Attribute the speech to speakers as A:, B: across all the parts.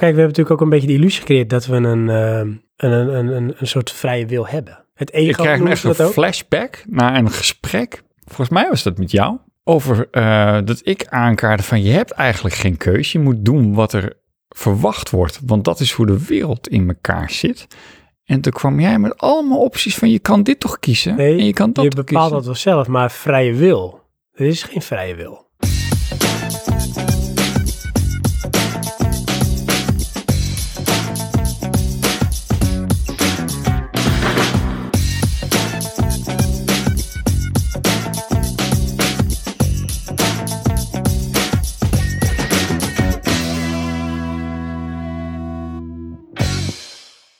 A: Kijk, we hebben natuurlijk ook een beetje de illusie gecreëerd dat we een, ehm, een, een, een, een, een soort vrije wil hebben. Het ego
B: Ik krijg nu
A: noemen
B: echt
A: ze
B: een
A: dat ook.
B: flashback naar een gesprek. Volgens mij was dat met jou. Over eh, dat ik aankaarde van je hebt eigenlijk geen keus. Je moet doen wat er verwacht wordt. Want dat is hoe de wereld in elkaar zit. En toen kwam jij met allemaal opties van je kan dit toch kiezen.
A: Nee,
B: en je kan dat
A: je
B: toch
A: bepaalt
B: kiezen.
A: dat wel zelf, maar vrije wil. Er is geen vrije wil.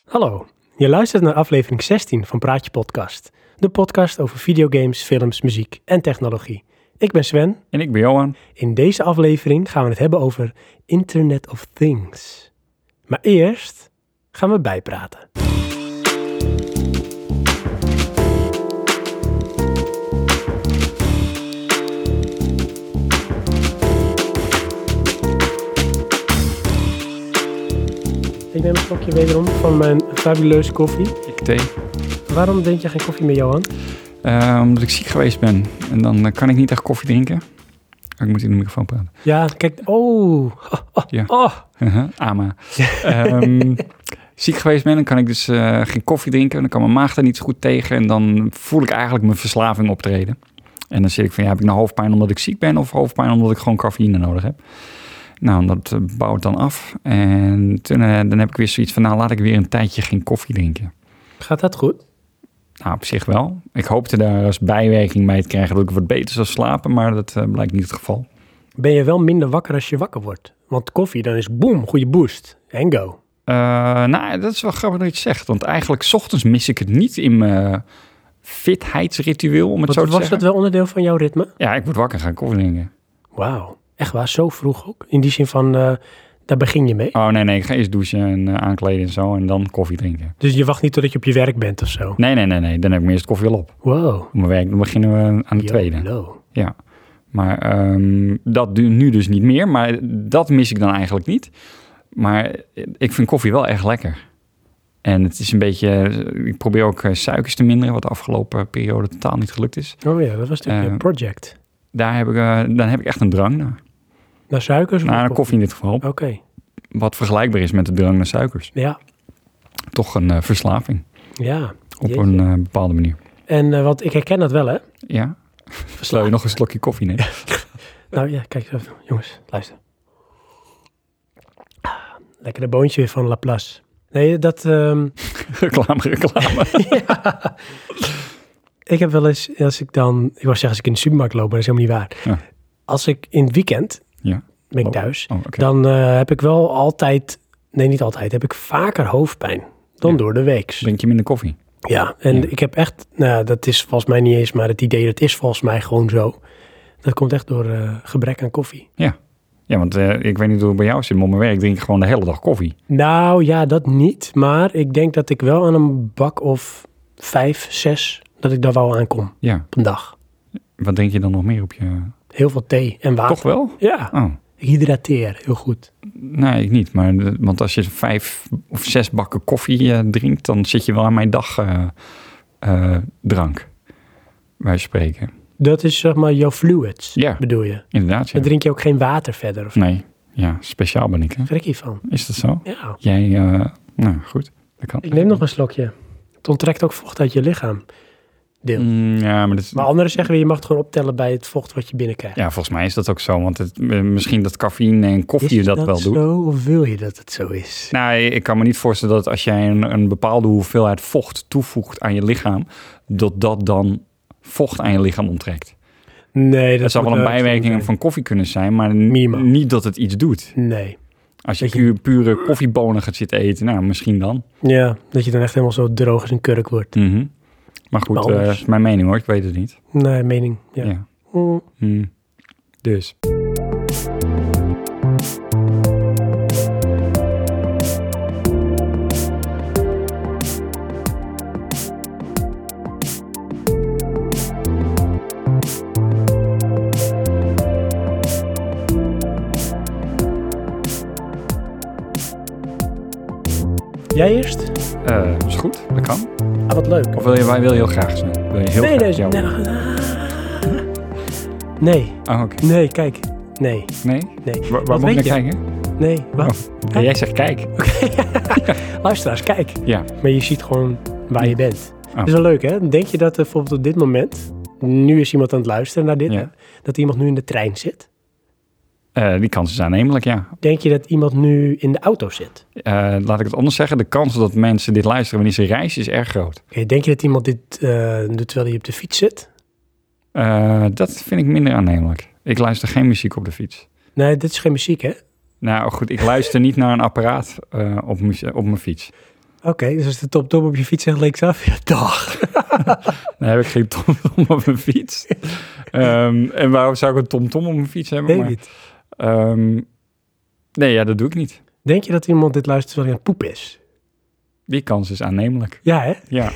A: Hallo, je luistert naar aflevering 16 van Praatje Podcast. De podcast over videogames, films, muziek en technologie. Ik ben Sven.
B: En ik ben Johan.
A: In deze aflevering gaan we het hebben over Internet of Things. Maar eerst gaan we bijpraten. Ik neem een slokje wederom van mijn fabuleuze koffie.
B: Ik thee.
A: Waarom drink je geen koffie meer, Johan?
B: Eh, omdat ik ziek geweest ben. En dan eh, kan ik niet echt koffie drinken. Oh, ik moet in de microfoon praten.
A: Ja, kijk. Oh. Oh.
B: Ja.
A: oh.
B: Haha, Uh-huh, Ama. Ehm, ziek geweest ben, dan kan ik dus eh, geen koffie drinken. Dan kan mijn maag er niet zo goed tegen. En dan voel ik eigenlijk mijn verslaving optreden. En dan zit ik van, ja, heb ik nou hoofdpijn omdat ik ziek ben... of hoofdpijn omdat ik gewoon cafeïne nodig heb? Nou, en dat eh, bouwt dan af. En toen, eh, dan heb ik weer zoiets van, nou, laat ik weer een tijdje geen koffie drinken.
A: Gaat dat goed?
B: Nou, op zich wel. Ik hoopte daar als bijwerking bij te krijgen dat ik wat beter zou slapen... maar dat eh, blijkt niet het geval.
A: Ben je wel minder wakker als je wakker wordt? Want koffie, dan is boem, goede boost. En go.
B: Eh, nou, dat is wel grappig dat je het zegt. Want eigenlijk, 's ochtends mis ik het niet in mijn fitheidsritueel, om het
A: Wat,
B: zo
A: was
B: te zeggen.
A: dat wel onderdeel van jouw ritme?
B: Ja, ik word wakker en ga koffie drinken.
A: Wauw. Echt waar, zo vroeg ook. In die zin van, eh, daar begin je mee.
B: Oh nee, nee, ik ga eerst douchen en eh, aankleden en zo en dan koffie drinken.
A: Dus je wacht niet totdat je op je werk bent of zo.
B: Nee, nee, nee, nee, dan heb ik me eerst koffie al op.
A: Wow.
B: Op mijn werk dan beginnen we aan de tweede.
A: YOLO.
B: Ja, maar ehm, dat doe nu dus niet meer, maar dat mis ik dan eigenlijk niet. Maar eh, ik vind koffie wel echt lekker. En het is een beetje, ik probeer ook eh, suikers te minderen, wat de afgelopen periode totaal niet gelukt is.
A: Oh ja, dat was natuurlijk
B: Eh,
A: je project.
B: daar heb ik, eh, dan heb ik echt een drang naar.
A: Naar suikers? of
B: Naar een koffie in dit geval.
A: Oké.
B: Wat vergelijkbaar is met de drang naar suikers.
A: Ja.
B: Toch een eh, verslaving
A: Ja.
B: op
A: Jeetje.
B: een eh, bepaalde manier.
A: En eh, want ik herken dat wel, hè?
B: Ja. Stel je nog een slokje koffie neemt.
A: Nou ja, kijk eens even. Jongens, luister. Ah, Lekkere boontje weer van Laplace. Nee, dat... ehm,
B: reclame, reclame.
A: ik heb wel eens, als ik dan... Ik wou zeggen, als ik in de supermarkt loop, maar dat is helemaal niet waar.
B: Ja.
A: Als ik in het weekend
B: Ja.
A: ben ik
B: Oh,
A: thuis,
B: Oh, oké.
A: dan eh, heb ik wel altijd... Nee, niet altijd. Heb ik vaker hoofdpijn dan
B: Ja.
A: door de week.
B: Drink je minder koffie?
A: Ja, en
B: Ja.
A: ik heb echt... Nou, dat is volgens mij niet eens, maar het idee, dat is volgens mij gewoon zo. Dat komt echt door eh, gebrek aan koffie.
B: Ja, want eh, ik weet niet hoe het bij jou zit, maar op mijn werk drink ik gewoon de hele dag koffie.
A: Nou ja, dat niet. Maar ik denk dat ik wel aan een bak of vijf, zes, dat ik daar wel aan kom
B: Ja.
A: op een dag.
B: Wat drink je dan nog meer op je...
A: Heel veel thee en water.
B: Toch wel?
A: Ja,
B: Oh,
A: ik hydrateer heel goed.
B: nee, ik niet. Maar, de- want als je vijf of zes bakken koffie eh, drinkt, dan zit je wel aan mijn dagdrank. eh drank. Wij spreken.
A: Dat is zeg maar jouw fluids,
B: Ja.
A: bedoel je.
B: Inderdaad, ja.
A: Dan drink je ook geen water verder. Of
B: Nee, ja, speciaal ben ik, hè?
A: schrik je van?
B: Is dat zo?
A: Ja.
B: Jij, eh, nou goed, dat kan.
A: Ik neem nog een slokje. Het onttrekt ook vocht uit je lichaam. Deel.
B: Mm, ja, maar dat is-
A: Maar anderen zeggen weer, je mag het gewoon optellen bij het vocht wat je binnenkrijgt.
B: ja, volgens mij is dat ook zo, want het, eh, misschien dat cafeïne en koffie
A: is
B: dat, wel doet.
A: zo of wil je dat het zo is?
B: Nou, ik kan me niet voorstellen dat als jij een, een bepaalde hoeveelheid vocht toevoegt aan je lichaam, dat dat dan vocht aan je lichaam onttrekt.
A: Nee, dat
B: Nou, Dat zou
A: moet
B: wel een
A: wel echt
B: bijwerking
A: zijn.
B: van koffie kunnen zijn, maar n-
A: Minimaal.
B: niet dat het iets doet.
A: Nee.
B: Als je
A: Dat
B: puur, pure koffiebonen gaat zitten eten, nou, misschien dan.
A: Ja, dat je dan echt helemaal zo droog als een kurk wordt.
B: Mhm. Maar goed,
A: Maar
B: eh,
A: anders-
B: is mijn mening hoor, ik weet het niet.
A: Nee, mening. Ja.
B: ja.
A: Mm.
B: Hmm. Dus.
A: Jij eerst?
B: Eh, is goed, dat kan.
A: Ah, wat leuk.
B: Of wil je, wij wil je heel graag zo? Wil je heel
A: nee,
B: graag
A: nee,
B: jou?
A: nee, nee,
B: Oh, oké.
A: nee, kijk. Nee,
B: Nee?
A: nee.
B: Waar, waar
A: Wat
B: moet ik
A: weet
B: naar
A: je?
B: kijken?
A: Nee, wat?
B: Ja, jij zegt kijk.
A: Luisteraars, kijk.
B: Ja.
A: Maar je ziet gewoon waar je bent.
B: Oh.
A: Dat is wel leuk, hè? Dan Denk je dat er bijvoorbeeld op dit moment... Nu is iemand aan het luisteren naar dit.
B: Ja.
A: hè, Dat iemand nu in de trein zit.
B: Eh, die kans is aannemelijk, ja.
A: Denk je dat iemand nu in de auto zit?
B: Eh, laat ik het anders zeggen. De kans dat mensen dit luisteren wanneer ze reizen is erg groot.
A: Oké, denk je dat iemand dit eh, doet terwijl hij op de fiets zit?
B: Eh, dat vind ik minder aannemelijk. Ik luister geen muziek op de fiets.
A: Nee, dit is geen muziek, hè?
B: Nou goed, ik luister niet naar een apparaat eh, op, mu- op mijn fiets.
A: Oké, dus als de top-top op je fiets zegt linksaf, ja, dag.
B: Dan heb ik geen tomtom op mijn fiets. Ehm, en waarom zou ik een tomtom op mijn fiets hebben?
A: Weet
B: Maar,
A: niet.
B: ehm, nee, ja, dat doe ik niet.
A: Denk je dat iemand dit luistert terwijl hij aan het poep is?
B: Die kans is aannemelijk.
A: Ja, hè?
B: Ja.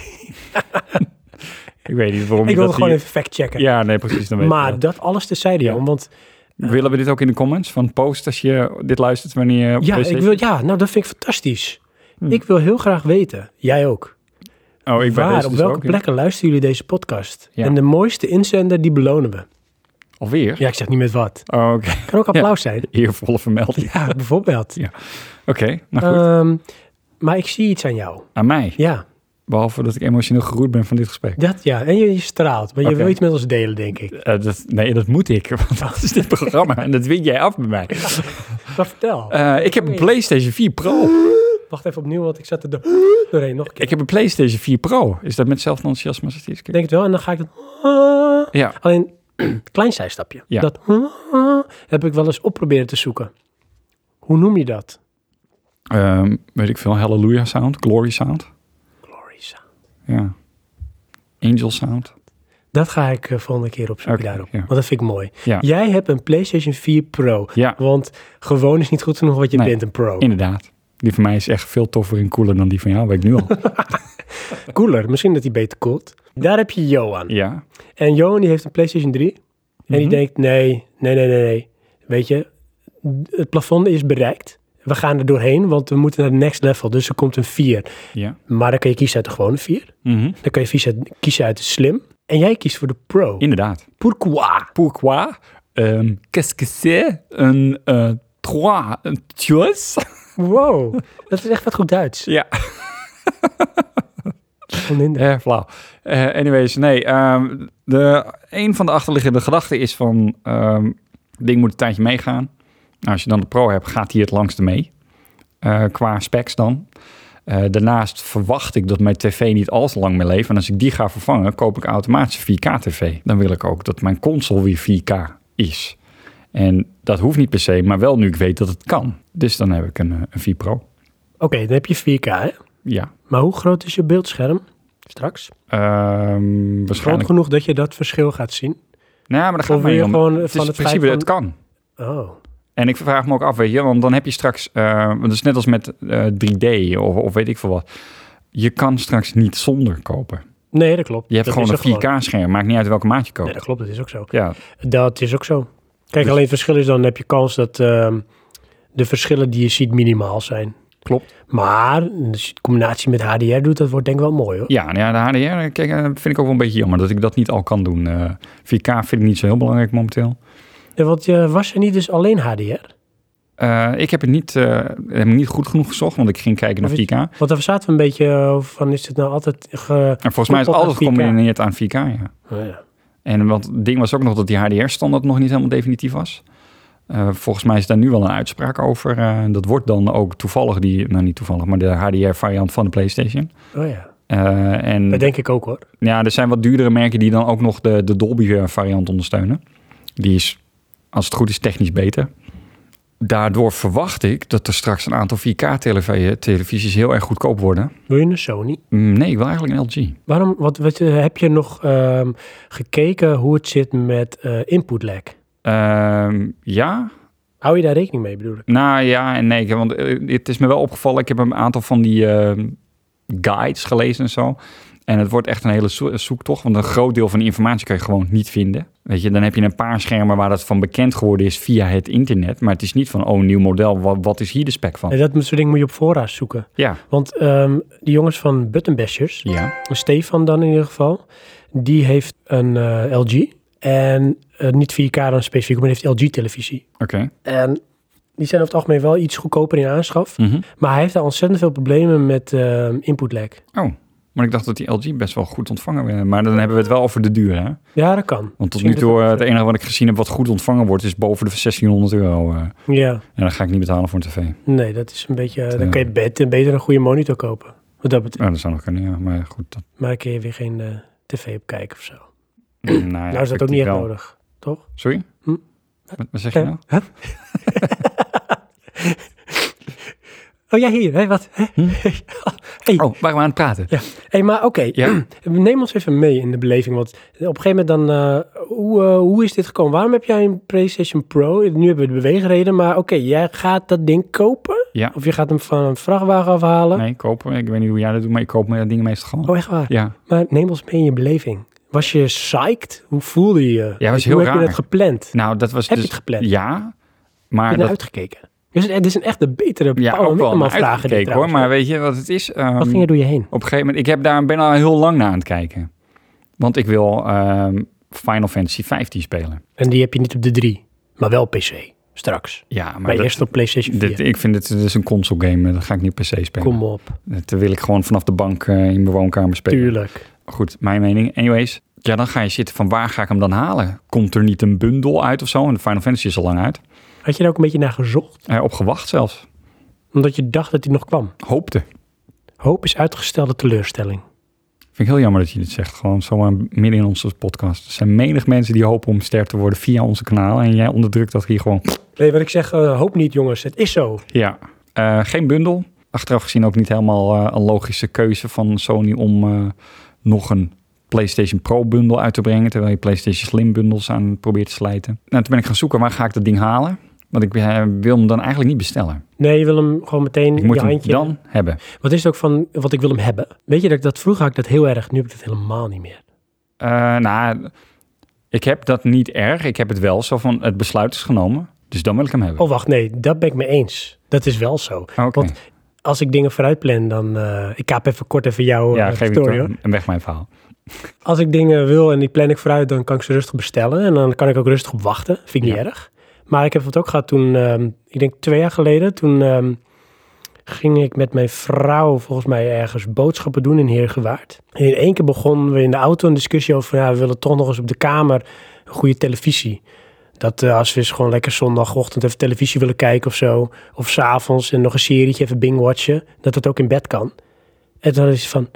B: ik weet niet waarom
A: Ik
B: je
A: wilde
B: dat
A: gewoon
B: hier-
A: even fact-checken.
B: Ja, nee, precies. Dan weet ik
A: maar
B: dat.
A: dat alles terzijde,
B: Ja.
A: Jan. Want
B: Willen we dit ook in de comments? Van post als je dit luistert wanneer je op
A: ja,
B: wc
A: ik wil, ja, nou, dat vind ik fantastisch.
B: Hmm.
A: Ik wil heel graag weten, jij ook,
B: Oh, ik ben
A: waar,
B: deze
A: op
B: dus
A: welke
B: ook, ja.
A: plekken luisteren jullie deze podcast?
B: Ja.
A: En de mooiste inzender, die belonen we.
B: Alweer?
A: Ja, ik zeg niet met wat.
B: Oh, Oké,
A: Kan ook applaus zijn.
B: eervolle vermelding.
A: Ja, bijvoorbeeld.
B: Oké, nou goed.
A: Ehm, maar ik zie iets aan jou.
B: Aan mij.
A: Ja,
B: Behalve dat ik emotioneel geroerd ben van dit gesprek.
A: dat ja. En je, je straalt. Maar je
B: Oké.
A: wil iets met ons delen, denk ik.
B: Eh, dat, nee, dat moet ik, want dat is dit programma en dat win jij af bij mij.
A: Maar vertel.
B: Eh, ik heb een PlayStation 4 Pro.
A: Wacht even opnieuw, want ik zat er door- doorheen. Nog een keer.
B: Ik heb een PlayStation 4 Pro. Is dat met zelf enthousiasme als het is?
A: Ik denk het wel. En dan ga ik dat...
B: Ja,
A: Alleen, klein zijstapje.
B: Ja.
A: Dat heb ik wel eens op proberen te zoeken. Hoe noem je dat?
B: ehm, weet ik veel. Hallelujah sound, glory sound.
A: Glory sound.
B: Ja. Angel sound.
A: Dat ga ik eh, volgende keer opzoeken
B: Oké,
A: daarop.
B: ja.
A: Want dat vind ik mooi.
B: Ja.
A: Jij hebt een PlayStation 4 Pro.
B: Ja,
A: Want gewoon is niet goed genoeg wat je
B: Nee.
A: bent, een pro.
B: inderdaad. Die van mij is echt veel toffer en cooler dan die van jou, weet ik nu al.
A: Cooler, misschien dat hij beter koelt. Daar heb je Johan.
B: Ja.
A: En Johan die heeft een PlayStation 3. En die
B: Mhm.
A: denkt, nee, nee, nee, nee, nee. Weet je, het plafond is bereikt. We gaan er doorheen, want we moeten naar het next level. Dus er komt een 4.
B: Ja.
A: Maar dan kun je kiezen uit de gewone 4.
B: Mhm.
A: Dan kun je kiezen uit, kiezen uit de slim. En jij kiest voor de pro.
B: Inderdaad.
A: Pourquoi?
B: Pourquoi? Ehm, Qu'est-ce que c'est? Een eh trois, een tjus?
A: Wow, dat is echt wat goed Duits.
B: Ja.
A: Onhinder.
B: Eh, flauw. Eh, anyways, nee. ehm, de, een van de achterliggende gedachten is van... ehm, het ding moet een tijdje meegaan. Nou, als je dan de Pro hebt, gaat die het langste mee. Eh, qua specs dan. Eh, daarnaast verwacht ik dat mijn tv niet al te lang meer leeft. En als ik die ga vervangen, koop ik automatisch 4K-tv. Dan wil ik ook dat mijn console weer 4K is. En dat hoeft niet per se, maar wel nu ik weet dat het kan. Dus dan heb ik een, eh, een 4 Pro.
A: Oké, dan heb je 4K, hè?
B: Ja.
A: Maar hoe groot is je beeldscherm straks?
B: Ehm
A: Groot
B: waarschijnlijk.
A: genoeg dat je dat verschil gaat zien?
B: Nou, maar dat
A: Of
B: gaat mij
A: wil
B: niet
A: je
B: om.
A: gewoon
B: Het
A: van
B: is in
A: het feit
B: principe,
A: van...
B: het kan.
A: Oh,
B: En ik vraag me ook af, weet je, want dan heb je straks, eh, want het is net als met eh, 3D of, of weet ik veel wat. Je kan straks niet zonder kopen.
A: nee, dat klopt.
B: Je hebt
A: Dat is er
B: gewoon een 4K-scherm, maakt niet uit welke maat je koopt.
A: Nee, dat klopt, dat is ook zo.
B: Ja,
A: Dat is ook zo. Kijk,
B: Dus-
A: alleen het verschil is dan heb je kans dat ehm, de verschillen die je ziet minimaal zijn.
B: Klopt.
A: Maar als je het in combinatie met HDR doet, dat wordt denk ik wel mooi hoor.
B: ja, nou ja de HDR kijk, eh, vind ik ook wel een beetje jammer dat ik dat niet al kan doen. Eh, 4K vind ik niet zo heel belangrijk momenteel.
A: Ja, want je was er niet dus alleen HDR.
B: Eh, ik heb het niet, eh, heb ik niet goed genoeg gezocht, want ik ging kijken naar
A: Of is-
B: 4K. En
A: Want daar zaten we een beetje eh, van, is het nou altijd... Ge...
B: volgens mij is
A: Koppel aan
B: alles
A: 4K.
B: gecombineerd aan 4K, ja.
A: Oh, ja.
B: En want het ding was ook nog dat die HDR-standaard nog niet helemaal definitief was. Eh, volgens mij is daar nu wel een uitspraak over. Eh, dat wordt dan ook toevallig die, nou niet toevallig, maar de HDR-variant van de PlayStation.
A: Oh ja,
B: Eh, en
A: dat denk ik ook hoor.
B: ja, er zijn wat duurdere merken die dan ook nog de, de Dolby-variant ondersteunen. Die is, als het goed is, technisch beter. Daardoor verwacht ik dat er straks een aantal 4K-televisies heel erg goedkoop worden.
A: Wil je een Sony?
B: Mm, Nee, ik wil eigenlijk een LG.
A: Waarom, wat, wat, eh, heb je nog ehm, gekeken hoe het zit met eh, input lag?
B: Ehm, ja,
A: Hou je daar rekening mee bedoel ik?
B: Nou ja en nee, want eh, het is me wel opgevallen. Ik heb een aantal van die eh, guides ehm, gelezen en zo. En het wordt echt een hele zo- zoektocht, want een groot deel van die informatie kan je gewoon niet vinden. Weet je, dan heb je een paar schermen waar dat van bekend geworden is via het internet. Maar het is niet van, oh, nieuw model, wat, wat is hier de spec van?
A: En dat soort dingen moet je op fora zoeken.
B: Ja,
A: Want ehm, die jongens van Buttonbashers,
B: ja.
A: Stefan dan in ieder geval, die heeft een eh, LG. En eh, niet 4K dan specifiek, maar die heeft LG-televisie.
B: Oké.
A: En die zijn over het algemeen wel iets goedkoper in aanschaf.
B: Mhm.
A: Maar hij heeft daar ontzettend veel problemen met ehm, input lag.
B: Maar ik dacht dat die LG best wel goed ontvangen werd. Maar dan hebben we het wel over de duur, hè?
A: Ja, dat kan.
B: Want tot
A: Misschien
B: nu
A: dat
B: toe,
A: ook-
B: eh, het enige wat ik gezien heb wat goed ontvangen wordt, is boven de 1600 euro. eh.
A: Ja,
B: en dat ga ik niet betalen voor een tv.
A: nee, dat is een beetje... eh,
B: Ja.
A: Dan kan je bet- beter een goede monitor kopen. Wat dat betreft.
B: Nou, dat zou nog kunnen, ja. Maar goed, dat,
A: Maar dan kun je weer geen eh, tv op kijken of zo.
B: nou, ja,
A: nou is dat ook
B: effectief
A: niet echt
B: wel.
A: nodig, toch?
B: Sorry?
A: Hm? Eh,
B: Wat, wat zeg je nou?
A: Huh? oh ja, hier. Hé, wat? Hé,
B: Oh, waren we aan het praten?
A: Hé, maar oké.
B: Ja.
A: Neem ons even mee in de beleving. Want op een gegeven moment dan... eh, hoe, eh, hoe is dit gekomen? Waarom heb jij een PlayStation Pro? Nu hebben we de beweegreden. Maar oké, jij gaat dat ding kopen?
B: Ja.
A: Of je gaat hem van een vrachtwagen afhalen?
B: Nee, kopen. Ik weet niet hoe jij dat doet, maar ik koop mijn dingen meestal gewoon.
A: Oh, echt waar?
B: Ja.
A: Maar neem ons mee in je beleving. Was je psyched? Hoe voelde je je?
B: Ja, was
A: Hoe
B: heel
A: heb je
B: raar.
A: het gepland?
B: Nou, dat was
A: Heb
B: dus...
A: je het gepland?
B: Ja,
A: heb
B: maar
A: je naar
B: dat...
A: uitgekeken? Dus het is een echte betere
B: Ja,
A: Paul
B: ook wel
A: Witteman
B: naar
A: vragen. dit
B: uitgekeken hoor.
A: trouwens.
B: Maar weet je wat het is? Ehm,
A: Wat ging er door je heen?
B: Op een gegeven moment... Ik heb daar, ben al heel lang naar aan het kijken. Want ik wil ehm, Final Fantasy 15 spelen.
A: En die heb je niet op de 3, maar wel op PC. Straks.
B: Ja, maar...
A: Maar
B: dat-
A: eerst op PlayStation 4.
B: dit- ik vind het, het is een console game. Dat ga ik niet per se spelen.
A: Kom op.
B: Dat wil ik gewoon vanaf de bank eh, in mijn woonkamer spelen.
A: Tuurlijk.
B: Goed, mijn mening. Anyways, ja, dan ga je zitten van waar ga ik hem dan halen? Komt er niet een bundel uit of zo? En de Final Fantasy is al lang uit.
A: Had je daar ook een beetje naar gezocht?
B: Eh, op gewacht zelfs.
A: Omdat je dacht dat hij nog kwam.
B: Hoopte.
A: Hoop is uitgestelde teleurstelling.
B: Vind ik heel jammer dat je dit zegt. Gewoon zomaar midden in onze podcast. Er zijn menig mensen die hopen om ster te worden via onze kanalen. En jij onderdrukt dat hier gewoon.
A: Nee, wat ik zeg, eh, hoop niet jongens. Het is zo.
B: Ja. Eh, geen bundel. Achteraf gezien ook niet helemaal eh, een logische keuze van Sony om eh, nog een PlayStation Pro bundel uit te brengen. Terwijl je PlayStation Slim bundels aan probeert te slijten. Nou, toen ben ik gaan zoeken waar ga ik dat ding halen. Want ik eh, wil hem dan eigenlijk niet bestellen.
A: Nee, je wil hem gewoon meteen
B: Ik
A: in
B: moet
A: je
B: hem
A: handje.
B: dan hebben.
A: Wat is het ook van, wat ik wil hem hebben? Weet je, dat, ik dat vroeger had ik dat heel erg. Nu heb ik dat helemaal niet meer.
B: Eh, nou, ik heb dat niet erg. Ik heb het wel zo van het besluit is genomen. Dus dan wil ik hem hebben.
A: Oh, wacht, nee, dat ben ik mee eens. Dat is wel zo.
B: Oké.
A: want- Als ik dingen vooruit plan, dan... eh, ik kaap even kort even jouw ja,
B: ja, geef
A: story,
B: het
A: hoor.
B: door. en weg mijn verhaal.
A: Als ik dingen wil en die plan ik vooruit, dan kan ik ze rustig bestellen. En dan kan ik ook rustig op wachten. Vind ik
B: Ja.
A: niet erg. Maar ik heb het ook gehad toen, ehm, ik denk twee jaar geleden, toen ehm, ging ik met mijn vrouw volgens mij ergens boodschappen doen in Heergewaard. En in één keer begonnen we in de auto een discussie over, ja, we willen toch nog eens op de kamer een goede televisie. Dat eh, als we eens gewoon lekker zondagochtend even televisie willen kijken of zo. Of s'avonds en nog een serietje even bingwatchen. Dat dat ook in bed kan. En toen is van,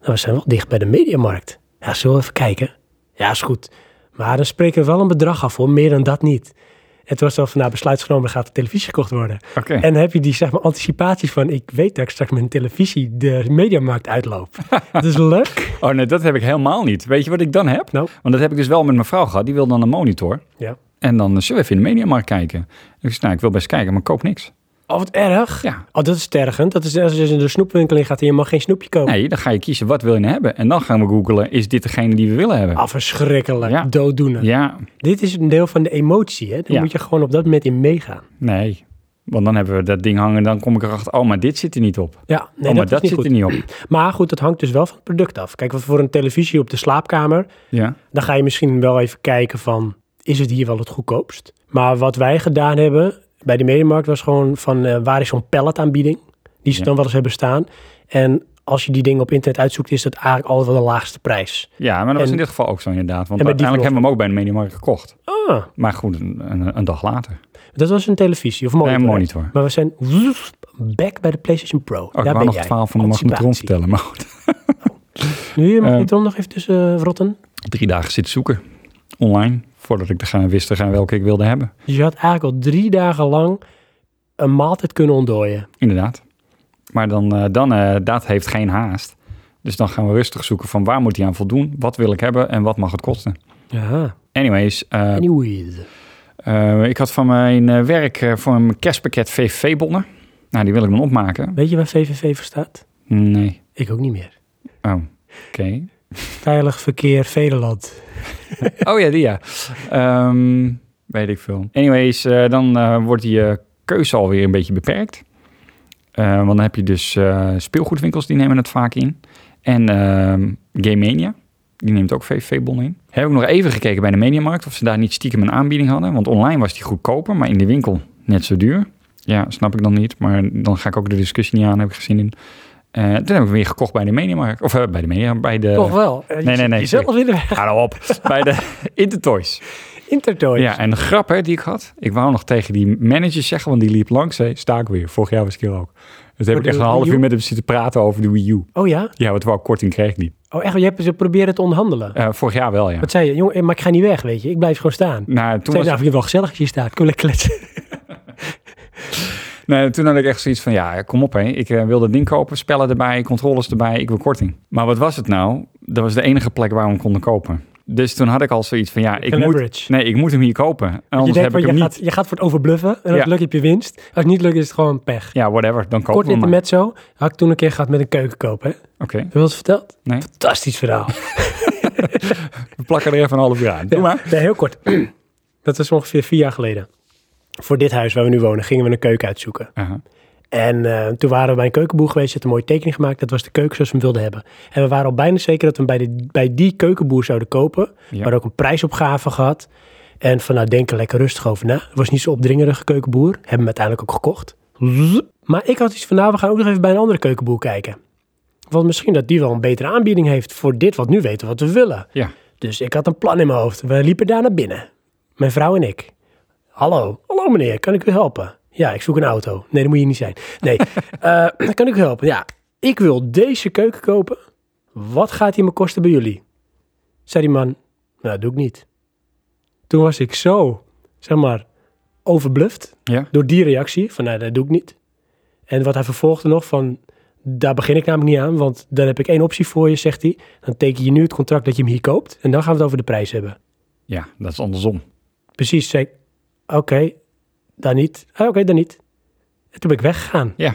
A: nou, we zijn wel dicht bij de mediamarkt. Ja, zullen we even kijken? Ja, is goed. Maar dan spreken we wel een bedrag af hoor, meer dan dat niet. En toen was het al van, nou, besluit is genomen, er gaat de televisie gekocht worden.
B: Oké.
A: En dan heb je die, zeg maar, anticipatie van, ik weet dat ik straks met een televisie de mediamarkt uitloop. dat is leuk.
B: Oh nee, dat heb ik helemaal niet. Weet je wat ik dan heb?
A: Nou.
B: Want dat heb ik dus wel met mijn vrouw gehad. Die wil dan een monitor.
A: Ja.
B: En dan eh, zullen we even in de mediamarkt kijken. Ik zei, nou, ik wil best kijken, maar ik koop niks.
A: Oh, wat erg.
B: Ja.
A: Oh, dat is tergend. Dat is als je in de snoepwinkel in gaat en je mag geen snoepje kopen.
B: Nee, dan ga je kiezen, wat wil je nou hebben? En dan gaan we googlen, is dit degene die we willen hebben?
A: Ah, verschrikkelijk.
B: Ja.
A: Dooddoener.
B: Ja,
A: Dit is een deel van de emotie, hè. Daar
B: Ja.
A: moet je gewoon op dat moment in meegaan.
B: nee. Want dan hebben we dat ding hangen en dan kom ik erachter, oh, maar dit zit er niet op.
A: Ja, nee,
B: oh, maar
A: dat,
B: dat,
A: is niet
B: zit
A: goed.
B: er niet op.
A: Maar goed, dat hangt dus wel van het product af. Kijk, wat voor een televisie op de slaapkamer,
B: Ja.
A: dan ga je misschien wel even kijken van, is het hier wel het goedkoopst? Maar wat wij gedaan hebben bij de Mediamarkt was gewoon van, eh, waar is zo'n palletaanbieding? Die ze
B: Ja.
A: dan wel eens hebben staan. En als je die dingen op internet uitzoekt, is dat eigenlijk altijd wel de laagste prijs.
B: ja, maar dat was
A: En-
B: in dit geval ook zo inderdaad. Want
A: En bij die
B: uiteindelijk hebben we hem ook bij de mediamarkt gekocht.
A: Ah,
B: Maar goed, een, een, een dag later.
A: dat was een televisie of monitor.
B: Bij een
A: hè?
B: monitor.
A: Maar we zijn wf, back bij de PlayStation Pro.
B: Oh, ik
A: Daar
B: wou
A: ben
B: nog
A: jij.
B: het verhaal van de magnetron
A: Anticipatie.
B: vertellen, maar goed.
A: Nu mag
B: Eh,
A: je het dan nog even tussen eh, rotten.
B: Drie dagen zitten zoeken, online, voordat ik er wist te gaan welke ik wilde hebben.
A: Dus je had eigenlijk al drie dagen lang een maaltijd kunnen ontdooien.
B: Inderdaad. Maar dan, eh, dan eh, dat heeft geen haast. Dus dan gaan we rustig zoeken van waar moet hij aan voldoen, wat wil ik hebben en wat mag het kosten.
A: Ja,
B: Anyways, eh,
A: anyways.
B: eh, ik had van mijn eh, werk eh, voor een kerstpakket VVV-bonnen. Nou, die wil ik dan opmaken.
A: Weet je waar VVV voor staat?
B: Nee.
A: Ik ook niet meer.
B: Oh,
A: Veilig verkeer Nederland.
B: Oh ja, die ja. Ehm, weet ik veel. Anyways, eh, dan eh, wordt die eh, keuze alweer een beetje beperkt. Eh, want dan heb je dus eh, speelgoedwinkels, die nemen het vaak in. En ehm Game Mania, die neemt ook VVV-bon in. Heb ik nog even gekeken bij de Mediamarkt of ze daar niet stiekem een aanbieding hadden. Want online was die goedkoper, maar in de winkel net zo duur. Ja, snap ik dan niet. Maar dan ga ik ook de discussie niet aan, heb ik gezien in. Eh, toen heb ik weer gekocht bij de Mediamarkt. Of eh, bij de Media, bij de...
A: Toch wel. Eh, je
B: nee, nee, nee,
A: Jezelf in de
B: Ga nou op. bij de Intertoys.
A: Intertoys.
B: Ja, en de grap hè, die ik had, ik wou nog tegen die manager zeggen, want die liep langs, zei, sta ik weer. Vorig jaar was ik hier ook. Dus heb
A: Wat
B: ik echt
A: de
B: een half
A: Wii U?
B: uur met hem zitten praten over de Wii U.
A: Oh ja?
B: Ja, wat wou ik korting kreeg ik niet.
A: Oh echt, je hebt ze proberen te onderhandelen.
B: Eh, vorig jaar wel, ja.
A: Wat zei je? Jongen, eh, maar ik ga niet weg, weet je. Ik blijf gewoon staan.
B: Nou, toen,
A: Toen
B: was,
A: nou, vind ik het wel gezellig als je hier staat. Kom lekker kletsen.
B: nee, toen had ik echt zoiets van, ja, kom op hè. Ik eh, wil dat ding kopen, spellen erbij, controllers erbij, ik wil korting. Maar wat was het nou? Dat was de enige plek waar we hem konden kopen. Dus toen had ik al zoiets van, ja, ik moet,
A: Leverage.
B: nee, ik moet hem hier kopen.
A: je
B: Anders
A: denkt,
B: heb
A: van,
B: ik
A: je,
B: hem niet.
A: gaat, je gaat voor het overbluffen. En als
B: Ja.
A: het lukt heb je winst. Als het niet lukt is het gewoon pech.
B: Ja, whatever, dan kopen
A: Kort
B: we hem maar.
A: intermezzo. Had ik toen een keer gehad met een keukenkoop. Hè? Heb
B: Oké,
A: je wat verteld?
B: Nee.
A: Fantastisch verhaal.
B: we plakken er even een half uur aan. Doe maar.
A: Nee, heel kort. Dat was ongeveer vier jaar geleden. Voor dit huis waar we nu wonen gingen we een keuken uitzoeken.
B: Aha.
A: En eh, toen waren we bij een keukenboer geweest. Ze had een mooie tekening gemaakt. Dat was de keuken zoals we hem wilden hebben. En we waren al bijna zeker dat we hem bij, de, bij die keukenboer zouden kopen.
B: Ja.
A: We hadden ook een prijsopgave gehad. En van nou, denk er lekker rustig over na. Het was niet zo opdringerige keukenboer. Hebben hem uiteindelijk ook gekocht. Zzz. Maar ik had iets van, nou, we gaan ook nog even bij een andere keukenboer kijken. Want misschien dat die wel een betere aanbieding heeft voor dit wat nu weten wat we willen.
B: Ja.
A: Dus ik had een plan in mijn hoofd. We liepen daar naar binnen. Mijn vrouw en ik. Hallo. Hallo meneer, kan ik u helpen? Ja, ik zoek een auto. Nee, dat moet je niet zijn. Nee, Eh, kan ik u helpen? Ja, ik wil deze keuken kopen. Wat gaat die me kosten bij jullie? Zei die man, nou, dat doe ik niet. Toen was ik zo, zeg maar, overbluft
B: Ja.
A: door die reactie van, nou, dat doe ik niet. En wat hij vervolgde nog van, daar begin ik namelijk niet aan, want dan heb ik één optie voor je, zegt hij. Dan teken je nu het contract dat je hem hier koopt en dan gaan we het over de prijs hebben.
B: ja, dat is andersom.
A: Precies, zei ik, oké, dan niet. Ah, oké, dan niet. En toen ben ik weggegaan.
B: Ja,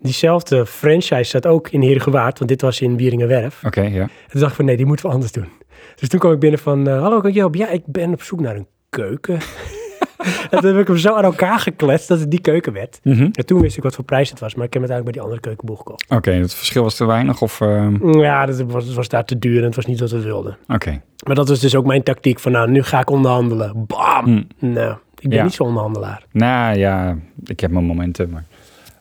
A: Diezelfde franchise zat ook in Heergewaard, want dit was in Wieringenwerf.
B: oké, ja.
A: En toen dacht ik van, nee, die moeten we anders doen. Dus toen kwam ik binnen van, eh, hallo, kan ik je helpen? Ja, ik ben op zoek naar een keuken. en toen heb ik hem zo aan elkaar gekletst dat het die keuken werd.
B: Mhm.
A: En toen wist ik wat voor prijs het was, maar ik heb het eigenlijk bij die andere keukenboer gekocht.
B: Oké, het verschil was te weinig of... ehm,
A: Ja, dat was, het was daar te duur en het was niet wat we wilden.
B: Oké,
A: Maar dat was dus ook mijn tactiek van, nou, nu ga ik onderhandelen. Bam!
B: Hm.
A: Nou, ik ben
B: Ja.
A: niet zo'n onderhandelaar.
B: nou ja, ik heb mijn momenten, maar...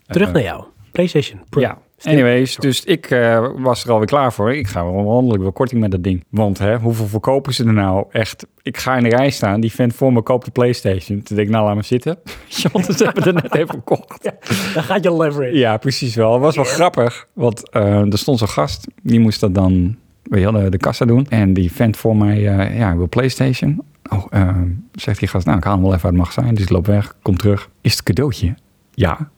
A: Terug
B: Eh,
A: naar jou. PlayStation. Pro.
B: Ja, anyways, dus ik eh, was er alweer klaar voor. Ik ga wel onderhandelen, ik wil korting met dat ding. Want hè, hoeveel verkopen ze er nou? Echt, ik ga in de rij staan, die vent voor me koopt de Playstation. Toen denk ik, nou laat maar zitten. Want ze hebben er net even verkocht.
A: Dan gaat je leverage.
B: Ja, precies wel. Het was wel grappig, want eh, er stond zo'n gast, die moest dat dan, weet je wel, de, de kassa doen. En die vent voor mij, eh, ja, ik wil Playstation. Oh, eh, zegt die gast, nou, ik haal hem wel even uit het magazijn, dus ik loop weg, kom terug. Is het cadeautje? Ja.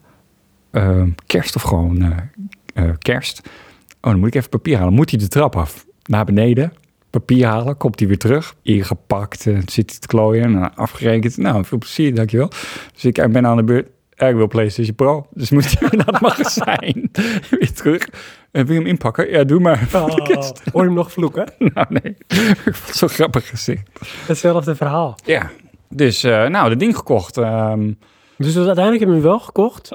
B: Eh, kerst of gewoon eh, eh, kerst? Oh, dan moet ik even papier halen. Moet hij de trap af? Naar beneden, papier halen, komt hij weer terug. Ingepakt, eh, zit hij te klooien, nou, afgerekend. Nou, veel plezier, dankjewel. Dus ik eh, ben aan de beurt. Ja, ik wil PlayStation Pro. Dus moet je naar het magazijn. Weer terug. En wil je hem inpakken? Ja, doe maar.
A: Oh, hoor je hem nog vloeken?
B: Nou, nee. Ik vond het zo'n grappig gezicht.
A: Hetzelfde verhaal.
B: Ja. Dus, eh, nou, dat ding gekocht. ehm,
A: Dus uiteindelijk hebben we hem wel gekocht.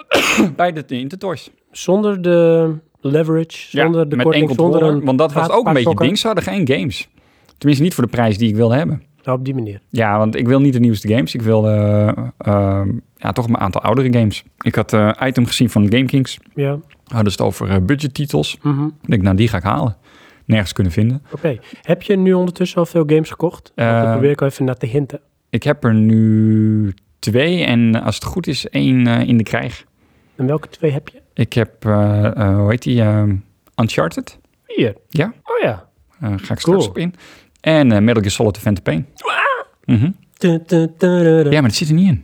B: bij de Intertoys.
A: Zonder de leverage, zonder de
B: met
A: korting,
B: één
A: zonder
B: controller.
A: een...
B: Want dat was
A: paar-
B: ook een
A: paar
B: beetje het
A: sokken.
B: ding. Ze hadden geen games. Tenminste, niet voor de prijs die ik wilde hebben.
A: Nou, op die manier.
B: Ja, want ik wil niet de nieuwste games. Ik wil eh, eh, ja, toch een aantal oudere games. Ik had een item gezien van GameKings.
A: Ja.
B: Hadden ze het over eh, budgettitels.
A: mhm.
B: Ik denk, nou, die ga ik halen. Nergens kunnen vinden.
A: Oké. Heb je nu ondertussen al veel games gekocht? Want
B: Eh,
A: dan probeer ik al even naar te hinten.
B: Ik heb er nu twee en als het goed is, één eh, in de krijg.
A: En welke twee heb je?
B: Ik heb, eh, eh, hoe heet die, ehm, Uncharted.
A: Hier.
B: Ja.
A: Oh ja.
B: Eh ga ik
A: Cool.
B: straks op in. En eh Metal Gear Solid Phantom Pain. Mhm.
A: Dun, dun, dun, dun, dun.
B: Ja, maar dat zit er niet in.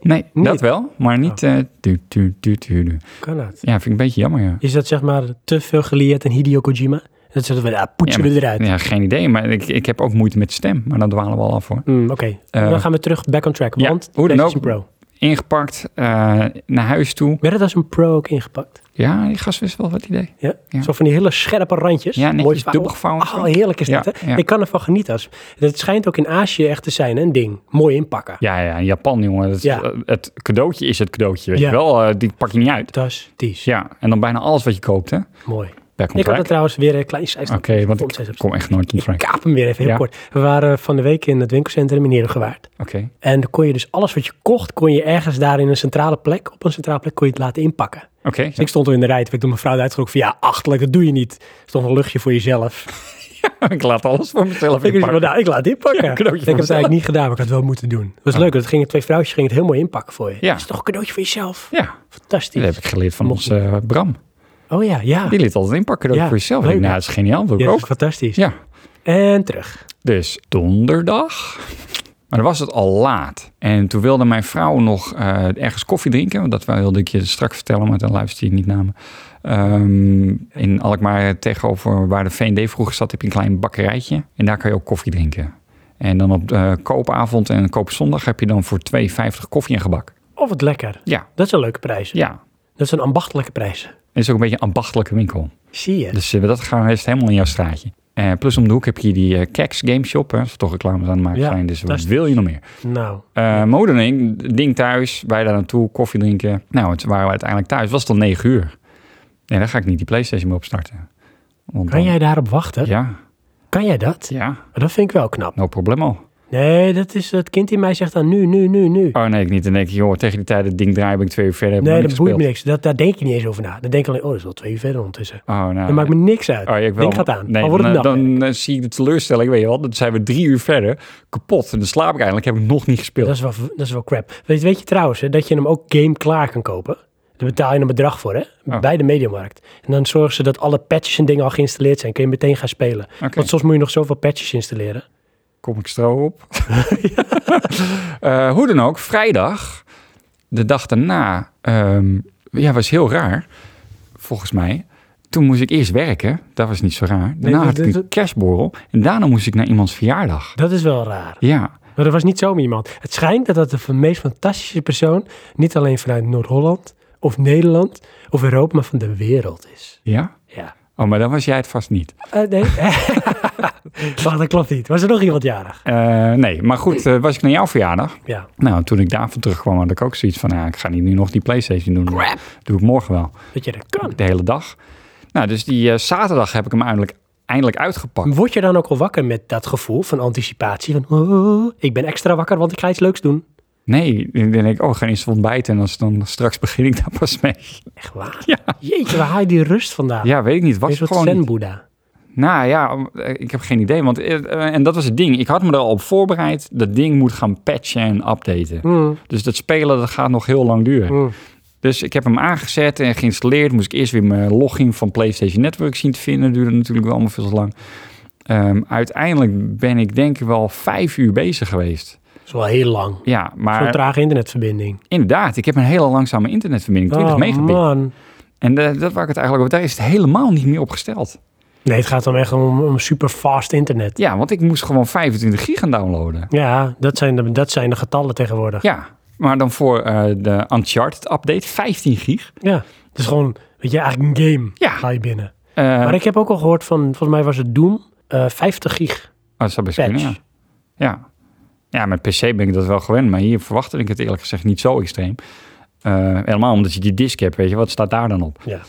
B: Nee,
A: Niet? Oh.
B: dat wel, maar niet... eh, du, du, du, du, du.
A: Kan dat?
B: Ja, vind ik een beetje jammer, ja.
A: Is dat zeg maar te veel geleerd en Hideo Kojima? Dat zetten we, daar poetsen
B: Ja,
A: we eruit.
B: Ja, geen idee, maar ik, ik heb ook moeite met stem. Maar daar dwalen we al af, hoor.
A: Hmm, Oké,
B: Eh,
A: dan gaan we terug back on track.
B: ja,
A: Want
B: hoe dan ook.
A: PlayStation Pro.
B: ingepakt, eh, naar huis toe.
A: Werd het als een pro ook ingepakt?
B: Ja, die gast wist wel wat idee.
A: Ja.
B: Ja.
A: Zo van die hele scherpe randjes.
B: Ja,
A: Mooi
B: netjes
A: zwaar.
B: dubbelgevouwen.
A: Oh, heerlijk is
B: Ja,
A: dat, hè?
B: ja.
A: Ik kan ervan genieten. Als, het schijnt ook in Azië echt te zijn, hè, een ding. Mooi inpakken.
B: Ja, ja, in Japan, jongen. Het,
A: Ja.
B: het cadeautje is het cadeautje, weet
A: Ja.
B: je wel. Eh, die pak je niet uit. Dus
A: Fantastisch.
B: Ja, en dan bijna alles wat je koopt, hè.
A: Mooi.
B: Back on
A: Ik had
B: track.
A: er trouwens weer een klein zijstapje.
B: Oké, want
A: Komt
B: ik
A: steeds op-
B: kom echt nooit on track.
A: Ik kaap hem weer even, heel
B: Ja.
A: kort. We waren van de week in het winkelcentrum in Herengewaard.
B: Oké.
A: En dan kon je dus alles wat je kocht, kon je ergens daar in een centrale plek, op een centrale plek, kon je het laten inpakken. Dus
B: Oké.
A: ik stond er in de rij, toen werd ik door mijn vrouw uitgeroepen van ja, achterlijk, dat doe je niet. Er stond een luchtje voor jezelf.
B: ik laat alles voor mezelf
A: Ik, dacht,
B: inpakken.
A: nou, ik laat dit pakken.
B: Ja, een
A: ik
B: cadeautje
A: heb het
B: voor mezelf.
A: eigenlijk
B: Oh.
A: niet gedaan, maar ik had het wel moeten doen. Het was leuk, dat gingen, twee vrouwtjes gingen het helemaal inpakken voor je.
B: Ja.
A: Dat is toch een cadeautje voor jezelf.
B: Ja, dat
A: Fantastisch.
B: heb ik geleerd van
A: Mocht
B: onze eh, Bram.
A: Oh ja, ja.
B: Die liet altijd inpakken ook
A: Ja,
B: voor jezelf. Ik
A: leuk,
B: denk,
A: hè?
B: nou, dat is geniaal, wil ik
A: Ja, dat is
B: ook.
A: fantastisch.
B: Ja,
A: En terug.
B: dus donderdag. Maar dan was het al laat. En toen wilde mijn vrouw nog eh, ergens koffie drinken. Want dat wilde ik je straks vertellen, maar dan luister je het niet naar me. Ehm, in Alkmaar tegenover waar de V&D vroeger zat, heb je een klein bakkerijtje. En daar kan je ook koffie drinken. En dan op eh, koopavond en koopzondag heb je dan voor 2,50 koffie en gebak.
A: Of het lekker.
B: Ja,
A: Dat zijn leuke prijzen.
B: ja.
A: Dat zijn ambachtelijke prijzen.
B: Het is ook een beetje een ambachtelijke winkel.
A: Zie je.
B: Dus eh, dat gaan we helemaal in jouw straatje. Eh, plus om de hoek heb je die eh Keks Game Shop. Hè, als we toch reclames aan het maken
A: Ja,
B: zijn. Dus wat
A: fantastisch.
B: wil je nog meer?
A: Nou,
B: Eh Modeling, ding thuis. Wij daar naartoe, koffie drinken. Nou, het waren we uiteindelijk thuis. Was het al negen uur. Nee, dan ga ik niet die Playstation meer opstarten. Want
A: kan
B: dan-
A: jij daarop wachten?
B: Ja,
A: Kan jij dat?
B: ja.
A: Dat vind ik wel knap.
B: No problemo.
A: Nee, dat is het kind in mij zegt dan nu, nu, nu, nu.
B: Oh nee, ik niet. Dan denk ik, joh, tegen die tijd dat ding draaien ben ik twee uur verder. heb ik
A: nee,
B: nog
A: dat
B: niks
A: boeit me
B: gespeeld.
A: niks. Dat, daar denk je niet eens over na. Dan denk ik alleen, oh, dat is wel twee uur verder ondertussen.
B: Oh, nou.
A: Dat maakt me niks uit.
B: Oh, ja, ik wel.
A: Ding gaat aan.
B: Nee,
A: Al wordt het
B: dan,
A: nacht.
B: dan, eh, zie ik de teleurstelling, weet je wel. Dan zijn we drie uur verder, kapot. En dan slaap ik eigenlijk, heb ik nog niet gespeeld.
A: Dat is, wel, dat is wel crap. Weet, weet je trouwens hè, dat je hem ook game klaar kan kopen? Daar betaal je een bedrag voor, hè?
B: Oh.
A: Bij de Mediamarkt. En dan zorgen ze dat alle patches en dingen al geïnstalleerd zijn. Kun je meteen gaan spelen.
B: Oké.
A: Want soms moet je nog zoveel patches installeren.
B: kom ik stro op. Eh, hoe dan ook, vrijdag, de dag daarna, ehm, ja, was heel raar, volgens mij. Toen moest ik eerst werken, dat was niet zo raar. Daarna
A: dat-
B: had ik
A: dat-
B: een kerstborrel en daarna moest ik naar iemands verjaardag.
A: Dat is wel raar.
B: Ja,
A: Maar dat was niet zomaar iemand. Het schijnt dat dat de van- meest fantastische persoon... niet alleen vanuit Noord-Holland of Nederland of Europa... maar van de wereld is.
B: ja.
A: Ja.
B: Oh, maar dan was jij het vast niet.
A: Eh, nee. Wacht, dat klopt niet. Was er nog iemand jarig?
B: Eh, nee, maar goed, eh, was ik naar jouw verjaardag.
A: Ja.
B: Nou, toen ik daarvan terugkwam, had ik ook zoiets van, ja, ik ga niet nu nog die Playstation doen. Dat doe ik morgen wel,
A: Dat je dat kan.
B: de hele dag. Nou, dus die eh, zaterdag heb ik hem eindelijk, eindelijk uitgepakt.
A: Word je dan ook al wakker met dat gevoel van anticipatie? Van, oh, ik ben extra wakker, want ik ga iets leuks doen.
B: Nee, dan denk ik, oh, geen eerst ontbijten en als dan straks begin ik daar pas mee.
A: Echt waar?
B: Ja.
A: Jeetje, waar haal je die rust vandaan?
B: Ja, weet ik niet. Was
A: Is
B: het
A: wat
B: gewoon. niet.
A: zen-boeddha.
B: Nou ja, eh, ik heb geen idee. Want, eh, eh, en dat was het ding. Ik had me er al op voorbereid. Dat ding moet gaan patchen en updaten.
A: Mm,
B: Dus dat spelen, dat gaat nog heel lang duren.
A: mm.
B: Dus ik heb hem aangezet en geïnstalleerd. Moest ik eerst weer mijn login van PlayStation Network zien te vinden. Duurde natuurlijk wel allemaal veel te lang. Ehm, uiteindelijk ben ik denk ik wel vijf uur bezig geweest.
A: Dat is wel heel lang.
B: Ja,
A: Zo'n
B: maar
A: trage internetverbinding. Oh,
B: inderdaad, ik heb een hele langzame internetverbinding. 20 megabit.
A: man.
B: En eh, dat waar ik het eigenlijk over, daar is het helemaal niet meer op gesteld.
A: Nee, het gaat dan echt om, om super fast internet.
B: Ja, want ik moest gewoon 25 gig gaan downloaden.
A: Ja, dat zijn de, dat zijn de getallen tegenwoordig. Ja.
B: Ja, maar dan voor eh, de Uncharted update 15 gig.
A: Het is gewoon, weet je, eigenlijk een game.
B: Ja.
A: Ga je binnen.
B: Eh,
A: Maar ik heb ook al gehoord van, volgens mij was het Doom, eh, 50 gig.
B: oh, dat zou best kunnen, ja.
A: patch.
B: ja. Ja, met PC ben ik dat wel gewend, maar hier verwachtte ik het eerlijk gezegd niet zo extreem. Eh, helemaal omdat je die disk hebt, weet je, wat staat daar dan op?
A: Ja.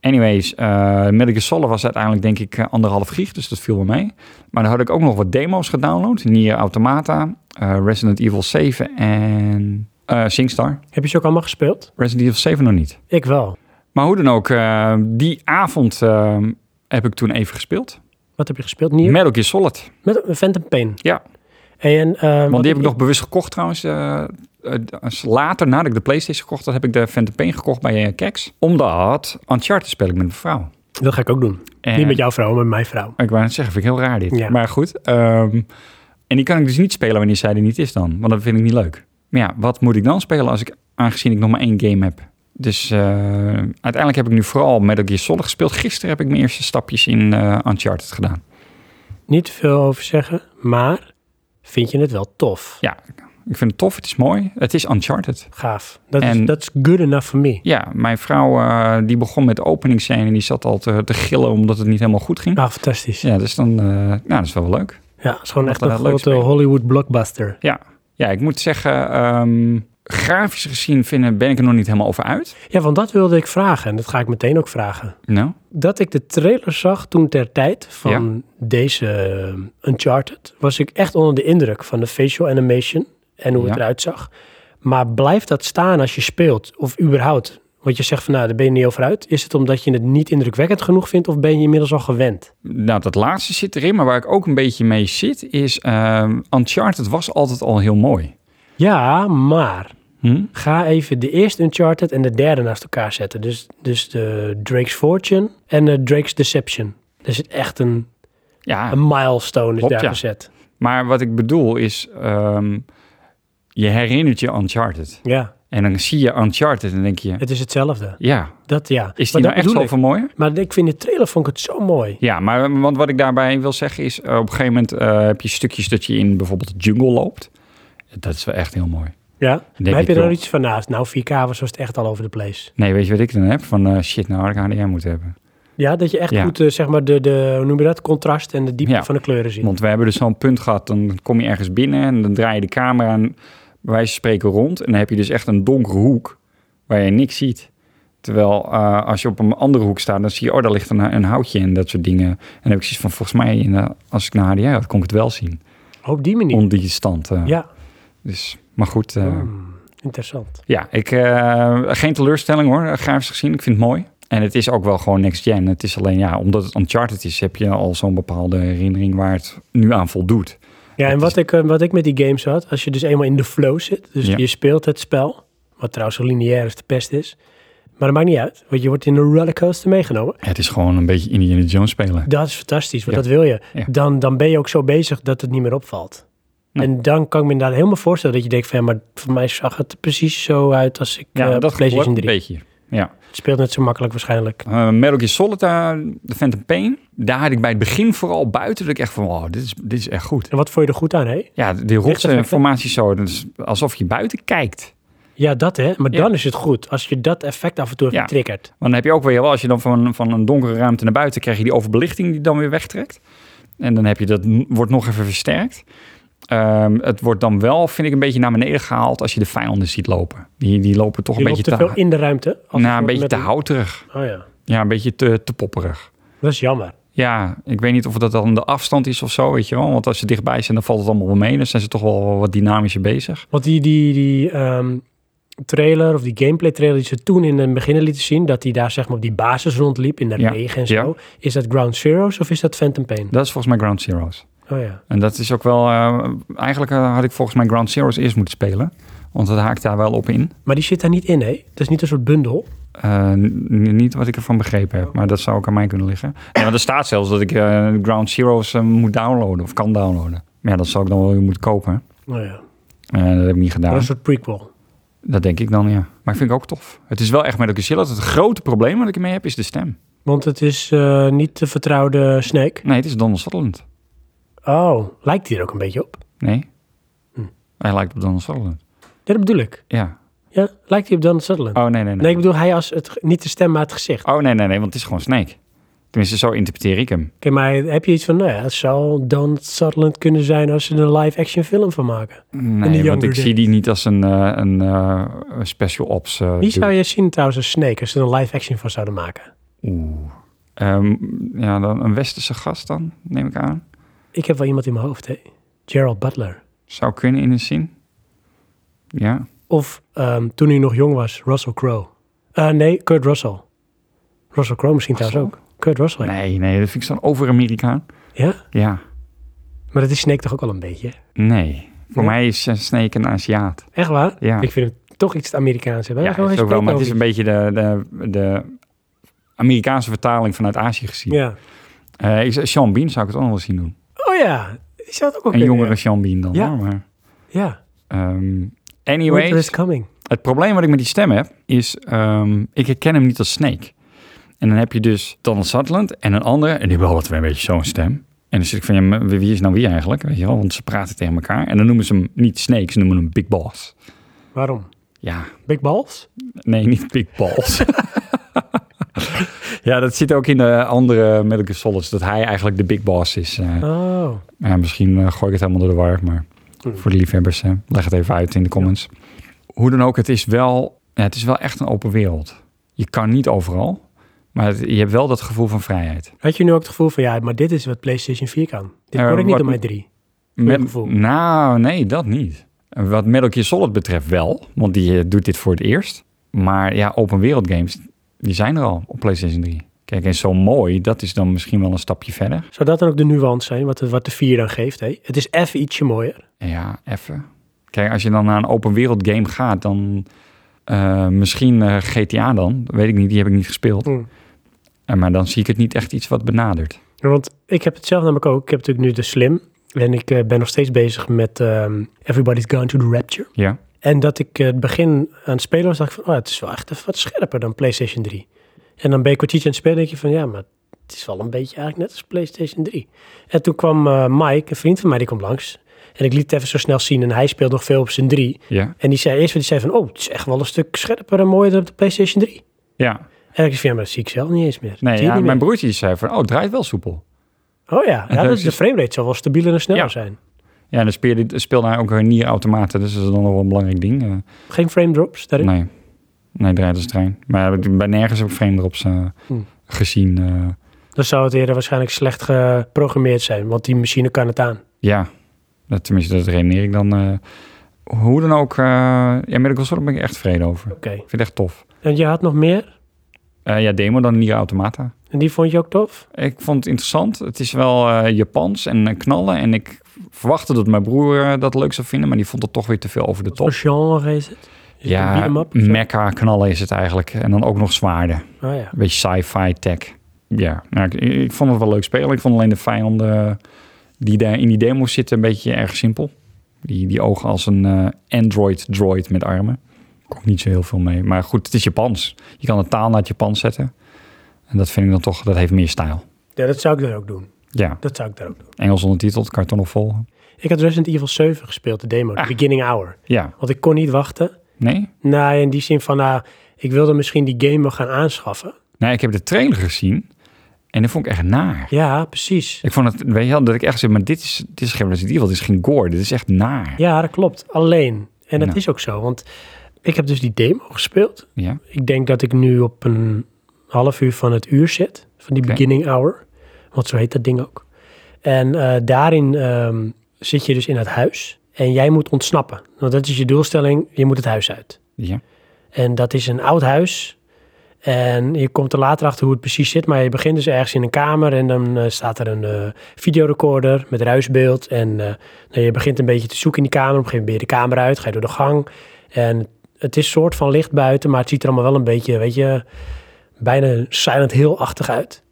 B: Anyways, eh Metal Gear Solid was uiteindelijk denk ik eh, anderhalf gig, dus dat viel wel mee. Maar dan had ik ook nog wat demo's gedownload. Nier Automata, eh, Resident Evil 7 en eh, SingStar.
A: Heb je ze ook allemaal gespeeld?
B: Resident Evil 7 nog niet.
A: Ik wel.
B: Maar hoe dan ook, eh, die avond eh, heb ik toen even gespeeld.
A: Wat heb je gespeeld? Nier?
B: Metal Gear Solid.
A: Met een Phantom Pain.
B: Ja.
A: En, eh,
B: Want
A: wat
B: die heb ik nog bewust gekocht trouwens. eh, eh, als- later, nadat ik de Playstation gekocht had, heb ik de Phantom Pain gekocht bij eh, Keks. Omdat Uncharted speel ik met mijn vrouw.
A: Dat ga ik ook doen.
B: En-
A: Niet met jouw vrouw, maar met mijn vrouw.
B: Ik wou net zeggen, vind ik heel raar dit.
A: Ja.
B: Maar goed. ehm, en die kan ik dus niet spelen wanneer zij er niet is dan. Want dat vind ik niet leuk. Maar ja, wat moet ik dan spelen als ik, aangezien ik nog maar één game heb? Dus eh, uiteindelijk heb ik nu vooral Metal Gear Solid gespeeld. Gisteren heb ik mijn eerste stapjes in eh, Uncharted gedaan.
A: Niet te veel over zeggen, maar vind je het wel tof?
B: Ja, Ik vind het tof, het is mooi. Het is Uncharted.
A: Gaaf. Dat is,
B: En-
A: dat is good enough for me.
B: Ja, mijn vrouw eh, die begon met de openingsscène en die zat al te, te gillen omdat het niet helemaal goed ging.
A: Nou, fantastisch. Ja,
B: Ja, dus dan, eh, nou, dat is wel leuk.
A: het is gewoon
B: Mag
A: echt een
B: wel leuk
A: grote
B: spelen.
A: Hollywood blockbuster.
B: Ja, ik moet zeggen, ehm, grafisch gezien vinden, ben ik er nog niet helemaal over uit.
A: Ja, want dat wilde ik vragen en dat ga ik meteen ook vragen.
B: Nou,
A: Dat ik de trailer zag toen ter tijd van deze eh, Uncharted, was ik echt onder de indruk van de facial animation en hoe het
B: Ja.
A: eruit zag. Maar blijft dat staan als je speelt of überhaupt? Want je zegt van nou, daar ben je niet over uit. Is het omdat je het niet indrukwekkend genoeg vindt of ben je inmiddels al gewend?
B: nou, dat laatste zit erin, maar waar ik ook een beetje mee zit is, ehm, Uncharted was altijd al heel mooi.
A: Ja, maar
B: Hm?
A: ga even de eerste Uncharted en de derde naast elkaar zetten. Dus, dus de Drake's Fortune en de Drake's Deception. Er zit echt een,
B: Ja,
A: een milestone is
B: klopt,
A: daar
B: ja.
A: gezet.
B: maar wat ik bedoel is, ehm, je herinnert je Uncharted.
A: Ja,
B: En dan zie je Uncharted en denk je,
A: het is hetzelfde.
B: ja,
A: Dat ja.
B: is
A: Maar
B: die nou
A: dat
B: echt
A: bedoel
B: zo
A: ik.
B: veel mooier?
A: Maar ik vind de trailer vond ik het zo mooi.
B: Ja, maar want wat ik daarbij wil zeggen is, eh, op een gegeven moment eh, heb je stukjes dat je in bijvoorbeeld de jungle loopt. Dat is wel echt heel mooi.
A: Ja.
B: Denk
A: Maar heb
B: ik
A: je er
B: wel.
A: nog iets van naast? Nou, 4K was het echt al over de place.
B: Nee, weet je wat ik dan heb? Van eh, shit, nou had ik HDR moeten hebben.
A: Ja, dat je echt
B: Ja.
A: goed, eh, zeg maar, de, de, hoe noem je dat, contrast en de diepte
B: Ja.
A: van de kleuren ziet.
B: Want we hebben dus zo'n punt gehad, dan kom je ergens binnen en dan draai je de camera aan, bij wijze van spreken rond. En dan heb je dus echt een donkere hoek waar je niks ziet. Terwijl eh, als je op een andere hoek staat, dan zie je, oh, daar ligt een, een houtje en dat soort dingen. En dan heb ik zoiets van, volgens mij, eh, als ik naar HDR had, kon ik het wel zien.
A: Op die manier.
B: Onder die stand. eh.
A: ja.
B: Dus, maar goed. eh,
A: Hmm, interessant.
B: Ja, ik, eh, geen teleurstelling hoor, eh, grafisch gezien. Ik vind het mooi. En het is ook wel gewoon next gen. Het is alleen, ja, omdat het Uncharted is, heb je al zo'n bepaalde herinnering waar het nu aan voldoet.
A: Ja, en
B: Het
A: wat, ik, eh, wat ik met die games had, als je dus eenmaal in de flow zit, dus
B: Ja.
A: je speelt het spel, wat trouwens lineair is de pest is, maar dat maakt niet uit, want je wordt in een rollercoaster meegenomen.
B: Het is gewoon een beetje Indiana Jones spelen.
A: Dat is fantastisch, want
B: Ja.
A: dat wil je.
B: Ja.
A: Dan, dan ben je ook zo bezig dat het niet meer opvalt.
B: Nee.
A: En dan kan ik me inderdaad helemaal voorstellen dat je denkt van... ja, maar voor mij zag het er precies zo uit als ik
B: Ja,
A: eh,
B: dat gevoel heb ik
A: PlayStation
B: een
A: 3.
B: beetje. Ja.
A: Het speelt net zo makkelijk waarschijnlijk.
B: Eh Metal Gear Solid, eh, The Phantom Pain. Daar had ik bij het begin vooral buiten dat ik echt van, oh, dit is, dit is echt goed.
A: En wat vond je er goed aan, hè?
B: Ja, die
A: Lichteffecten.
B: rotsenformatie zo, dat is alsof je buiten kijkt.
A: Ja, dat hè. Maar
B: Ja.
A: dan is het goed als je dat effect af en toe even
B: Ja.
A: triggert.
B: Want dan heb je ook weer, als je dan van, van een donkere ruimte naar buiten, krijg je die overbelichting die dan weer wegtrekt. En dan heb je dat, n- wordt nog even versterkt. Ehm, het wordt dan wel, vind ik, een beetje naar beneden gehaald als je de vijanden ziet lopen. Die, die lopen toch
A: Je
B: een
A: loopt
B: beetje
A: te
B: te,
A: veel in de ruimte. als
B: nou,
A: het
B: een beetje
A: met
B: te houterig.
A: Oh ja,
B: Ja, een beetje te, te popperig.
A: dat is jammer.
B: Ja, ik weet niet of dat dan de afstand is of zo, weet je wel. Want als ze dichtbij zijn, dan valt het allemaal wel mee. Dan zijn ze toch wel wat dynamischer bezig.
A: Want die, die, die ehm, trailer of die gameplay trailer die ze toen in het begin lieten zien... dat hij daar zeg maar op die basis rondliep in de
B: Ja.
A: regen en zo.
B: Ja.
A: Is dat Ground Zeroes of is dat Phantom Pain?
B: Dat is volgens mij Ground Zeroes.
A: Oh ja.
B: En dat is ook wel... eh, eigenlijk eh, had ik volgens mij Ground Zeroes eerst moeten spelen. Want dat haakt daar wel op in.
A: Maar die zit daar niet in, hè? Dat is niet een soort bundel.
B: Eh, n- niet wat ik ervan begrepen heb, maar dat zou ook aan mij kunnen liggen. Ja, want er staat zelfs dat ik eh, Ground Zero's eh, moet downloaden of kan downloaden. Maar ja, dat zou ik dan wel weer moeten kopen.
A: Nou ja,
B: Eh, dat heb ik niet
A: maar
B: gedaan.
A: een soort prequel.
B: Dat denk ik dan, ja. Maar ik vind het ook tof. Het is wel echt met Godzilla. dat Het grote probleem wat ik ermee heb is de stem.
A: Want het is eh, niet de vertrouwde Snake.
B: Nee, het is Donald Sutherland.
A: Oh, lijkt die er ook een beetje op?
B: Nee.
A: Hm.
B: Hij lijkt op Donald Sutherland.
A: Ja, dat bedoel ik.
B: Ja.
A: Ja, lijkt die op Donald Sutherland?
B: Oh, nee, nee,
A: Nee,
B: nee.
A: ik bedoel hij als het, ge- niet de stem, maar het gezicht. Oké,
B: Oh, nee, nee, nee, want het is gewoon Snake. Tenminste, zo interpreteer ik hem.
A: maar heb je iets van, nou ja, het zou Donald Sutherland kunnen zijn als ze er een live-action film van maken?
B: Nee, want
A: younger
B: ik zie die niet als een, eh, een eh, special ops. eh,
A: Wie
B: dude.
A: zou je zien trouwens als Snake als ze er een live-action van zouden maken?
B: Oeh. Ehm, ja, dan een westerse gast dan, neem ik aan.
A: Ik heb wel iemand in mijn hoofd, hè? Gerald Butler.
B: Zou kunnen in een zin. Ja.
A: Of ehm, toen hij nog jong was, Russell Crowe. Eh, nee, Kurt Russell. Russell Crowe misschien trouwens ook. Kurt Russell, ja.
B: Nee, nee, dat vind ik zo'n over-Amerikaan.
A: Ja?
B: Ja.
A: Maar dat is Snake toch ook al een beetje?
B: Nee. Voor
A: Ja.
B: mij is eh, Snake een Aziat.
A: Echt waar?
B: Ja.
A: Ik vind het toch iets te Amerikaans hebben.
B: Ja,
A: Daar gaan we
B: is
A: geen
B: ook wel, maar
A: spreken
B: het is een beetje de, de, de Amerikaanse vertaling vanuit Azië gezien.
A: over. Ja.
B: Eh, is, Sean Bean zou ik het ook nog wel zien doen.
A: Oh ja, die zou het ook wel
B: een
A: kunnen,
B: jongere Sean Bean dan.
A: Ja.
B: hoor, Maar,
A: Ja.
B: ehm,
A: ja.
B: anyways.
A: Winter is coming.
B: Het probleem wat ik met die stem heb, is ehm, ik herken hem niet als Snake. En dan heb je dus Donald Sutherland en een andere, en die hebben alle twee een beetje zo'n stem. En dan zit ik van, ja, maar wie is nou wie eigenlijk? Weet je wel, want ze praten tegen elkaar. En dan noemen ze hem niet Snake, ze noemen hem Big Boss.
A: Waarom?
B: Ja,
A: Big balls?
B: nee, niet Big Balls. ja, dat zit ook in de andere Metal Gear Solids, dat hij eigenlijk de Big Boss is. Eh,
A: Oh.
B: ja, misschien eh, gooi ik het helemaal door de war, maar
A: Hmm.
B: voor de liefhebbers, eh, leg het even uit in de comments. Hoe dan ook, het is wel, ja, het is wel echt een open wereld. Je kan niet overal, maar het- je hebt wel dat gevoel van vrijheid.
A: Had je nu ook het gevoel van, ja, maar dit is wat PlayStation 4 kan. Dit
B: Eh,
A: hoor ik niet
B: wat-
A: op mijn 3.
B: Met-
A: gevoel.
B: Nou, nee, dat niet. Wat Metal Gear Solid betreft wel, want die eh, doet dit voor het eerst. Maar ja, open wereld games, die zijn er al op PlayStation 3. Kijk, en zo mooi, dat is dan misschien wel een stapje verder.
A: Zou dat dan ook de nuance zijn, wat de, wat de 4 dan geeft? Hè? Het is even ietsje mooier.
B: En Ja, even. Kijk, als je dan naar een open wereld game gaat, dan eh, misschien eh, GTA dan, weet ik niet, die heb ik niet gespeeld.
A: Hmm.
B: Eh, maar dan zie ik het niet echt iets wat benadert.
A: Want ik heb het zelf namelijk ook. Ik heb natuurlijk nu de Slim. En ik eh, ben nog steeds bezig met ehm, Everybody's Gone to the Rapture.
B: Ja,
A: En dat ik eh, het begin aan het spelen was, dacht ik van, oh, het is wel echt even wat scherper dan PlayStation 3. En dan ben je een kwartiertje aan het spelen en denk je van, ja, maar het is wel een beetje eigenlijk net als PlayStation 3. En toen kwam eh, Mike, een vriend van mij, die kwam langs. En ik liet het even zo snel zien en hij speelt nog veel op zijn 3.
B: ja,
A: En die zei eerst, die zei van, oh, het is echt wel een stuk scherper en mooier dan op de PlayStation 3.
B: ja.
A: En ik zei van, ja, maar dat zie ik zelf niet eens meer. Dat
B: Nee,
A: zie je
B: ja,
A: niet
B: mijn
A: meer.
B: broertje die zei van, oh, het draait wel soepel.
A: Oh ja, ja
B: dat
A: dat
B: is-
A: de framerate zal wel stabieler en sneller
B: Ja.
A: zijn.
B: Ja, en dan speelde, speelde hij ook een nierautomaten, dus dat is dan nog wel een belangrijk ding. eh.
A: Geen frame drops daarin?
B: Nee. Nee, draait als een trein. Maar ik- bij nergens heb ik frame drops eh,
A: Hmm.
B: gezien. eh.
A: Dan zou het eerder waarschijnlijk slecht geprogrammeerd zijn, want die machine kan het aan.
B: ja, dat, tenminste, dat redeneer ik dan. eh. hoe dan ook, eh ja, Medical Solid ben ik echt vrede over.
A: Oké.
B: Ik vind het echt tof.
A: En je had nog meer?
B: Eh, ja, demo dan Nier Automata.
A: En die vond je ook tof?
B: Ik vond het interessant. Het is wel eh, Japans en eh, knallen. En ik verwachtte dat mijn broer eh, dat leuk zou vinden, maar die vond het toch weer te veel over de
A: Wat
B: top.
A: voor genre is het? Is het een
B: Ja,
A: beat 'em up of zo?
B: mecca knallen is het eigenlijk. En dan ook nog zwaarden.
A: Ah, ja.
B: Een beetje sci-fi tech. Ja, nou, ik, ik vond het wel leuk spelen. Ik vond alleen de vijanden die daar in die demo zitten een beetje erg simpel. Die, die ogen als een eh, Android droid met armen. Komt niet zo heel veel mee. Maar goed, het is Japans. Je kan de taal naar het Japans zetten. En dat vind ik dan toch, dat heeft meer stijl.
A: ja, dat zou ik dan ook doen.
B: Ja,
A: Dat zou ik dan ook doen.
B: Engels ondertiteld, kan je toch nog volgen?
A: Ik had Resident Evil 7 gespeeld, de demo, de
B: Ah.
A: beginning hour.
B: Ja,
A: Want ik kon niet wachten.
B: nee?
A: Nou, in die zin van, nou, ik wilde misschien die game wel gaan aanschaffen.
B: Nee, ik heb de trailer gezien en dat vond ik echt naar.
A: Ja, precies.
B: Ik vond het, weet je wel, dat ik echt zei, maar dit is, dit is geen Resident Evil, dit is geen gore, dit is echt naar.
A: Ja, dat klopt. Alleen, en dat
B: Nou.
A: is ook zo, want ik heb dus die demo gespeeld.
B: Ja,
A: Ik denk dat ik nu op een half uur van het uur zit. Van die
B: Oké.
A: beginning hour. Want zo heet dat ding ook. En eh, daarin ehm, zit je dus in het huis. En jij moet ontsnappen. Want dat is je doelstelling. Je moet het huis uit.
B: ja,
A: En dat is een oud huis. En je komt er later achter hoe het precies zit. Maar je begint dus ergens in een kamer. En dan eh, staat er een eh, videorecorder met ruisbeeld. En eh, nou, je begint een beetje te zoeken in die kamer. Op een gegeven moment ben je de kamer uit. Ga je door de gang. En het is soort van licht buiten. Maar het ziet er allemaal wel een beetje, weet je, bijna Silent Hill-achtig uit.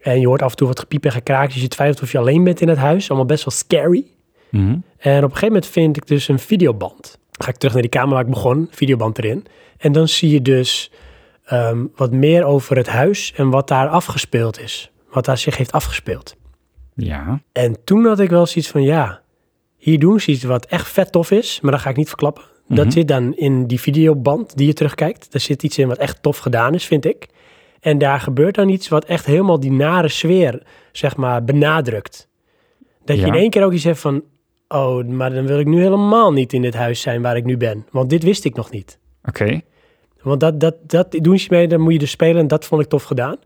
A: En je hoort af en toe wat gepiep en gekraak. Dus je twijfelt of je alleen bent in het huis. Allemaal best wel scary.
B: Mhm.
A: En op een gegeven moment vind ik dus een videoband. Ga ik terug naar die kamer waar ik begon, videoband erin. En dan zie je dus ehm, wat meer over het huis en wat daar afgespeeld is. Wat daar zich heeft afgespeeld.
B: ja.
A: En toen had ik wel zoiets van, ja, hier doen ze iets wat echt vet tof is, maar dat ga ik niet verklappen.
B: Mhm.
A: Dat zit dan in die videoband die je terugkijkt. Daar zit iets in wat echt tof gedaan is, vind ik. En daar gebeurt dan iets wat echt helemaal die nare sfeer, zeg maar, benadrukt. Dat
B: Ja.
A: je in één keer ook iets hebt van, oh, maar dan wil ik nu helemaal niet in dit huis zijn waar ik nu ben. Want dit wist ik nog niet.
B: Oké,
A: Want dat, dat, dat doen ze mee, dan moet je dus spelen. En dat vond ik tof gedaan.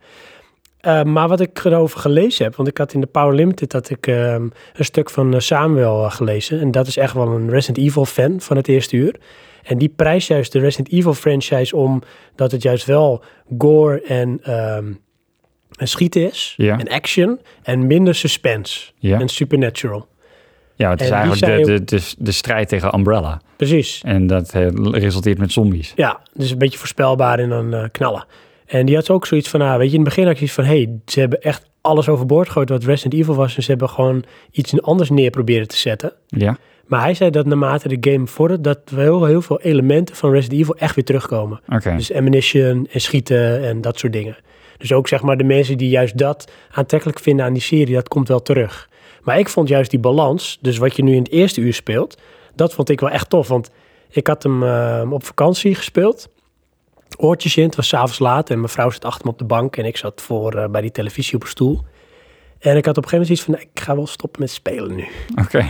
A: Eh, maar wat ik erover gelezen heb, want ik had in de Power Limited had ik, ehm, een stuk van eh, Samuel eh, gelezen. En dat is echt wel een Resident Evil fan van het eerste uur. En die prijst juist de Resident Evil franchise om dat het juist wel gore en, ehm, en schieten is.
B: Ja.
A: En action. En minder suspense.
B: ja.
A: En supernatural.
B: Ja, het is
A: en die
B: eigenlijk de,
A: zei
B: de, de, de strijd tegen Umbrella.
A: Precies.
B: En dat eh, resulteert met zombies.
A: Ja, dus een beetje voorspelbaar en dan eh, knallen. En die had ook zoiets van, ah, weet je, in het begin had ik zoiets van... hé, hey, ze hebben echt alles overboord gegooid wat Resident Evil was... en ze hebben gewoon iets anders neer proberen te zetten.
B: Ja,
A: Maar hij zei dat naarmate de game vordert... dat wel heel veel elementen van Resident Evil echt weer terugkomen.
B: oké.
A: Dus ammunition en schieten en dat soort dingen. Dus ook zeg maar de mensen die juist dat aantrekkelijk vinden aan die serie... dat komt wel terug. Maar ik vond juist die balans, dus wat je nu in het eerste uur speelt, dat vond ik wel echt tof. Want ik had hem eh, op vakantie gespeeld. Oortjes in, het was s'avonds laat en mijn vrouw zat achter me op de bank en ik zat voor eh, bij die televisie op een stoel. En ik had op een gegeven moment iets van, "Nee, ik ga wel stoppen met spelen nu.
B: Oké.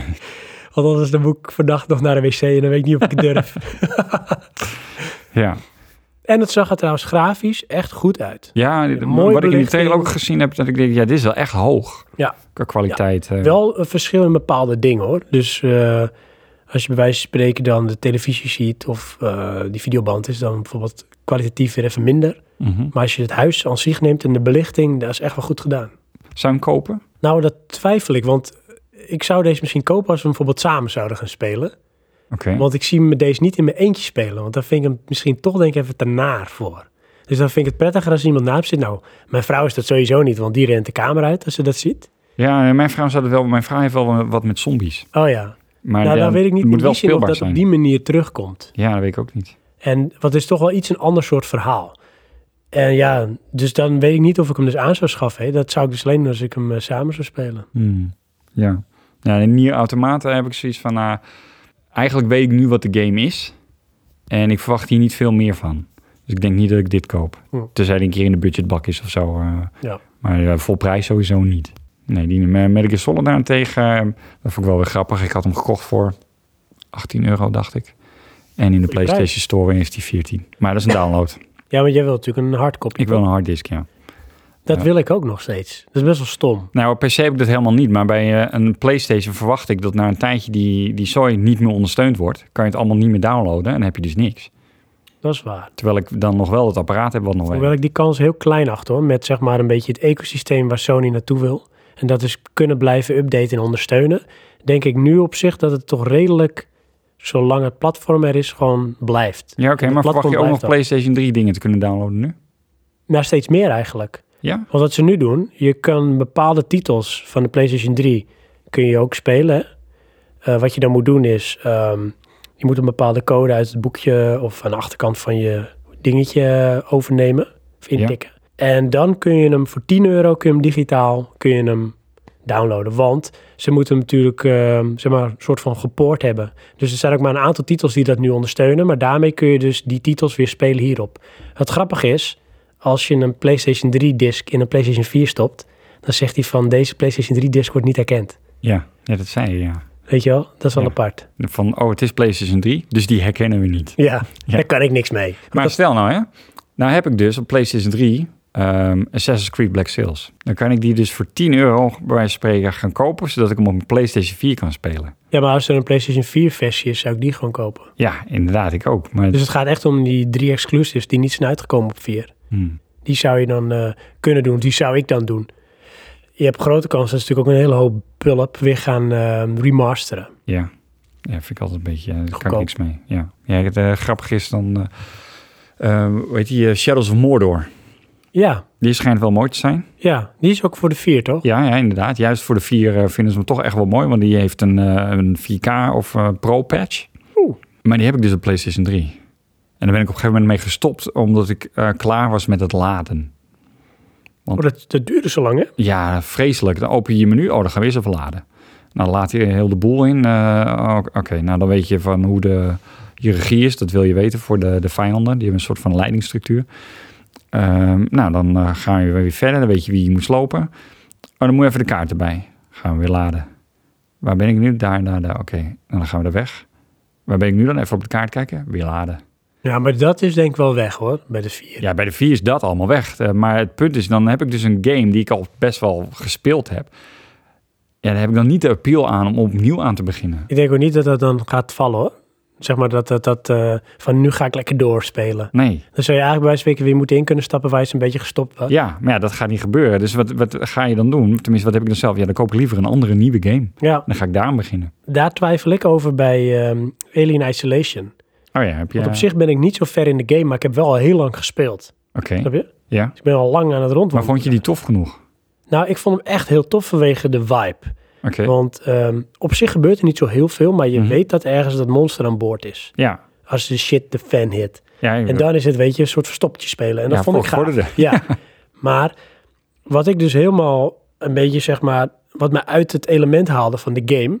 A: Want anders dan moet ik vannacht nog naar de wc en dan weet ik niet of ik het durf.
B: Ja.
A: en het zag er trouwens grafisch echt goed uit.
B: Ja, dit-
A: mooie
B: wat ik in die
A: belichting.
B: trailer ook gezien heb, dat ik denk, ja, dit is wel echt hoog.
A: Ja.
B: Qua kwaliteit. eh.
A: Wel een verschil in bepaalde dingen hoor. Dus eh, als je bij wijze van spreken dan de televisie ziet of eh, die videoband is dan bijvoorbeeld kwalitatief weer even minder.
B: Mhm.
A: Maar als je het huis aan zich neemt en de belichting, dat is echt wel goed gedaan.
B: Zou je hem kopen?
A: Nou, dat twijfel ik, want ik zou deze misschien kopen als we hem bijvoorbeeld samen zouden gaan spelen.
B: Oké.
A: Want ik zie me deze niet in mijn eentje spelen, want daar vind ik hem misschien toch denk ik even te naar voor. Dus dan vind ik het prettiger als iemand naast zit. Nou, mijn vrouw is dat sowieso niet, want die rent de kamer uit als ze dat ziet.
B: Ja, eh, mijn vrouw, zou dat wel, mijn vrouw heeft wel eh, wat met zombies.
A: Oh ja,
B: Maar
A: nou,
B: ja,
A: dan weet ik niet
B: het
A: in
B: moet wel
A: die zin of
B: speelbaar
A: dat
B: zijn.
A: op die manier terugkomt.
B: Ja, dat weet ik ook niet.
A: En wat is toch wel iets een ander soort verhaal. En ja, dus dan weet ik niet of ik hem dus aan zou schaffen. Hè. Dat zou ik dus alleen doen als ik hem eh, samen zou spelen.
B: Hmm. Ja. ja. En Nier Automata heb ik zoiets van, nou, eigenlijk weet ik nu wat de game is. En ik verwacht hier niet veel meer van. Dus ik denk niet dat ik dit koop.
A: Hm.
B: Tenzij die een keer in de budgetbak is of zo. eh.
A: Ja.
B: Maar ja, vol prijs sowieso niet. Nee, die eh, Metal Gear Solid daarentegen, eh, dat vond ik wel weer grappig. Ik had hem gekocht voor 18 euro, dacht ik. En in de
A: prijs.
B: PlayStation Store is die 14. Maar dat is een download.
A: Ja, want jij wil natuurlijk een hardcopy.
B: ik wil een harddisk, ja.
A: Dat
B: ja.
A: wil ik ook nog steeds. Dat is best wel stom.
B: Nou, per se heb ik dat helemaal niet. Maar bij eh, een PlayStation verwacht ik dat na een tijdje die, die Sony niet meer ondersteund wordt. Kan je het allemaal niet meer downloaden en dan heb je dus niks.
A: Dat is waar.
B: Terwijl ik dan nog wel het apparaat heb wat nog
A: Hoewel
B: werkt.
A: ik die kans heel klein acht hoor. Met zeg maar een beetje het ecosysteem waar Sony naartoe wil. En dat is kunnen blijven updaten en ondersteunen. Denk ik nu op zich dat het toch redelijk, zolang het platform er is, gewoon blijft.
B: Ja, oké,
A: Het
B: maar verwacht
A: platform
B: je ook nog
A: blijft ook.
B: PlayStation 3 dingen te kunnen downloaden nu?
A: Nou, steeds meer eigenlijk.
B: Ja?
A: Want wat ze nu doen, je kan bepaalde titels van de PlayStation 3 kun je ook spelen. hè. Eh, wat je dan moet doen is, ehm, je moet een bepaalde code uit het boekje of aan de achterkant van je dingetje eh, overnemen of intikken. En dan kun je hem voor 10 euro kun je hem digitaal kun je hem downloaden. Want ze moeten hem natuurlijk ehm, zeg maar, een soort van gepoord hebben. Dus er zijn ook maar een aantal titels die dat nu ondersteunen. Maar daarmee kun je dus die titels weer spelen hierop. Het grappige is, als je een PlayStation 3-disc in een PlayStation 4 stopt, dan zegt hij van deze PlayStation 3-disc wordt niet herkend.
B: Ja, ja dat zei je, ja.
A: Weet je wel? Dat is wel
B: Ja.
A: apart.
B: Van, oh, het is PlayStation 3, dus die herkennen we niet.
A: Ja,
B: Ja.
A: daar kan ik niks mee.
B: Maar
A: Dat-
B: stel nou, hè. Nou heb ik dus op PlayStation 3 ehm, Assassin's Creed Black Sails. Dan kan ik die dus voor 10 euro bij wijze van spreken gaan kopen, zodat ik hem op mijn PlayStation 4 kan spelen.
A: Ja, maar als er een PlayStation 4-versie is, zou ik die gewoon kopen.
B: Ja, inderdaad, ik ook. Maar
A: Dus het gaat echt om die drie exclusives die niet zijn uitgekomen op 4.
B: Hmm.
A: Die zou je dan eh, kunnen doen, die zou ik dan doen. Je hebt grote kans dat ze natuurlijk ook een hele hoop pulp weer gaan eh, remasteren.
B: Ja. ja, vind ik altijd een beetje... eh, Daar kan ik
A: Goedkoop.
B: niks mee. Ja, ja het eh, grappige is dan... eh, eh, hoe heet die? eh, Shadows of Mordor.
A: Ja,
B: Die schijnt wel mooi te zijn.
A: ja, die is ook voor de 4, toch?
B: Ja, ja inderdaad. Juist voor de 4 vinden ze hem toch echt wel mooi. Want die heeft een, eh, een 4K of eh, Pro patch.
A: Oeh.
B: Maar die heb ik dus op PlayStation 3. En daar ben ik op een gegeven moment mee gestopt. Omdat ik eh, klaar was met het laden.
A: Oh, dat, dat duurde zo lang, hè?
B: Ja, vreselijk. Dan open je je menu. Oh, dan gaan we eens even laden. Nou, dan laat hij heel de boel in. Eh, oh, Oké, nou dan weet je van hoe de hiërarchie is. Dat wil je weten voor de, de vijanden. Die hebben een soort van leidingsstructuur. Ehm, nou, dan eh, ga je weer verder. Dan weet je wie je moet slopen. Oh, dan moet je even de kaart erbij. Gaan we weer laden. Waar ben ik nu? Daar, daar, daar. Oké, en dan gaan we er weg. Waar ben ik nu dan? Even op de kaart kijken. Weer laden.
A: Ja, maar dat is denk ik wel weg, hoor, bij de 4.
B: Ja, bij de 4 is dat allemaal weg. Eh, maar het punt is, dan heb ik dus een game die ik al best wel gespeeld heb. Ja, daar heb ik dan niet de appeal aan om opnieuw aan te beginnen.
A: Ik denk ook niet dat dat dan gaat vallen hoor. Zeg maar dat dat, dat eh, van nu ga ik lekker doorspelen.
B: Nee,
A: Dan zou je eigenlijk bij wijze van spreken weer moeten in kunnen stappen waar je eens een beetje gestopt was.
B: ja, maar ja, dat gaat niet gebeuren. Dus wat, wat ga je dan doen? Tenminste, wat heb ik dan zelf? Ja, dan koop ik liever een andere nieuwe game.
A: Ja,
B: Dan ga ik daar aan beginnen.
A: daar twijfel ik over bij ehm, Alien Isolation.
B: Oh ja, heb je...
A: Want op zich ben ik niet zo ver in de game, maar ik heb wel al heel lang gespeeld.
B: Oké,
A: Snap je?
B: ja.
A: Dus ik ben al lang aan het rondwandelen.
B: Maar vond je die tof genoeg?
A: Nou, ik vond hem echt heel tof vanwege de vibe.
B: Oké,
A: Want ehm, op zich gebeurt er niet zo heel veel, maar je
B: Mhm.
A: weet dat ergens dat monster aan boord is.
B: ja.
A: Als de shit de fan hit.
B: ja ik-
A: En dan is het, weet je, een soort verstoppertje spelen. En dat
B: Mhm. ja,
A: vond ik
B: voor-
A: gaaf.
B: vorderde.
A: Ja, maar wat ik dus helemaal een beetje zeg maar wat me uit het element haalde van de game,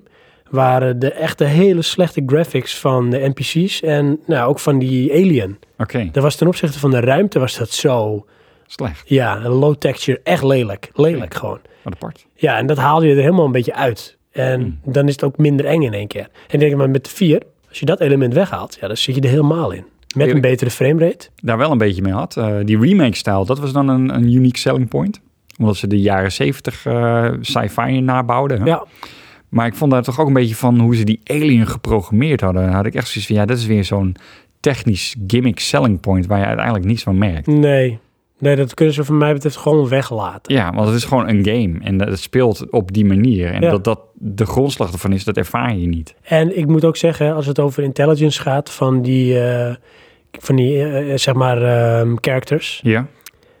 A: waren de echte hele slechte graphics van de NPC's en nou, ook van die alien.
B: Oké,
A: Dat was ten opzichte van de ruimte was dat zo,
B: slecht.
A: ja, een low texture, echt lelijk. Lelijk gewoon.
B: Wat apart.
A: Ja, en dat haalde je er helemaal een beetje uit. En
B: Mm.
A: dan is het ook minder eng in één keer. En ik denk maar met de vier, als je dat element weghaalt, ja, dan zit je er helemaal in. Met een
B: Eerlijk.
A: betere framerate.
B: Daar wel een beetje mee had. Eh, die remake-stijl, dat was dan een, een unique selling point. Omdat ze de jaren 70 eh, sci-fi nabouwden. hè.
A: Ja.
B: Maar ik vond daar toch ook een beetje van hoe ze die alien geprogrammeerd hadden. Had ik echt zoiets van, ja, dat is weer zo'n technisch gimmick selling point waar je uiteindelijk niets van merkt.
A: Nee. Nee, dat kunnen ze van mij betreft gewoon weglaten.
B: Ja, want het is gewoon een game en dat het speelt op die manier. En
A: Ja.
B: dat dat de grondslag ervan is, dat ervaar je niet.
A: En ik moet ook zeggen, als het over intelligence gaat van die, eh, van die eh, zeg maar, ehm, characters,
B: Ja,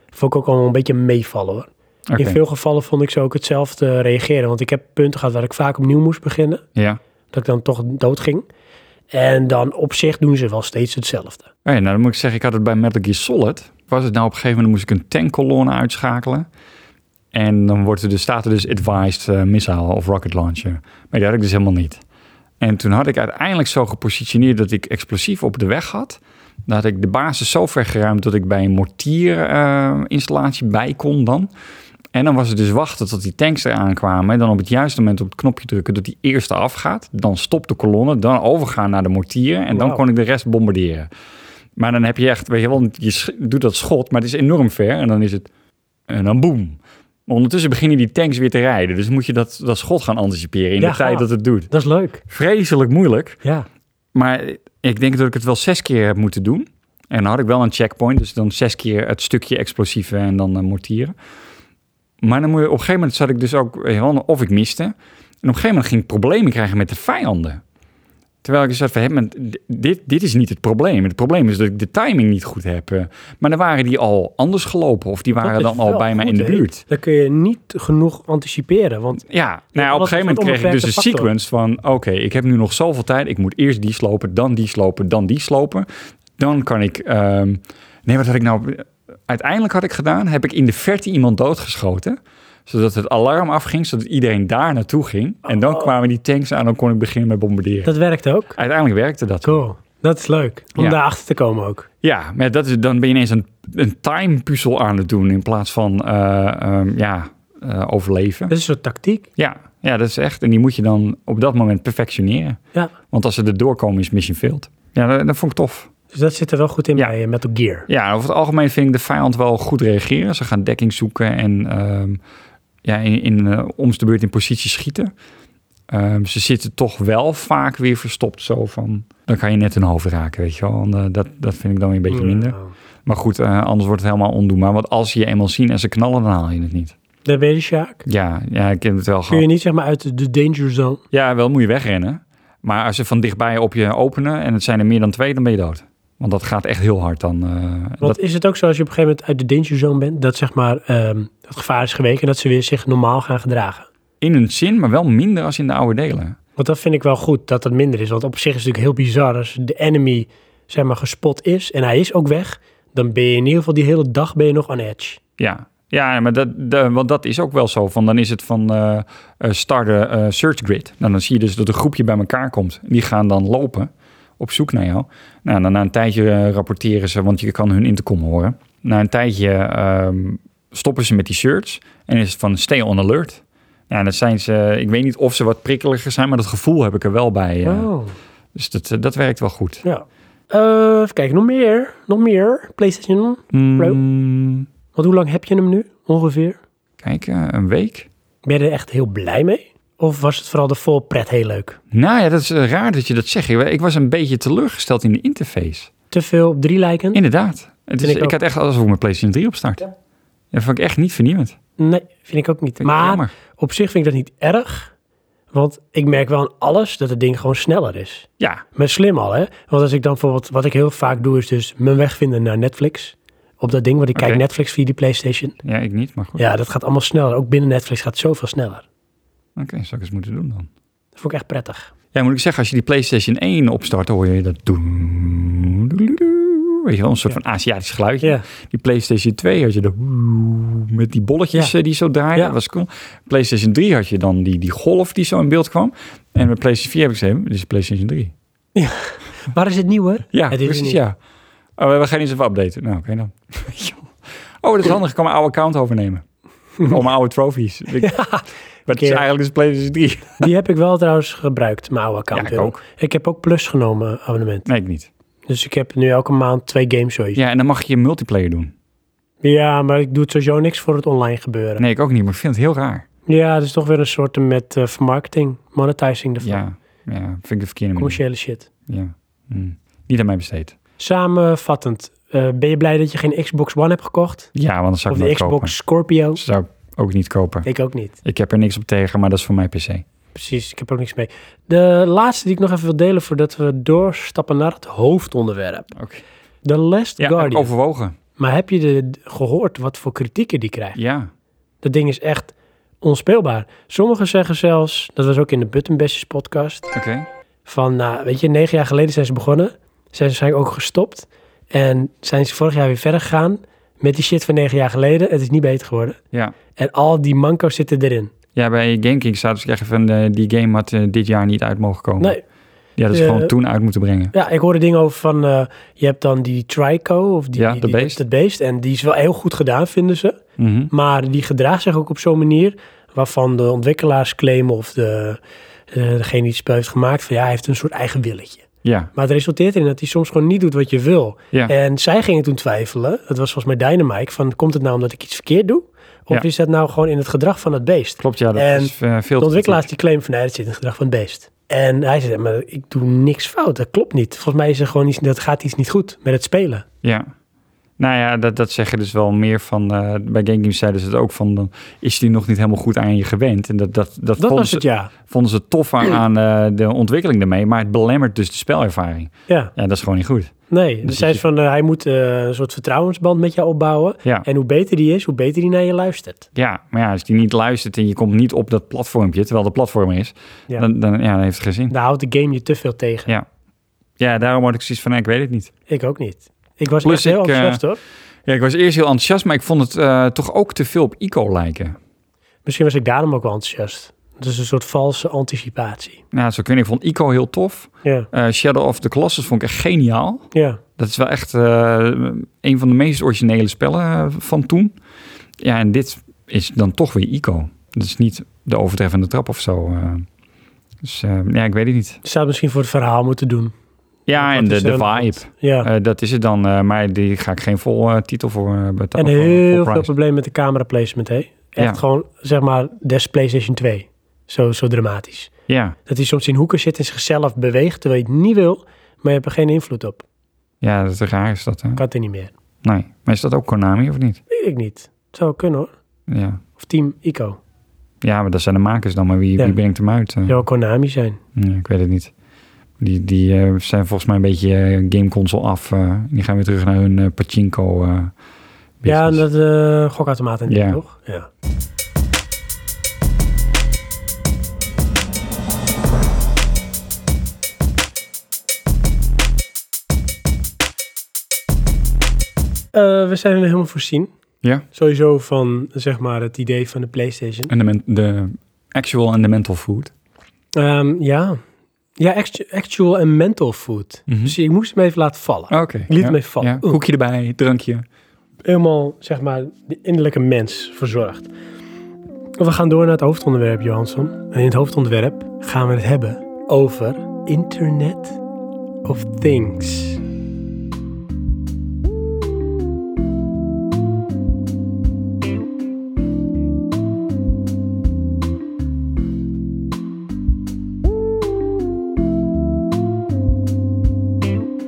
A: vond ik ook allemaal een beetje meevallen hoor.
B: oké.
A: In veel gevallen vond ik ze ook hetzelfde reageren. Want ik heb punten gehad waar ik vaak opnieuw moest beginnen.
B: Ja.
A: Dat ik dan toch dood ging. En dan op zich doen ze wel steeds hetzelfde.
B: Hey, nou, dan moet ik zeggen, ik had het bij Metal Gear Solid. Was het nou op een gegeven moment moest ik een tankkolonne uitschakelen. En dan wordt er dus, staat er dus Advised eh, Missile of Rocket Launcher. Maar die had ik dus helemaal niet. En toen had ik uiteindelijk zo gepositioneerd dat ik explosief op de weg had. Dan had ik de basis zo ver geruimd dat ik bij een mortierinstallatie bij kon dan. En dan was het dus wachten tot die tanks eraan kwamen. En dan op het juiste moment op het knopje drukken dat die eerste afgaat. Dan stopt de kolonne, dan overgaan naar de mortieren. En dan
A: Wauw.
B: kon ik de rest bombarderen. Maar dan heb je echt, weet je wel, je sch- doet dat schot, maar het is enorm ver. En dan is het, en dan boem. Maar ondertussen beginnen die tanks weer te rijden. Dus moet je dat, dat schot gaan anticiperen in
A: Ja,
B: de tijd
A: gaaf.
B: dat het doet.
A: Dat is leuk.
B: Vreselijk moeilijk.
A: Ja.
B: Maar ik denk dat ik het wel zes keer heb moeten doen. En dan had ik wel een checkpoint. Dus dan zes keer het stukje explosieven en dan eh, mortieren. Maar dan moet je, op een gegeven moment zat ik dus ook... eh, wel, Of ik miste. En op een gegeven moment ging ik problemen krijgen met de vijanden. Terwijl ik dus zat van... hé, maar d- Dit, dit is niet het probleem. Het probleem is dat ik de timing niet goed heb. eh. Maar dan waren die al anders gelopen. Of die waren
A: Dat
B: dan
A: is
B: al
A: wel
B: bij mij in
A: goed,
B: de
A: hè?
B: buurt.
A: Dan kun je niet genoeg anticiperen. Want
B: Ja, nou ja, op een
A: was-
B: gegeven
A: was
B: moment kreeg ik dus een
A: onbeperkte factor.
B: sequence van... oké, ik heb nu nog zoveel tijd. Ik moet eerst die slopen, dan die slopen, dan die slopen. Dan kan ik... ehm, nee, wat had ik nou... Uiteindelijk had ik gedaan, heb ik in de verte iemand doodgeschoten... zodat het alarm afging, zodat iedereen daar naartoe ging. En dan
A: Oh.
B: kwamen die tanks aan, dan kon ik beginnen met bombarderen.
A: dat werkt ook.
B: Uiteindelijk werkte dat.
A: Cool. Dat is leuk. Om
B: Ja.
A: daarachter te komen ook.
B: Ja, maar dat is, dan ben je ineens een, een time puzzel aan het doen... in plaats van eh, ehm, ja, eh, overleven.
A: Dat is een soort tactiek.
B: Ja, ja, dat is echt. En die moet je dan op dat moment perfectioneren.
A: Ja.
B: Want als ze er doorkomen is Mission Field. Ja, dat, dat vond ik tof.
A: Dus dat zit er wel goed in
B: Ja.
A: bij eh, Metal Gear.
B: Ja, over het algemeen vind ik de vijand wel goed reageren. Ze gaan dekking zoeken en ehm, ja, in, in, eh, om de beurt in positie schieten. Ehm, ze zitten toch wel vaak weer verstopt zo van... Dan kan je net hun hoofd raken, weet je wel. En, eh, dat, dat vind ik dan weer een beetje minder.
A: Nou,
B: Maar goed, eh, anders wordt het helemaal ondoenbaar. Want als ze je eenmaal zien en ze knallen, dan haal je het niet.
A: Daar ben je, Sjaak.
B: Ja, ja ik heb het wel
A: Kun
B: gehad.
A: je niet zeg maar uit de danger zone.
B: Ja, wel moet je wegrennen. Maar als ze van dichtbij op je openen en het zijn er meer dan twee, dan ben je dood. Want dat gaat echt heel hard dan. eh,
A: Want
B: dat,
A: is het ook zo als je op een gegeven moment uit de danger zone bent, dat zeg maar ehm, het gevaar is geweken en dat ze weer zich normaal gaan gedragen?
B: in een zin, maar wel minder als in de oude delen.
A: Want dat vind ik wel goed dat dat minder is. Want op zich is het natuurlijk heel bizar als de enemy zeg maar gespot is en hij is ook weg, dan ben je in ieder geval die hele dag ben je nog on edge.
B: Ja, ja maar dat, de- want dat is ook wel zo. Van, dan is het van eh eh, start de eh, search grid. Nou, dan zie je dus dat een groepje bij elkaar komt. Die gaan dan lopen op zoek naar jou. Nou, dan na een tijdje eh, rapporteren ze, want je kan hun intercom horen. Na een tijdje ehm, stoppen ze met die search en is het van stay on alert. Nou, dat zijn ze, ik weet niet of ze wat prikkeliger zijn, maar dat gevoel heb ik er wel bij. eh.
A: Oh,
B: Dus dat, eh, dat werkt wel goed.
A: ja. Eh, even kijken, nog meer. Nog meer. PlayStation.
B: Mm,
A: Want hoe lang heb je hem nu ongeveer?
B: kijk, eh, een week.
A: Ben je er echt heel blij mee? Of was het vooral de voorpret heel leuk?
B: Nou ja, dat is eh, raar dat je dat zegt. Ik wa- ik was een beetje teleurgesteld in de interface.
A: Te veel op drie lijken?
B: Inderdaad. Het is,
A: Vind ik
B: ik,
A: ook.
B: had echt alsof ik mijn PlayStation 3 opstart. Dat vond ik echt niet vernieuwend. Vind
A: Nee, vind ik ook niet.
B: ik
A: Maar
B: jammer.
A: Op zich vind ik dat niet erg, want ik merk wel aan alles dat het ding gewoon sneller is.
B: Ja,
A: Maar slim al, hè? Want als ik dan bijvoorbeeld, wat ik heel vaak doe, is dus mijn weg vinden naar Netflix. Op dat ding, want ik
B: Oké.
A: kijk Netflix via die PlayStation.
B: ja, ik niet, maar goed.
A: Ja, dat gaat allemaal sneller. Ook binnen Netflix gaat het zoveel sneller.
B: Oké, zou ik eens moeten doen dan.
A: Dat vond ik echt prettig.
B: Ja, moet ik zeggen, als je die PlayStation 1 opstart, dan hoor je dat doen. weet je wel, een soort van Aziatisch geluidje.
A: Ja.
B: Die PlayStation 2 had je de met die bolletjes
A: Ja.
B: eh, die zo draaien.
A: Ja.
B: Dat was cool. PlayStation 3 had je dan die, die golf die zo in beeld kwam. En met PlayStation 4 heb ik gezegd, dit is PlayStation 3.
A: Waar is het nieuwe?
B: Ja,
A: Het is er
B: precies,
A: niet.
B: ja. Oh, we gaan eens even updaten. Nou, oké dan. oh, dat is handig. Ik kan mijn oude account overnemen. Om mijn oude trophies. Ik- Maar het is
A: Keer.
B: eigenlijk dus PlayStation 3.
A: Die heb ik wel trouwens gebruikt, mijn oude account.
B: Ja, ik ook.
A: Ik heb ook Plus genomen abonnement.
B: Nee, ik niet.
A: Dus ik heb nu elke maand twee games zoiets. Ja.
B: Ja, en dan mag je multiplayer doen.
A: maar ik doe het sowieso niks voor het online gebeuren.
B: Nee, ik ook niet, maar ik vind het heel raar.
A: Ja, dat is toch weer een soort met eh, marketing, monetizing ervan.
B: Ja, ja vind ik de verkeerde manier.
A: Commerciële shit.
B: Ja. Hm. Niet aan mij besteed.
A: Samenvattend, eh, ben je blij dat je geen Xbox One hebt gekocht?
B: Ja, want dan zou
A: Of de
B: ik nooit
A: Xbox
B: kopen.
A: Scorpio?
B: Zou ik ook niet kopen.
A: Ik ook niet.
B: Ik heb er niks op tegen, maar dat is voor mijn PC.
A: Precies, ik heb er ook niks mee. De laatste die ik nog even wil delen voordat we doorstappen naar het hoofdonderwerp.
B: Oké.
A: The Last
B: Ja, heb ik
A: Guardian.
B: overwogen.
A: Maar heb je de, gehoord wat voor kritieken die krijgt?
B: Ja.
A: Dat ding is echt onspeelbaar. Sommigen zeggen zelfs, dat was ook in de Buttonbashers podcast,
B: Oké.
A: van, nou, weet je, negen jaar geleden zijn ze begonnen. Zijn ze waarschijnlijk ook gestopt. En zijn ze vorig jaar weer verder gegaan met die shit van negen jaar geleden. Het is niet beter geworden.
B: Ja.
A: En al die manco's zitten erin.
B: Ja, bij GameKing staat dus echt van eh, die game had eh, dit jaar niet uit mogen komen.
A: Nee,
B: Die hadden ze
A: Eh,
B: gewoon toen uit moeten brengen.
A: ja, ik hoorde dingen over van, eh, je hebt dan die Trico, of die,
B: Ja,
A: die-
B: de
A: die-
B: beest.
A: dat beest. En die is wel heel goed gedaan, vinden ze.
B: Mhm.
A: Maar die gedraagt zich ook op zo'n manier waarvan de ontwikkelaars claimen of de, eh, degene die het spel heeft gemaakt, van ja, hij heeft een soort eigen willetje.
B: Ja.
A: Maar het resulteert erin dat hij soms gewoon niet doet wat je wil.
B: Ja.
A: En zij gingen toen twijfelen, dat was volgens mij Dynamite, van komt het nou omdat ik iets verkeerd doe? Of
B: Ja.
A: is dat nou gewoon in het gedrag van het beest?
B: Klopt, ja. Dat
A: En
B: is eh, veel
A: De
B: te
A: ontwikkelaars die claimen van nee, dat zit in het gedrag van het beest. En hij zei, maar ik doe niks fout, dat klopt niet. Volgens mij is er gewoon iets, dat gaat iets niet goed met het spelen.
B: Ja. Nou ja, dat, dat zeggen dus wel meer van... eh, bij GameKings zeiden ze het ook van... dan is die nog niet helemaal goed aan je gewend. En dat, dat, dat,
A: Dat
B: vonden,
A: was
B: ze,
A: het, ja.
B: vonden ze tof aan, aan eh, de ontwikkeling daarmee. Maar het belemmert dus de spelervaring.
A: Ja,
B: Ja, dat is gewoon niet goed.
A: nee. Dus
B: Dus
A: zij
B: je-
A: is van, eh, hij moet eh, een soort vertrouwensband met jou opbouwen.
B: Ja.
A: En hoe beter die is, hoe beter die naar je luistert.
B: Ja, maar ja, als die niet luistert en je komt niet op dat platformpje, terwijl de platform is,
A: Ja.
B: Dan, dan, ja, dan heeft het geen zin.
A: Daar houdt de game je te veel tegen.
B: Hm. Ja. ja, daarom had ik zoiets van, nee, ik weet het niet.
A: Ik ook niet. Ik was
B: Plus
A: echt heel
B: ik, eh,
A: enthousiast hoor.
B: Ja, ik was eerst heel enthousiast, maar ik vond het eh, toch ook te veel op Ico lijken.
A: Misschien was ik daarom ook wel enthousiast. Dus een soort valse anticipatie.
B: Nou, zo kun je, ik vond Ico heel tof.
A: Ja,
B: Eh, Shadow of the Colossus vond ik echt geniaal.
A: ja.
B: Dat is wel echt eh, een van de meest originele spellen eh, van toen. Ja, en dit is dan toch weer Ico. Dat is niet de overtreffende trap of zo. eh. dus eh, ja, ik weet het niet.
A: Je zou het misschien voor het verhaal moeten doen.
B: Ja,
A: Wat
B: en de,
A: is
B: de
A: er aan de
B: vibe.
A: Ja.
B: Eh, dat is het dan, eh, maar die ga ik geen vol eh, titel voor eh,
A: en
B: betalen. voor- voor
A: heel veel
B: prijs.
A: problemen met de camera placement, hè? Echt
B: Ja.
A: gewoon, zeg maar, des PlayStation 2. Zo, zo dramatisch.
B: Ja,
A: Dat hij soms in hoeken zit en zichzelf beweegt terwijl je het niet wil, maar je hebt er geen invloed op.
B: ja, dat is raar is dat. Hè?
A: Kan het er niet meer.
B: Nee, maar is dat ook Konami of niet?
A: Weet ik niet. Zou kunnen hoor.
B: Ja,
A: Of Team Ico.
B: ja maar dat zijn de makers dan, maar wie,
A: Ja.
B: wie brengt hem uit? eh?
A: Zou wel Konami zijn.
B: Ja, ik weet het niet. Die, die eh, zijn volgens mij een beetje eh, gameconsole af. eh, die gaan weer terug naar hun eh, pachinko. eh,
A: Ja,
B: business.
A: dat eh gokautomaten en
B: Ja.
A: ding, toch? Ja. Eh, we zijn er helemaal voorzien.
B: Ja.
A: Sowieso van zeg maar het idee van de PlayStation.
B: En de, men- de actual en de mental food.
A: Ehm, ja. Ja, actu- actual en mental food.
B: Mhm.
A: Dus ik moest hem even laten vallen.
B: Oké.
A: liet
B: ja.
A: hem even vallen.
B: Ja,
A: Oeh.
B: Koekje erbij, drankje.
A: helemaal, zeg maar, de innerlijke mens verzorgd. We gaan door naar het hoofdonderwerp, Johansson. En in het hoofdonderwerp gaan we het hebben over Internet of Things.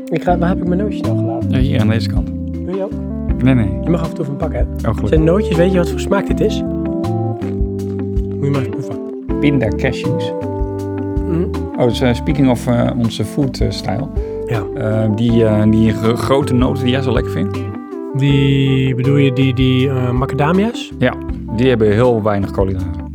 A: Ik ga, waar heb ik mijn nootjes nou gelaten?
B: Ja, hier aan deze kant.
A: Wil je ook?
B: Nee, nee.
A: Je mag af en toe van pakken, hè?
B: Oh, gelukkig.
A: Zijn nootjes, weet je wat voor smaak dit is? Moet je maar eens proeven.
B: Pinda cashews.
A: Mm.
B: Oh, dus, eh, speaking of eh, onze food-stijl.
A: Ja.
B: die eh, die gro- grote noten die jij zo lekker vindt.
A: Die, bedoel je die, die eh, macadamia's?
B: Ja, die hebben heel weinig koolhydraten.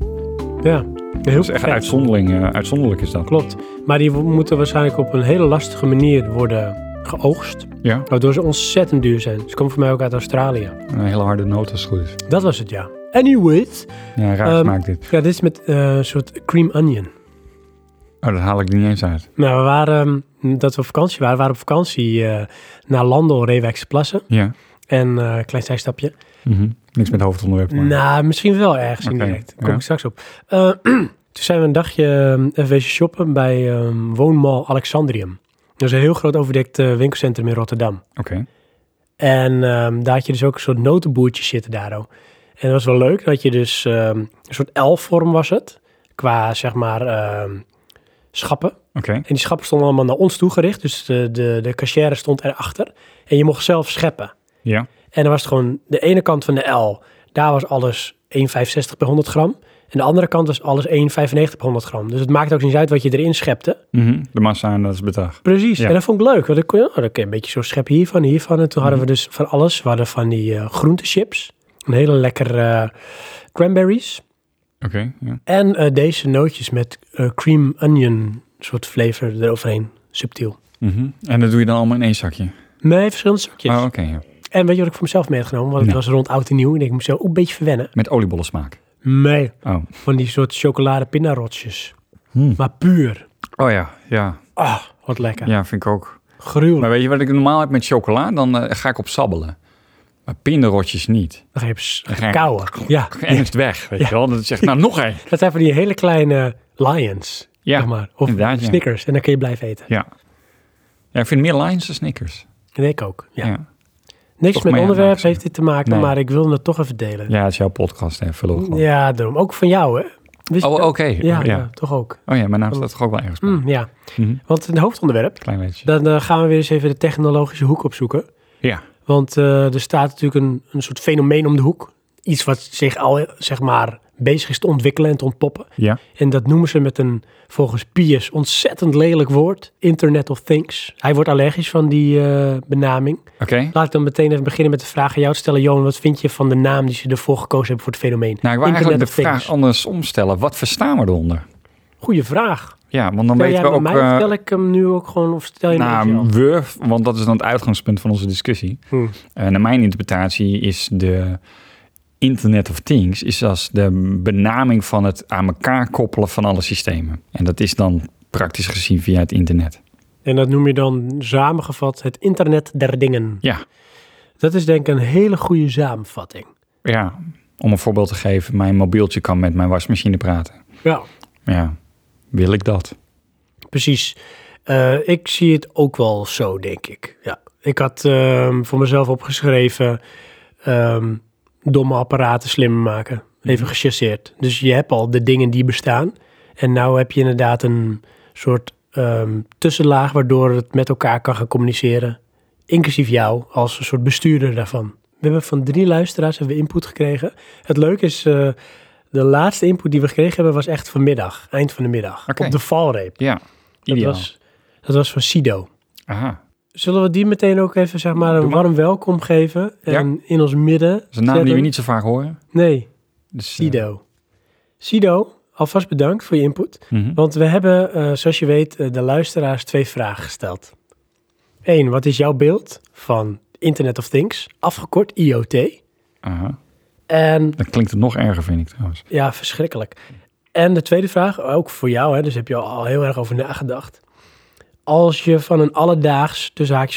A: Ja. Heel
B: Dat is echt uitzondering, eh, uitzonderlijk is dat.
A: Klopt. Maar die wo- moeten waarschijnlijk op een hele lastige manier worden geoogst.
B: Ja.
A: Waardoor ze ontzettend duur zijn. Ze komen voor mij ook uit Australië.
B: Een hele harde noot als het goed is.
A: Dat was het, ja. Anyways.
B: Ja, raar
A: Ehm,
B: smaakt dit.
A: Ja, dit is met eh, een soort cream onion.
B: Oh, dat haal ik er niet eens uit.
A: Nou, we waren, mm, dat we op vakantie waren, we waren op vakantie eh, naar Landel, Reewijkse Plassen.
B: Ja.
A: En eh klein zijstapje.
B: Mhm. Niks met hoofdonderwerp. maar-
A: Nou, misschien wel ergens
B: Oké,
A: indirect. Daar kom
B: ja.
A: ik straks op. Eh, toen zijn we een dagje eh, even wezen shoppen bij ehm Woonmal Alexandrium. Dat is een heel groot overdekt eh, winkelcentrum in Rotterdam.
B: Oké.
A: En ehm, daar had je dus ook een soort notenboertjes zitten daar. ook. En dat was wel leuk. Dat je dus ehm, een soort L-vorm was het. Qua zeg maar ehm, schappen.
B: Oké.
A: En die schappen stonden allemaal naar ons toegericht. Dus de, de, de cachère stond erachter. En je mocht zelf scheppen.
B: Ja.
A: En dan was het gewoon de ene kant van de L. Daar was alles 1,65 per 100 gram. En de andere kant was alles 1,95 per 100 gram. Dus het maakt ook niet uit wat je erin schepte.
B: Mhm. De massa en dat is bedrag.
A: Precies.
B: Ja.
A: En dat vond ik leuk. Want dan kon je, oh, dan kun je een beetje zo scheppen hiervan, hiervan. En toen hadden we dus van alles. We hadden van die eh groentechips. Een hele lekkere eh, cranberries.
B: Oké. Ja.
A: En eh, deze nootjes met eh, cream onion soort flavor eroverheen. Subtiel.
B: Mhm. En dat doe je dan allemaal in één zakje.
A: Nee, verschillende zakjes.
B: Oh, oké. ja.
A: En weet je wat ik voor mezelf mee had genomen? Want het
B: Nee.
A: was rond oud en nieuw. En ik moest zo een beetje verwennen.
B: Met oliebollen smaak.
A: Nee,
B: Oh.
A: van die soort chocolade pindarotjes.
B: Hmm.
A: Maar puur.
B: Oh ja. Ja.
A: Ah, wat lekker.
B: Ja, vind ik ook.
A: Gruwelijk.
B: Maar weet je wat ik normaal heb met chocola? Dan eh, ga ik op sabbelen. Maar pindarotjes niet.
A: Dan ga je, ps-
B: Dan ga je-
A: kauwen. Ja,
B: En is het weg, weet je wel. Dat zegt, nou nog één.
A: dat zijn van die hele kleine lions.
B: Ja,
A: zeg maar. Of
B: inderdaad, ja.
A: snickers. En dan kun je blijven eten.
B: Ja. Ja, ik vind meer lines dan Snickers.
A: En ik ook. Ja.
B: Ja. ja.
A: Niks
B: Toch
A: met
B: mee
A: onderwerp
B: aanmaken.
A: heeft dit te maken.
B: Nee.
A: Maar ik wilde het toch even delen. Ja,
B: het is jouw podcast, hè. Vul er gewoon.
A: daarom. Ook van jou, hè? Wist je
B: Oh,
A: dat?
B: oké.
A: Ja,
B: Ja,
A: ja, toch ook.
B: Oh ja, mijn naam staat toch ook wel ergens bij.
A: Mm, ja.
B: Mhm.
A: Want het hoofdonderwerp,
B: Klein beetje.
A: dan eh, gaan we weer eens even de technologische hoek opzoeken.
B: Ja.
A: Want eh, er staat natuurlijk een, een soort fenomeen om de hoek. Iets wat zich al, zeg maar, bezig is te ontwikkelen en te ontpoppen.
B: Ja.
A: En dat noemen ze met een, volgens Piers, ontzettend lelijk woord. Internet of Things. Hij wordt allergisch van die eh, benaming.
B: Oké.
A: Laat ik dan meteen even beginnen met de vraag aan jou te stellen. Johan, wat vind je van de naam die ze ervoor gekozen hebben voor het fenomeen?
B: Nou, ik wil
A: Internet
B: eigenlijk de
A: of Things.
B: vraag andersom stellen. Wat verstaan we eronder?
A: Goeie vraag.
B: Ja, want dan
A: Stel jij
B: weten we
A: hem
B: ook...
A: mij of
B: eh,
A: stel ik hem nu ook gewoon, of stel je hem aan
B: nou,
A: jezelf?
B: we, want dat is dan het uitgangspunt van onze discussie.
A: Hm.
B: Eh, naar mijn interpretatie is de Internet of Things is als de benaming van het aan elkaar koppelen van alle systemen. En dat is dan praktisch gezien via het internet.
A: En dat noem je dan samengevat het internet der dingen.
B: Ja.
A: Dat is denk ik een hele goede samenvatting.
B: Ja, om een voorbeeld te geven, mijn mobieltje kan met mijn wasmachine praten.
A: Ja.
B: Ja, wil ik dat?
A: Precies. Eh, ik zie het ook wel zo, denk ik. Ja. Ik had ehm, voor mezelf opgeschreven... ehm, domme apparaten slimmer maken. Even gechasseerd. Dus je hebt al de dingen die bestaan. En nou heb je inderdaad een soort ehm, tussenlaag... waardoor het met elkaar kan gaan communiceren. Inclusief jou als een soort bestuurder daarvan. We hebben van drie luisteraars hebben we input gekregen. Het leuke is... eh, de laatste input die we gekregen hebben was echt vanmiddag, eind van de middag,
B: Oké.
A: op de valreep.
B: Ja,
A: Dat
B: ideaal.
A: was, dat was van Sido.
B: Aha,
A: Zullen we die meteen ook even zeg maar,
B: Doe
A: een
B: maar.
A: warm welkom geven? En in ons midden.
B: dat is een naam die we
A: zetten-
B: niet zo vaak horen.
A: Nee,
B: Dus, eh,
A: Sido. Sido, alvast bedankt voor je input.
B: mhm.
A: Want we hebben, eh, zoals je weet, eh, de luisteraars twee vragen gesteld. Eén, wat is jouw beeld van Internet of Things, afgekort IoT?
B: Aha.
A: En
B: Dan klinkt het nog erger, vind ik trouwens.
A: Ja, verschrikkelijk. En de tweede vraag, ook voor jou, hè, dus heb je al heel erg over nagedacht. Als je van een alledaags, tussen haakjes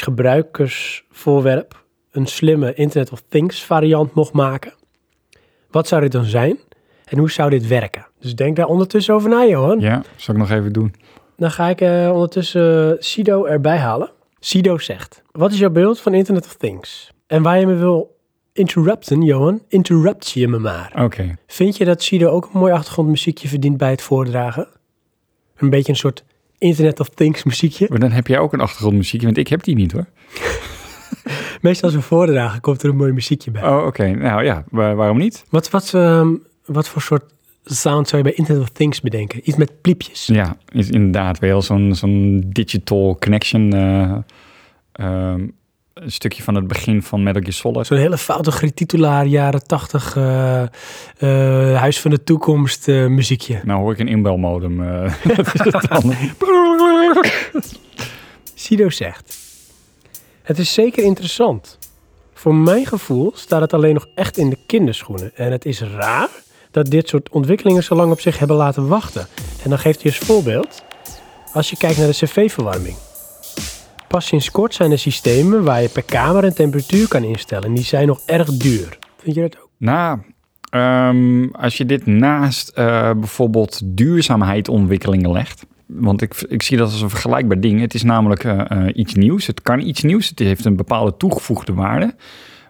A: gebruikersvoorwerp, een slimme Internet of Things variant mocht maken, wat zou dit dan zijn? En hoe zou dit werken? Dus denk daar ondertussen over na, Johan.
B: Ja, zal ik nog even doen.
A: Dan ga ik eh, ondertussen eh, Sido erbij halen. Sido zegt, wat is jouw beeld van Internet of Things? En waar je me wil interrupten, Johan, interrupt je me maar.
B: Oké.
A: Vind je dat Sido ook een mooi achtergrondmuziekje verdient bij het voordragen? Een beetje een soort Internet of Things muziekje.
B: Maar dan heb jij ook een achtergrondmuziekje, want ik heb die niet hoor.
A: Meestal als we voordragen komt er een mooi muziekje bij.
B: Oh, oké. Nou ja, wa- waarom niet?
A: Wat, wat, ehm, wat voor soort sound zou je bij Internet of Things bedenken? Iets met pliepjes.
B: Ja, is inderdaad wel zo'n zo'n digital connection. eh, ehm, een stukje van het begin van Metal Gear Solid.
A: Zo'n hele foute titulaar jaren tachtig eh, eh, Huis van de Toekomst eh, muziekje.
B: Nou hoor ik een inbelmodem. eh, dat is het dan.
A: Sido zegt, Het is zeker interessant. Voor mijn gevoel staat het alleen nog echt in de kinderschoenen. En het is raar dat dit soort ontwikkelingen zo lang op zich hebben laten wachten. En dan geeft hij als voorbeeld als je kijkt naar de cv-verwarming. Pas sinds kort zijn er systemen waar je per kamer een temperatuur kan instellen. En die zijn nog erg duur. Vind je dat ook?
B: Nou, ehm, als je dit naast eh, bijvoorbeeld duurzaamheidsontwikkelingen legt. Want ik, ik zie dat als een vergelijkbaar ding. Het is namelijk eh, eh, iets nieuws. Het kan iets nieuws. Het heeft een bepaalde toegevoegde waarde.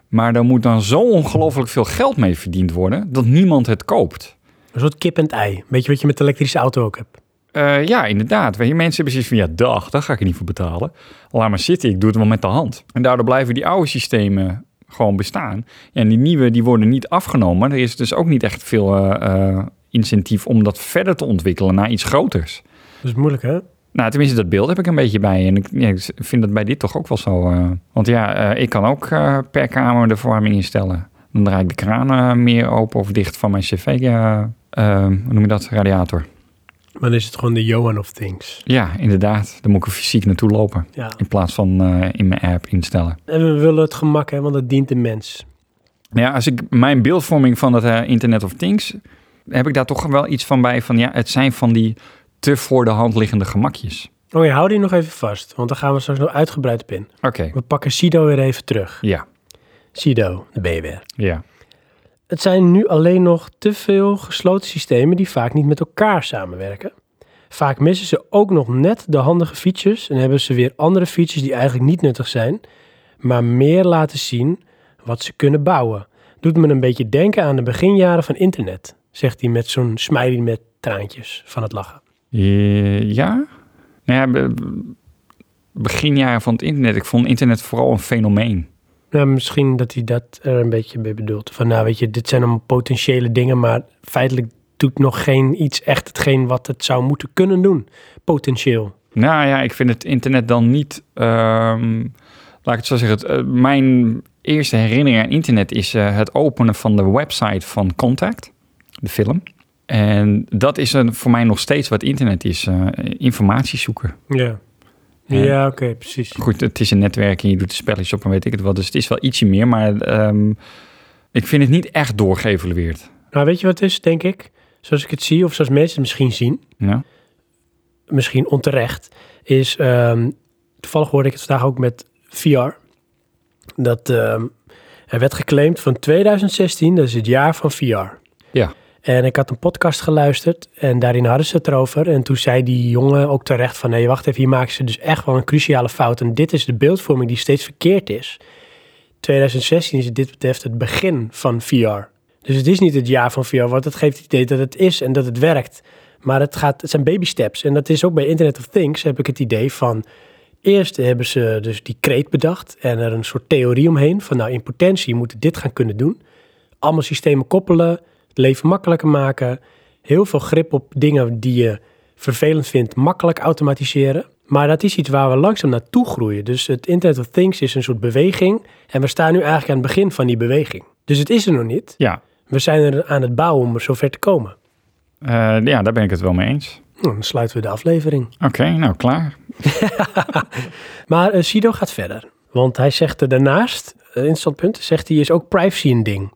B: Maar daar moet dan zo ongelooflijk veel geld mee verdiend worden dat niemand het koopt.
A: Een soort kip en ei. Weet je wat je met de elektrische auto ook hebt?
B: Eh, ja, inderdaad. Weet je, mensen hebben zoiets van, ja, dag, daar ga ik er niet voor betalen. Laat maar zitten, ik doe het wel met de hand. En daardoor blijven die oude systemen gewoon bestaan. En die nieuwe, die worden niet afgenomen. Maar er is dus ook niet echt veel eh, eh, incentief om dat verder te ontwikkelen naar iets groters.
A: Dat is moeilijk, hè?
B: Nou, tenminste, dat beeld heb ik een beetje bij. En ik, ja, ik vind dat bij dit toch ook wel zo. eh. want ja, eh, ik kan ook eh, per kamer de verwarming instellen. Dan draai ik de kraan eh, meer open of dicht van mijn cv, eh, eh, hoe noem je dat, radiator.
A: Maar dan is het gewoon de Johan of Things.
B: Ja, inderdaad. Dan moet ik er fysiek naartoe lopen.
A: Ja.
B: In plaats van eh, in mijn app instellen.
A: En we willen het gemak, hè, want dat dient de mens.
B: Ja, als ik mijn beeldvorming van het eh, Internet of Things. heb ik daar toch wel iets van bij. van ja, het zijn van die te voor de hand liggende gemakjes.
A: Oh ja, hou die nog even vast, want dan gaan we straks nog uitgebreid op in.
B: Oké.
A: We pakken Sido weer even terug.
B: Ja,
A: Sido, de ben je weer.
B: ja.
A: Het zijn nu alleen nog te veel gesloten systemen die vaak niet met elkaar samenwerken. Vaak missen ze ook nog net de handige features en hebben ze weer andere features die eigenlijk niet nuttig zijn, maar meer laten zien wat ze kunnen bouwen. Doet me een beetje denken aan de beginjaren van internet, zegt hij met zo'n smiley met traantjes van het lachen.
B: Eh, ja? Nou ja, be- be- beginjaren van het internet. Ik vond internet vooral een fenomeen.
A: Nou, misschien dat hij dat er een beetje bij bedoelt. Van nou weet je, dit zijn allemaal potentiële dingen, maar feitelijk doet nog geen iets echt hetgeen wat het zou moeten kunnen doen. Potentieel.
B: Nou ja, ik vind het internet dan niet. ehm, laat ik het zo zeggen. het, eh, mijn eerste herinnering aan internet is eh, het openen van de website van Contact, de film. En dat is een, voor mij nog steeds wat internet is: eh, informatie zoeken.
A: Ja.
B: Ja.
A: Ja, oké, precies.
B: Goed, het is een netwerk en je doet de spelletjes op en weet ik het wat. Dus het is wel ietsje meer, maar ehm, ik vind het niet echt doorgeëvalueerd.
A: Nou, weet je wat het is, denk ik? Zoals ik het zie, of zoals mensen het misschien zien,
B: Ja?
A: misschien onterecht, is... ehm, toevallig hoorde ik het vandaag ook met VR. Dat ehm, er werd geclaimd van 2016, dat is het jaar van VR.
B: Ja.
A: En ik had een podcast geluisterd en daarin hadden ze het erover. En toen zei die jongen ook terecht van... nee, wacht even, hier maken ze dus echt wel een cruciale fout. En dit is de beeldvorming die steeds verkeerd is. 2016 is dit betreft het begin van VR. Dus het is niet het jaar van VR, want dat geeft het idee dat het is en dat het werkt. Maar het, gaat, het zijn baby steps. En dat is ook bij Internet of Things heb ik het idee van... Eerst hebben ze dus die kreet bedacht en er een soort theorie omheen van nou in potentie moeten dit gaan kunnen doen. Allemaal systemen koppelen, het leven makkelijker maken, heel veel grip op dingen die je vervelend vindt, makkelijk automatiseren. Maar dat is iets waar we langzaam naartoe groeien. Dus het Internet of Things is een soort beweging en we staan nu eigenlijk aan het begin van die beweging. Dus het is er nog niet.
B: Ja.
A: We zijn er aan het bouwen om er zover te komen.
B: Eh, ja, daar ben ik het wel mee eens.
A: Nou, dan sluiten we de aflevering.
B: Oké, nou klaar.
A: Maar eh, Sido gaat verder. Want hij zegt er daarnaast, eh, een interessant punt, zegt hij is ook privacy een ding.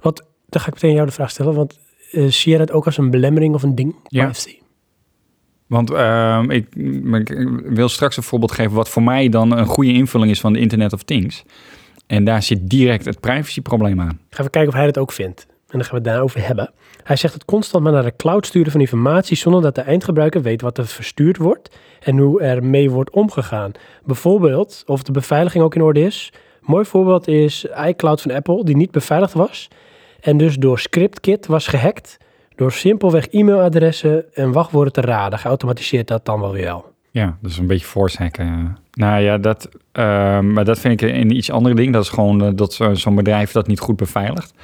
A: Want, dan ga ik meteen jou de vraag stellen, want eh, zie jij dat ook als een belemmering of een ding?
B: Ja.
A: Privacy.
B: Want ehm, ik, ik wil straks een voorbeeld geven wat voor mij dan een goede invulling is van de Internet of Things. En daar zit direct het privacyprobleem aan.
A: Ik ga even kijken of hij dat ook vindt. En dan gaan we het daarover hebben. Hij zegt het constant maar naar de cloud sturen van informatie zonder dat de eindgebruiker weet wat er verstuurd wordt en hoe er mee wordt omgegaan. Bijvoorbeeld of de beveiliging ook in orde is. Een mooi voorbeeld is iCloud van Apple, die niet beveiligd was en dus door ScriptKit was gehackt door simpelweg e-mailadressen en wachtwoorden te raden. Geautomatiseerd dat dan wel weer wel.
B: Ja, dat is een beetje force hacken. ja. Nou ja, dat, ehm, maar dat vind ik een iets ander ding. Dat is gewoon eh, dat zo- zo'n bedrijf dat niet goed beveiligt.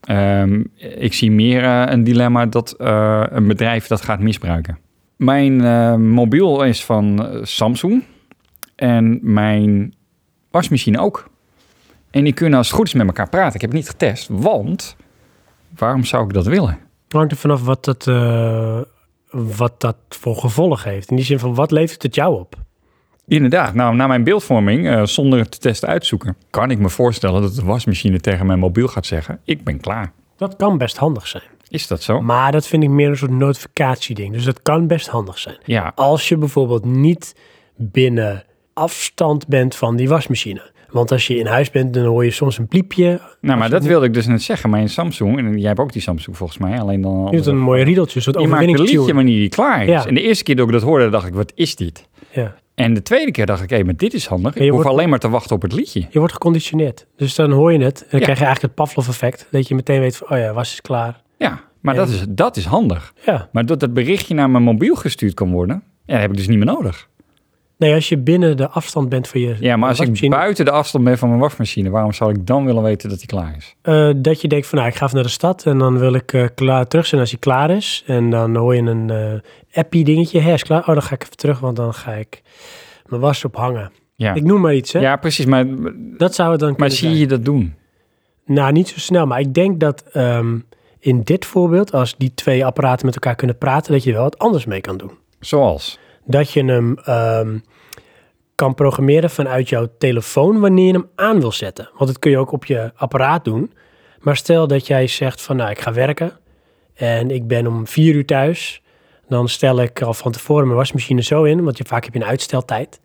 B: Ehm, ik zie meer eh, een dilemma dat eh, een bedrijf dat gaat misbruiken. Mijn eh, mobiel is van eh, Samsung en mijn wasmachine ook. En die kunnen als het goed is met elkaar praten. Ik heb het niet getest, want waarom zou ik dat willen?
A: Het hangt er vanaf wat dat, eh, wat dat voor gevolg heeft. In die zin van, wat levert het jou op?
B: Inderdaad, nou, na mijn beeldvorming, eh, zonder het te testen uitzoeken, kan ik me voorstellen dat de wasmachine tegen mijn mobiel gaat zeggen: Ik ben klaar.
A: Dat kan best handig zijn.
B: Is dat zo?
A: Oh. Maar dat vind ik meer een soort notificatieding. Dus dat kan best handig zijn.
B: Ja, Nou,
A: Als je bijvoorbeeld niet binnen afstand bent van die wasmachine. Want als je in huis bent, dan hoor je soms een pliepje.
B: nou, maar dat wilde ik dus net zeggen. Mijn Samsung, en jij hebt ook die Samsung volgens mij, alleen dan.
A: Je doet een mooi riedeltje, een soort
B: Je maakt een liedje,
A: overwinningstune.
B: maar niet die klaar is.
A: Ja.
B: En de eerste keer dat ik dat hoorde, dacht ik: Wat is dit?
A: Ja.
B: En de tweede keer dacht ik: Hé, maar dit is handig. Ik
A: je
B: hoef
A: wordt-
B: alleen maar te wachten op het liedje.
A: Je wordt geconditioneerd. Dus dan hoor je het. En dan
B: Ja.
A: krijg je eigenlijk het Pavlov-effect. Dat je meteen weet van, oh ja, was is klaar.
B: Ja, maar dat, is, dat is handig.
A: Ja.
B: Maar dat dat berichtje naar mijn mobiel gestuurd kan worden, ja, dat heb ik dus niet meer nodig.
A: Nee, als je binnen de afstand bent van je
B: Ja, maar als ik
A: wasmachine,
B: buiten de afstand ben van mijn wasmachine, waarom zou ik dan willen weten dat die klaar is?
A: eh, dat je denkt van, nou, ik ga even naar de stad. En dan wil ik eh, klaar, terug zijn als hij klaar is. En dan hoor je een eh appie dingetje. Hé, is klaar? Oh, dan ga ik even terug, want dan ga ik mijn was ophangen.
B: Ja,
A: Ik noem maar iets, hè.
B: ja precies. Maar,
A: Dat zou het dan
B: maar
A: kunnen
B: zie
A: zijn.
B: je dat doen?
A: Nou, niet zo snel. Maar ik denk dat ehm, in dit voorbeeld, als die twee apparaten met elkaar kunnen praten, dat je er wel wat anders mee kan doen.
B: Zoals?
A: Dat je hem ehm, kan programmeren vanuit jouw telefoon wanneer je hem aan wil zetten. Want dat kun je ook op je apparaat doen. Maar stel dat jij zegt van, nou, ik ga werken en ik ben om vier uur thuis. Dan stel ik al van tevoren mijn wasmachine zo in, want je, vaak heb je een uitsteltijd.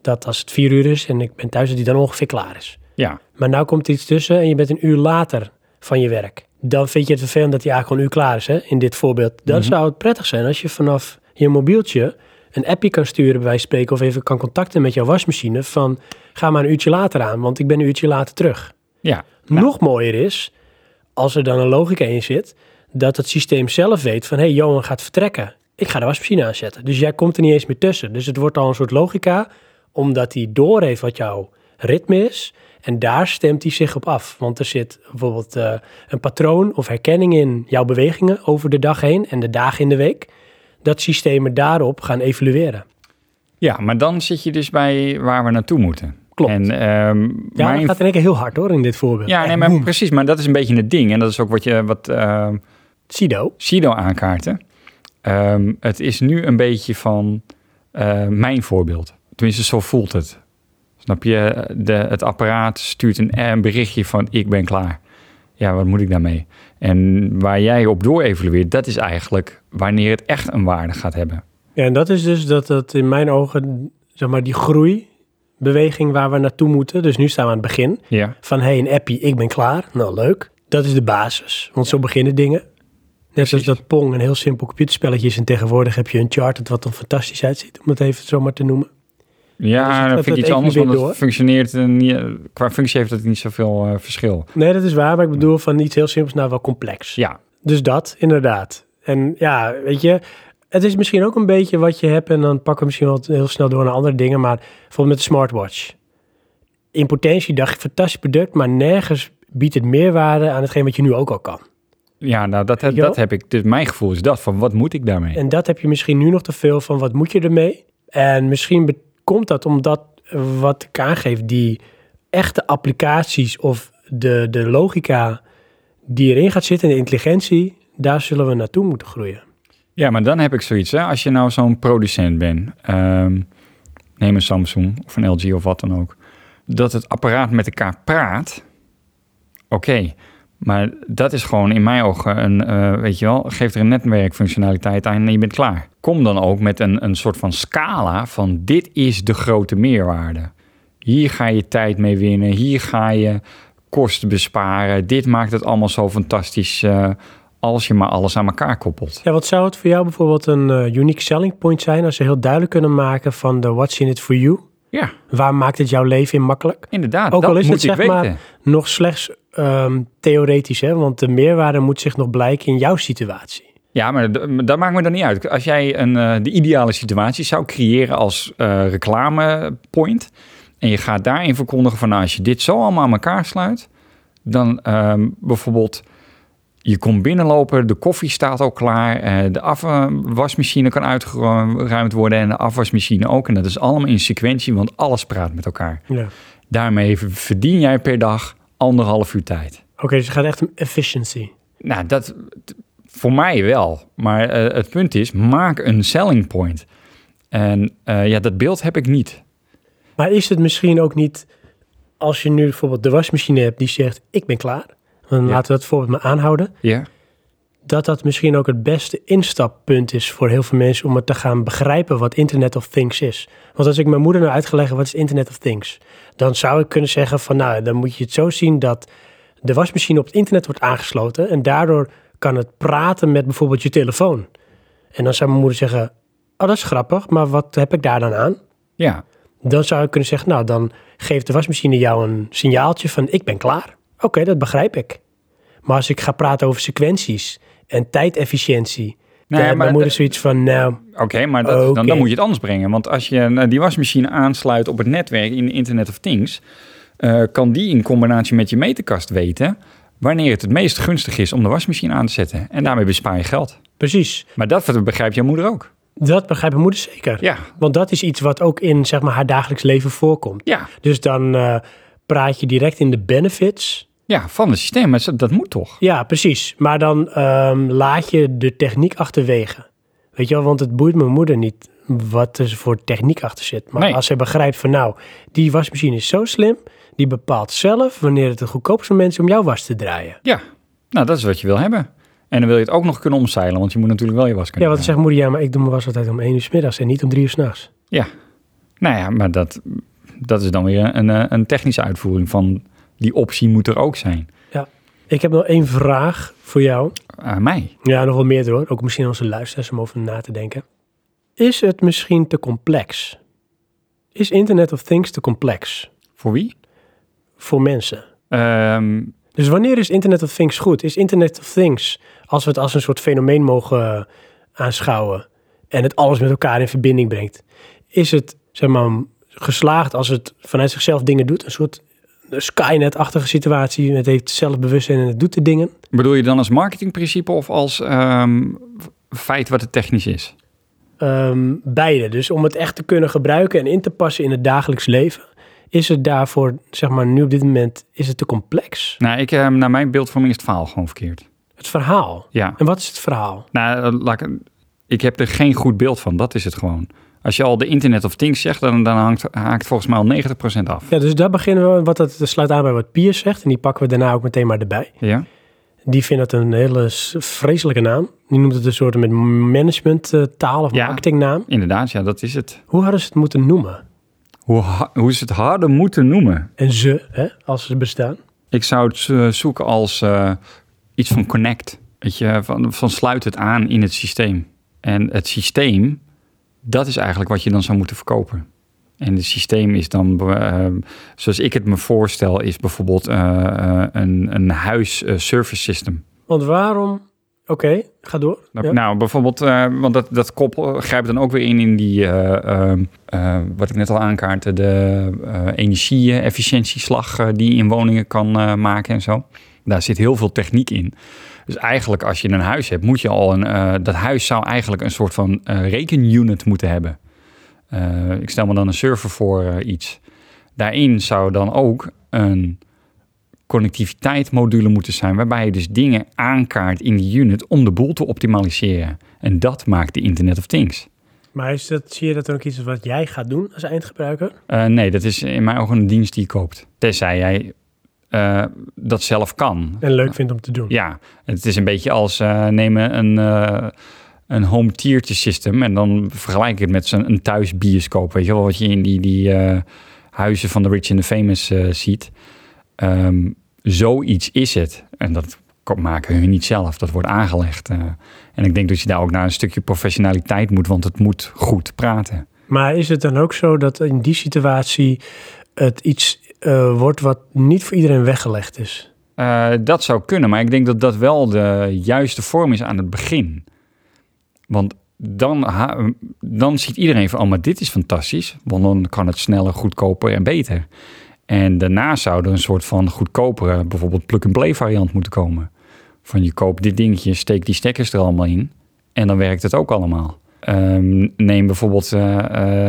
A: Dat als het vier uur is en ik ben thuis, dat die dan ongeveer klaar is.
B: Ja,
A: Maar nou komt iets tussen en je bent een uur later van je werk. Dan vind je het vervelend dat hij eigenlijk al een uur klaar is, hè, in dit voorbeeld. Dan zou het prettig zijn als je vanaf je mobieltje een appje kan sturen, bij wijze van spreken, of even kan contacten met jouw wasmachine van ga maar een uurtje later aan, want ik ben een uurtje later terug.
B: ja.
A: Nog mooier is, als er dan een logica in zit, dat het systeem zelf weet van hé, hey, Johan gaat vertrekken. Ik ga de wasmachine aanzetten. Dus jij komt er niet eens meer tussen. Dus het wordt al een soort logica, omdat hij doorheeft wat jouw ritme is. En daar stemt hij zich op af. Want er zit bijvoorbeeld eh, een patroon of herkenning in jouw bewegingen over de dag heen en de dagen in de week. Dat systemen daarop gaan evalueren.
B: Ja, maar dan zit je dus bij waar we naartoe moeten.
A: Klopt.
B: En, ehm,
A: Ja,
B: mijn-
A: dat gaat in één keer heel hard hoor in dit voorbeeld.
B: ja nee, maar precies. Maar dat is een beetje het ding. En dat is ook wat, je, wat ehm,
A: Sido.
B: Sido aankaarten. Ehm, het is nu een beetje van eh, mijn voorbeeld. Tenminste, zo voelt het. Snap je? De, het apparaat stuurt een, eh, een berichtje van ik ben klaar. Ja, wat moet ik daarmee? En waar jij op door evalueert, dat is eigenlijk wanneer het echt een waarde gaat hebben.
A: Ja, en dat is dus dat, dat in mijn ogen, zeg maar, die groeibeweging waar we naartoe moeten. Dus nu staan we aan het begin.
B: Ja.
A: Van hey, een appie, ik ben klaar. Nou, leuk. Dat is de basis. Want zo beginnen dingen. Net zoals dat Pong een heel simpel computerspelletje is. En tegenwoordig heb je een Uncharted, wat er fantastisch uitziet, om het even zomaar te noemen. Dus
B: Ja,
A: dat-
B: dat
A: dat
B: vind ik iets
A: even
B: anders,
A: weer
B: want
A: door.
B: het functioneert... eh, niet- qua functie heeft het niet zoveel eh, verschil.
A: Nee, dat is waar, maar ik bedoel van iets heel simpels naar wel complex.
B: Ja,
A: Dus dat, inderdaad. En ja, weet je, het is misschien ook een beetje wat je hebt. En dan pakken we misschien wel t- heel snel door naar andere dingen. Maar bijvoorbeeld met de smartwatch. In potentie dacht ik, fantastisch product. Maar nergens biedt het meerwaarde aan hetgeen wat je nu ook al kan.
B: ja nou, dat, heb-
A: Ja.
B: dat heb ik. Dus mijn gevoel is dat, van wat moet ik daarmee?
A: En dat heb je misschien nu nog te veel van wat moet je ermee? En misschien be- komt dat omdat eh, wat ik aangeef, die echte applicaties of de, de logica die erin gaat zitten, de intelligentie, daar zullen we naartoe moeten groeien.
B: Ja, maar dan heb ik zoiets. Hè? Als je nou zo'n producent bent, ehm, neem een Samsung of een LG of wat dan ook, dat het apparaat met elkaar praat, oké. Maar dat is gewoon in mijn ogen een, eh, weet je wel, geef er een netwerkfunctionaliteit aan en je bent klaar. Kom dan ook met een, een soort van scala van dit is de grote meerwaarde. Hier ga je tijd mee winnen, hier ga je kosten besparen. Dit maakt het allemaal zo fantastisch eh, als je maar alles aan elkaar koppelt.
A: Ja, wat zou het voor jou bijvoorbeeld een eh, unique selling point zijn als ze heel duidelijk kunnen maken van de what's in it for you?
B: Ja,
A: Waar maakt het jouw leven in makkelijk?
B: inderdaad.
A: Ook
B: dat
A: al is
B: moet
A: het
B: ik
A: zeg
B: weten.
A: maar nog slechts ehm, theoretisch, hè? want de meerwaarde moet zich nog blijken in jouw situatie.
B: Ja, maar d- maar dat maakt me dan niet uit. Als jij een, eh, de ideale situatie zou creëren als eh, reclame reclamepoint... en je gaat daarin verkondigen van... nou, als je dit zo allemaal aan elkaar sluit... dan ehm, bijvoorbeeld... Je komt binnenlopen, de koffie staat al klaar, eh, de afwasmachine kan uitgeruimd worden en de afwasmachine ook. En dat is allemaal in sequentie, want alles praat met elkaar.
A: Ja.
B: Daarmee verdien jij per dag anderhalf uur tijd.
A: Oké, dus het gaat echt om efficiency.
B: Nou, dat t- voor mij wel. Maar eh, het punt is, maak een selling point. En eh, ja, dat beeld heb ik niet.
A: Maar is het misschien ook niet, als je nu bijvoorbeeld de wasmachine hebt die zegt, ik ben klaar. Dan
B: Ja.
A: laten we dat voorbeeld maar aanhouden.
B: Ja,
A: Dat dat misschien ook het beste instappunt is voor heel veel mensen om het te gaan begrijpen wat Internet of Things is. Want als ik mijn moeder nou uitgelegd wat is Internet of Things, dan zou ik kunnen zeggen van nou, dan moet je het zo zien dat de wasmachine op het internet wordt aangesloten en daardoor kan het praten met bijvoorbeeld je telefoon. En dan zou mijn moeder zeggen, oh dat is grappig, maar wat heb ik daar dan aan?
B: ja.
A: Dan zou ik kunnen zeggen, nou dan geeft de wasmachine jou een signaaltje van ik ben klaar. Oké, dat begrijp ik. Maar als ik ga praten over sequenties en tijdefficiëntie, dan
B: Nee,
A: heeft
B: maar
A: mijn moeder
B: d-
A: zoiets van, nou,
B: Oké, maar dat, is Dan,
A: Oké.
B: dan moet je het anders brengen. Want als je nou, die wasmachine aansluit op het netwerk in Internet of Things... eh, kan die in combinatie met je meterkast weten... wanneer het het meest gunstig is om de wasmachine aan te zetten. En daarmee bespaar je geld.
A: precies.
B: Maar dat begrijpt jouw moeder ook.
A: Dat begrijpt mijn moeder zeker.
B: Ja,
A: Want dat is iets wat ook in zeg maar, haar dagelijks leven voorkomt.
B: ja,
A: Dus dan eh, praat je direct in de benefits.
B: ja, van het systeem. Maar dat, dat moet toch?
A: Ja, precies. Maar dan ehm, laat je de techniek achterwege. Weet je wel, want het boeit mijn moeder niet wat er voor techniek achter zit. Maar
B: Nee.
A: als ze begrijpt van nou, die wasmachine is zo slim, die bepaalt zelf wanneer het het goedkoopste moment is om jouw was te draaien.
B: Ja, nou dat is wat je wil hebben. En dan wil je het ook nog kunnen omzeilen, want je moet natuurlijk wel je was
A: Ja,
B: kunnen
A: want dan
B: doen.
A: zegt moeder, ja, maar ik doe mijn was altijd om één uur 's middags en niet om drie uur s'nachts.
B: Nou ja, maar dat, dat is dan weer een, eh, een technische uitvoering van die optie moet er ook zijn.
A: Ik heb nog één vraag voor jou.
B: Aan mij.
A: Ja, nog wel meerdere hoor. Ook misschien aan onze luisteraars om over na te denken. Is het misschien te complex? Is Internet of Things te complex
B: Voor wie?
A: voor mensen?
B: Ehm,
A: Dus wanneer is Internet of Things goed? Is Internet of Things, als we het als een soort fenomeen mogen eh, aanschouwen en het alles met elkaar in verbinding brengt, is het zeg maar geslaagd als het vanuit zichzelf dingen doet? Een soort Skynet-achtige situatie. Het heeft zelfbewustzijn en het doet de dingen.
B: bedoel je dan als marketingprincipe of als ehm, f- feit wat het technisch is?
A: Ehm, beide. Dus om het echt te kunnen gebruiken en in te passen in het dagelijks leven, is het daarvoor, zeg maar nu op dit moment, is het te complex.
B: Nou, ik, ehm, naar mijn beeldvorming is het verhaal gewoon verkeerd.
A: Het verhaal.
B: Ja,
A: En wat is het verhaal?
B: nou, eh, laat ik, ik heb er geen goed beeld van, dat is het gewoon. Als je al de Internet of Things zegt, dan, dan hangt, haakt volgens mij al 90% af.
A: Ja, dus daar beginnen we, wat dat dat sluit aan bij wat Piers zegt, en die pakken we daarna ook meteen maar erbij.
B: Ja?
A: Die vindt het een hele s- vreselijke naam. Die noemt het een soort met management eh, taal of
B: Ja.
A: marketingnaam.
B: Inderdaad, ja, dat is het.
A: Hoe hadden ze het moeten noemen?
B: Hoe, ha- hoe ze het harder moeten noemen.
A: En ze, hè, als ze bestaan.
B: Ik zou het eh, zoeken als eh, iets van connect. Weet je, van, van sluit het aan in het systeem. En het systeem, dat is eigenlijk wat je dan zou moeten verkopen. En het systeem is dan, eh, zoals ik het me voorstel, is bijvoorbeeld eh, eh, een, een huis eh, service system.
A: Want waarom? Oké, ga door.
B: Nou,
A: Ja.
B: Nou, bijvoorbeeld, eh, want dat, dat koppel grijpt dan ook weer in in die, eh, ehm, eh, wat ik net al aankaartte, de eh energie-efficiëntieslag eh, die je in woningen kan eh, maken en zo. Daar zit heel veel techniek in. Dus eigenlijk als je een huis hebt, moet je al een, eh, dat huis zou eigenlijk een soort van eh, rekenunit moeten hebben. Eh, ik stel me dan een server voor eh, iets. Daarin zou dan ook een connectiviteitsmodule moeten zijn, waarbij je dus dingen aankaart in die unit om de boel te optimaliseren. En dat maakt de Internet of Things.
A: Maar is dat, zie je dat dan ook iets is wat jij gaat doen als eindgebruiker?
B: Eh, nee, dat is in mijn ogen een dienst die je koopt. Tenzij jij eh, dat zelf kan.
A: En leuk vindt om te doen.
B: Ja, het is een beetje als eh, nemen een, eh, een home tiertje system en dan vergelijk ik het met zo'n een thuisbioscoop. Weet je wel, wat je in die, die eh, huizen van de rich and the famous eh, ziet. Ehm, zoiets is het. En dat ko- maken hun niet zelf, dat wordt aangelegd. eh. en ik denk dat je daar ook naar een stukje professionaliteit moet, want het moet goed praten.
A: Maar is het dan ook zo dat in die situatie het iets eh, wordt wat niet voor iedereen weggelegd is?
B: Eh, dat zou kunnen, maar ik denk dat dat wel de juiste vorm is aan het begin. Want dan, ha- dan ziet iedereen van, oh, maar dit is fantastisch. Want dan kan het sneller, goedkoper en beter. En daarna zou er een soort van goedkopere, bijvoorbeeld plug-and-play variant moeten komen. Van je koopt dit dingetje, steek die stekkers er allemaal in. En dan werkt het ook allemaal. Ehm, neem bijvoorbeeld eh,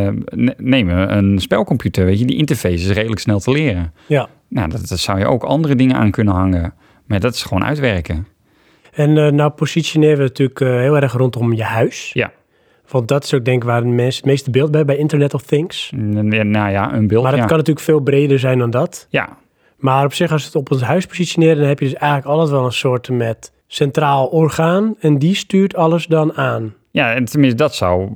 B: eh, ne- neem een spelcomputer. Weet je, die interface is redelijk snel te leren.
A: Ja.
B: Nou, dat, dat zou je ook andere dingen aan kunnen hangen. Maar dat is gewoon uitwerken.
A: En eh, nou positioneren we natuurlijk eh, heel erg rondom je huis.
B: Ja.
A: Want dat is ook denk ik waar de mensen het meeste beeld bij bij Internet of Things.
B: N- Nou ja, een beeld.
A: Maar het
B: ja.
A: kan natuurlijk veel breder zijn dan dat.
B: ja,
A: Maar op zich, als we het op ons huis positioneren, dan heb je dus eigenlijk altijd wel een soort met centraal orgaan. En die stuurt alles dan aan.
B: ja, en tenminste, dat zou,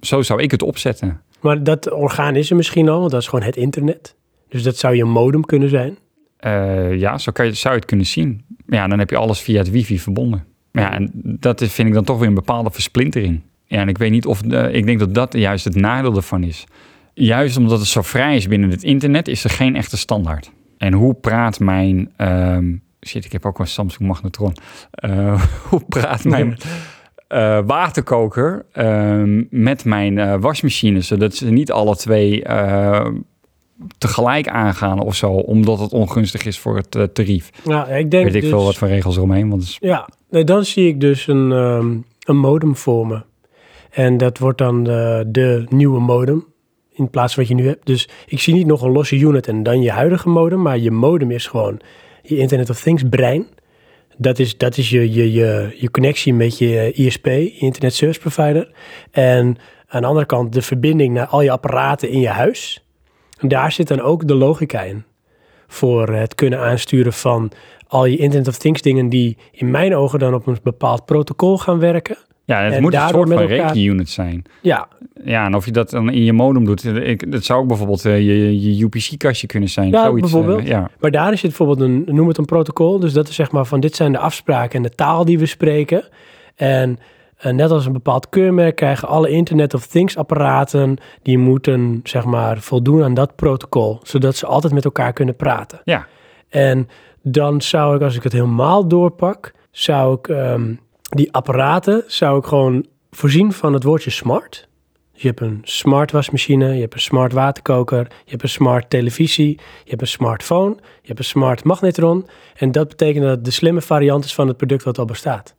B: zo zou ik het opzetten.
A: Maar dat orgaan is er misschien al, want dat is gewoon het internet. Dus dat zou je modem kunnen zijn.
B: Eh, ja, zo kan je, zou je het kunnen zien. Maar Ja, dan heb je alles via het wifi verbonden. Maar Ja, en dat is, vind ik dan toch weer een bepaalde versplintering. Ja, en ik weet niet of, eh, ik denk dat dat juist het nadeel ervan is. Juist omdat het zo vrij is binnen het internet, is er geen echte standaard. En hoe praat mijn, ehm, shit, ik heb ook een Samsung magnetron. Eh, hoe praat mijn eh, waterkoker ehm, met mijn eh, wasmachine, zodat ze niet alle twee eh, tegelijk aangaan of zo, omdat het ongunstig is voor het eh, tarief.
A: Nou, ik denk
B: Weet ik
A: dus,
B: veel wat voor regels eromheen, want het is-
A: Ja, nee, dan zie ik dus een, ehm, een modem voor me. En dat wordt dan de, de nieuwe modem in plaats van wat je nu hebt. Dus ik zie niet nog een losse unit en dan je huidige modem, maar je modem is gewoon je Internet of Things brein. Dat is, dat is je, je, je, je connectie met je eh, ISP, je Internet Service Provider. En aan de andere kant de verbinding naar al je apparaten in je huis. En daar zit dan ook de logica in. Voor het kunnen aansturen van al je Internet of Things dingen die in mijn ogen dan op een bepaald protocol gaan werken.
B: ja, het
A: En
B: moet dus een
A: daardoor
B: soort van
A: met elkaar-
B: rekenunit zijn.
A: Ja,
B: Ja, en of je dat dan in je modem doet, eh, ik, dat zou ook bijvoorbeeld eh, je, je UPC-kastje kunnen zijn.
A: Ja,
B: zoiets, eh,
A: bijvoorbeeld.
B: ja.
A: maar daar is het bijvoorbeeld een, noem het een protocol. Dus dat is zeg maar van dit zijn de afspraken en de taal die we spreken. En eh, net als een bepaald keurmerk krijgen alle Internet of Things apparaten, die moeten zeg maar voldoen aan dat protocol. Zodat ze altijd met elkaar kunnen praten.
B: ja,
A: En dan zou ik, als ik het helemaal doorpak, zou ik ehm, die apparaten zou ik gewoon voorzien van het woordje smart. Dus je hebt een smart wasmachine, je hebt een smart waterkoker, je hebt een smart televisie, je hebt een smartphone, je hebt een smart magnetron. En dat betekent dat het de slimme variant is van het product wat al bestaat.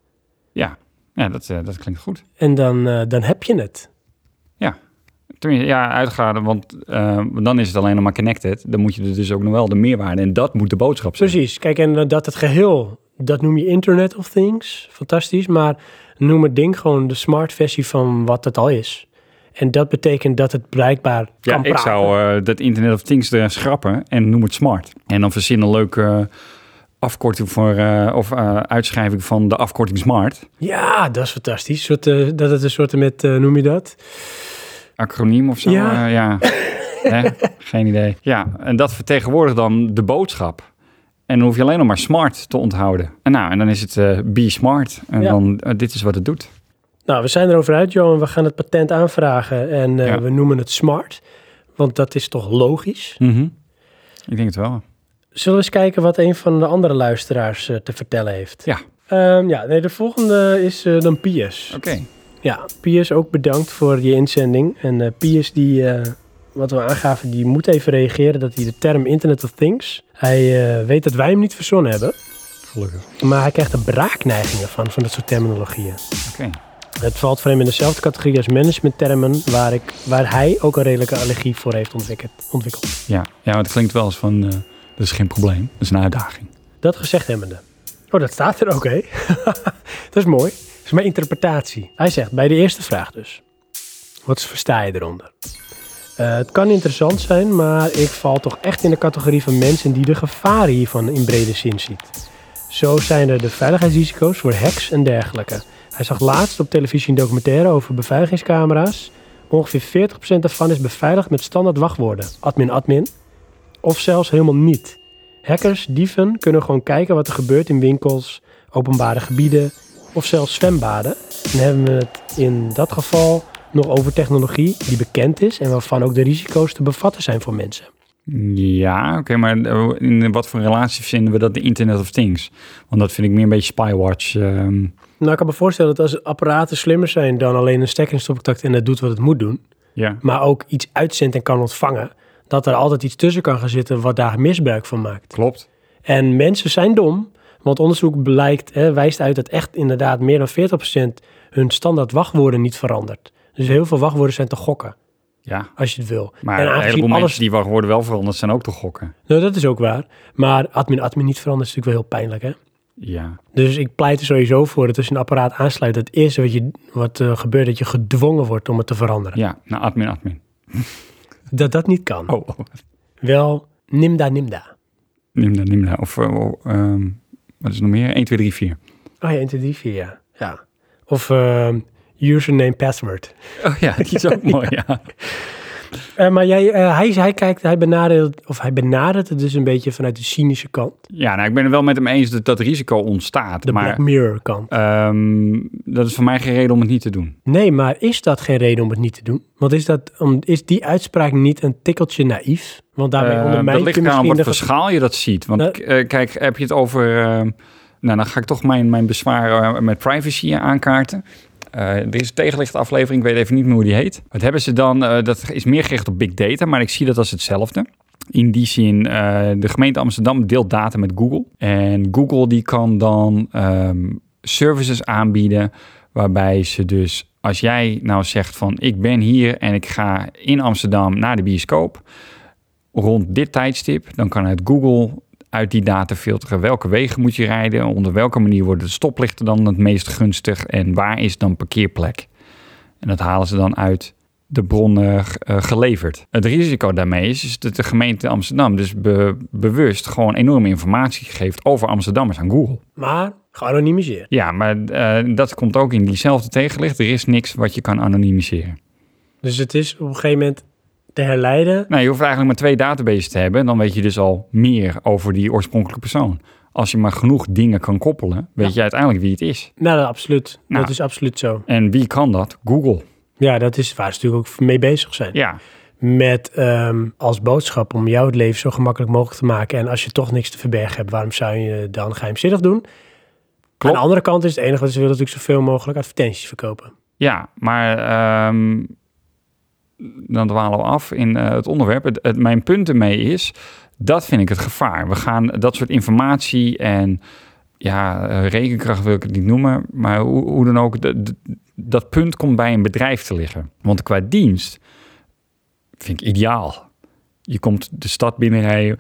B: ja dat, eh, dat klinkt goed.
A: En dan, eh, dan heb je het.
B: Tenminste, ja, uitgaande, want eh, dan is het alleen nog maar connected. Dan moet je er dus ook nog wel de meerwaarde en dat moet de boodschap zijn.
A: Precies. Kijk, en eh, dat het geheel, dat noem je Internet of Things. Fantastisch. Maar noem het ding gewoon de smart versie van wat het al is. En dat betekent dat het blijkbaar
B: Ja,
A: kan
B: ik
A: praten.
B: zou eh, dat Internet of Things er schrappen en noem het smart. En dan verzin een leuke eh, afkorting voor, eh, of eh, uitschrijving van de afkorting smart.
A: Ja, dat is fantastisch. Een Soort, eh, dat het een soort met, eh, noem je dat?
B: Acroniem of zo.
A: Ja.
B: eh, ja. Hè? Geen idee. Ja, en dat vertegenwoordigt dan de boodschap. En dan hoef je alleen nog maar smart te onthouden. En nou, en dan is het eh, be smart. En
A: Ja.
B: dan, eh, dit is wat het doet.
A: Nou, we zijn erover uit, Johan. We gaan het patent aanvragen en eh,
B: Ja.
A: we noemen het smart. Want dat is toch logisch?
B: Ik denk het wel.
A: Zullen we eens kijken wat een van de andere luisteraars eh, te vertellen heeft?
B: Ja.
A: Ehm, ja, nee, de volgende is eh, dan Piers.
B: Oké.
A: Ja, Piers ook bedankt voor je inzending. En eh, Piers, die, eh, wat we aangaven, die moet even reageren dat hij de term Internet of Things... Hij eh, weet dat wij hem niet verzonnen hebben,
B: Gelukkig.
A: maar hij krijgt er braakneigingen van, van dat soort terminologieën.
B: Oké.
A: Het valt voor hem in dezelfde categorie als managementtermen, waar, ik, waar hij ook een redelijke allergie voor heeft ontwikkeld. ontwikkeld.
B: Ja. ja, maar het klinkt wel eens van, eh, dat is geen probleem. Dat is een uitdaging.
A: Dat gezegd hebbende. Oh, dat staat er ook, hè? dat is mooi. Dat is mijn interpretatie. Hij zegt, bij de eerste vraag dus. Wat versta je eronder? Eh, het kan interessant zijn, maar ik val toch echt in de categorie van mensen die de gevaren hiervan in brede zin ziet. Zo zijn er de veiligheidsrisico's voor hacks en dergelijke. Hij zag laatst op televisie een documentaire over beveiligingscamera's. Ongeveer 40% daarvan is beveiligd met standaard wachtwoorden. Admin, admin. Of zelfs helemaal niet. Hackers, dieven kunnen gewoon kijken wat er gebeurt in winkels, openbare gebieden of zelfs zwembaden. Dan hebben we het in dat geval nog over technologie die bekend is en waarvan ook de risico's te bevatten zijn voor mensen.
B: Ja, oké, maar eh, in wat voor relatie vinden we dat de Internet of Things? Want dat vind ik meer een beetje Spywatch. ehm.
A: Nou, ik kan me voorstellen dat als apparaten slimmer zijn dan alleen een stekker in stopcontact en het doet wat het moet doen,
B: ja.
A: maar ook iets uitzendt en kan ontvangen, dat er altijd iets tussen kan gaan zitten wat daar misbruik van maakt.
B: Klopt.
A: En mensen zijn dom, want onderzoek blijkt, hè, wijst uit dat echt inderdaad meer dan 40% hun standaard wachtwoorden niet verandert. Dus heel veel wachtwoorden zijn te gokken,
B: Ja.
A: als je het wil.
B: Maar
A: en
B: een heleboel
A: aangezien alles...
B: mensen die worden wel veranderd zijn ook te gokken.
A: Nou, dat is ook waar. Maar admin-admin niet veranderen is natuurlijk wel heel pijnlijk, hè?
B: Ja.
A: Dus ik pleit er sowieso voor dat als je een apparaat aansluit, dat eerste wat, je, wat eh, gebeurt, dat je gedwongen wordt om het te veranderen.
B: Ja, nou, admin, admin.
A: Dat dat niet kan.
B: Oh, oh.
A: Wel, nimda, nimda.
B: Nimda, Nimda. Of, eh, oh, ehm, wat is er nog meer? 1, 2, 3, 4.
A: Oh ja, intuïtief, ja. ja. Of ehm, username, password.
B: Oh ja, die is ook mooi, ja.
A: Eh, maar jij, eh, hij, hij kijkt, hij benadert, of hij benadert het dus een beetje vanuit de cynische kant.
B: Ja, nou, ik ben het wel met hem eens dat dat risico ontstaat.
A: De
B: maar
A: Black Mirror kant.
B: ehm, dat is voor mij geen reden om het niet te doen.
A: Nee, maar is dat geen reden om het niet te doen? Want is, dat, om, is die uitspraak niet een tikkeltje naïef? Want daarmee
B: Eh, dat
A: ondermijnt
B: ligt
A: je
B: eraan
A: misschien
B: wat
A: de
B: voor
A: ges-
B: schaal je dat ziet. Want
A: Nou-
B: k- eh, kijk, heb je het over... eh, nou, dan ga ik toch mijn, mijn bezwaar eh, met privacy eh, aankaarten. Eh, er is een tegenlichtaflevering, ik weet even niet meer hoe die heet. Wat hebben ze dan? eh, dat is meer gericht op big data, maar ik zie dat als hetzelfde. In die zin, eh, de gemeente Amsterdam deelt data met Google. En Google die kan dan ehm, services aanbieden waarbij ze dus... Als jij nou zegt van ik ben hier en ik ga in Amsterdam naar de bioscoop rond dit tijdstip, dan kan uit Google uit die data filteren welke wegen moet je rijden, onder welke manier worden de stoplichten dan het meest gunstig en waar is dan parkeerplek. En dat halen ze dan uit de bronnen eh, geleverd. Het risico daarmee is, is dat de gemeente Amsterdam dus be- bewust gewoon enorme informatie geeft over Amsterdammers aan Google.
A: Maar geanonimiseerd.
B: Ja, maar eh, dat komt ook in diezelfde tegenlicht. Er is niks wat je kan anonimiseren.
A: Dus het is op een gegeven moment te herleiden.
B: Nou, je hoeft eigenlijk maar twee databases te hebben. En dan weet je dus al meer over die oorspronkelijke persoon. Als je maar genoeg dingen kan koppelen, weet je uiteindelijk wie het is.
A: Nou, dat, absoluut.
B: Nou.
A: Dat is absoluut zo.
B: En wie kan dat? Google.
A: Ja, dat is waar ze natuurlijk ook mee bezig zijn.
B: Ja,
A: Met ehm, als boodschap om jou het leven zo gemakkelijk mogelijk te maken. En als je toch niks te verbergen hebt, waarom zou je dan geheimzinnig doen? Aan
B: Klopt.
A: de andere kant is het enige wat ze willen natuurlijk zoveel mogelijk advertenties verkopen.
B: ja maar ehm, dan dwalen we af in eh, het onderwerp. Het, het- mijn punt ermee is, dat vind ik het gevaar. We gaan dat soort informatie en ja, eh, rekenkracht wil ik het niet noemen. Maar hoe, hoe dan ook, d- d- dat punt komt bij een bedrijf te liggen. Want qua dienst vind ik ideaal. Je komt de stad binnenrijden.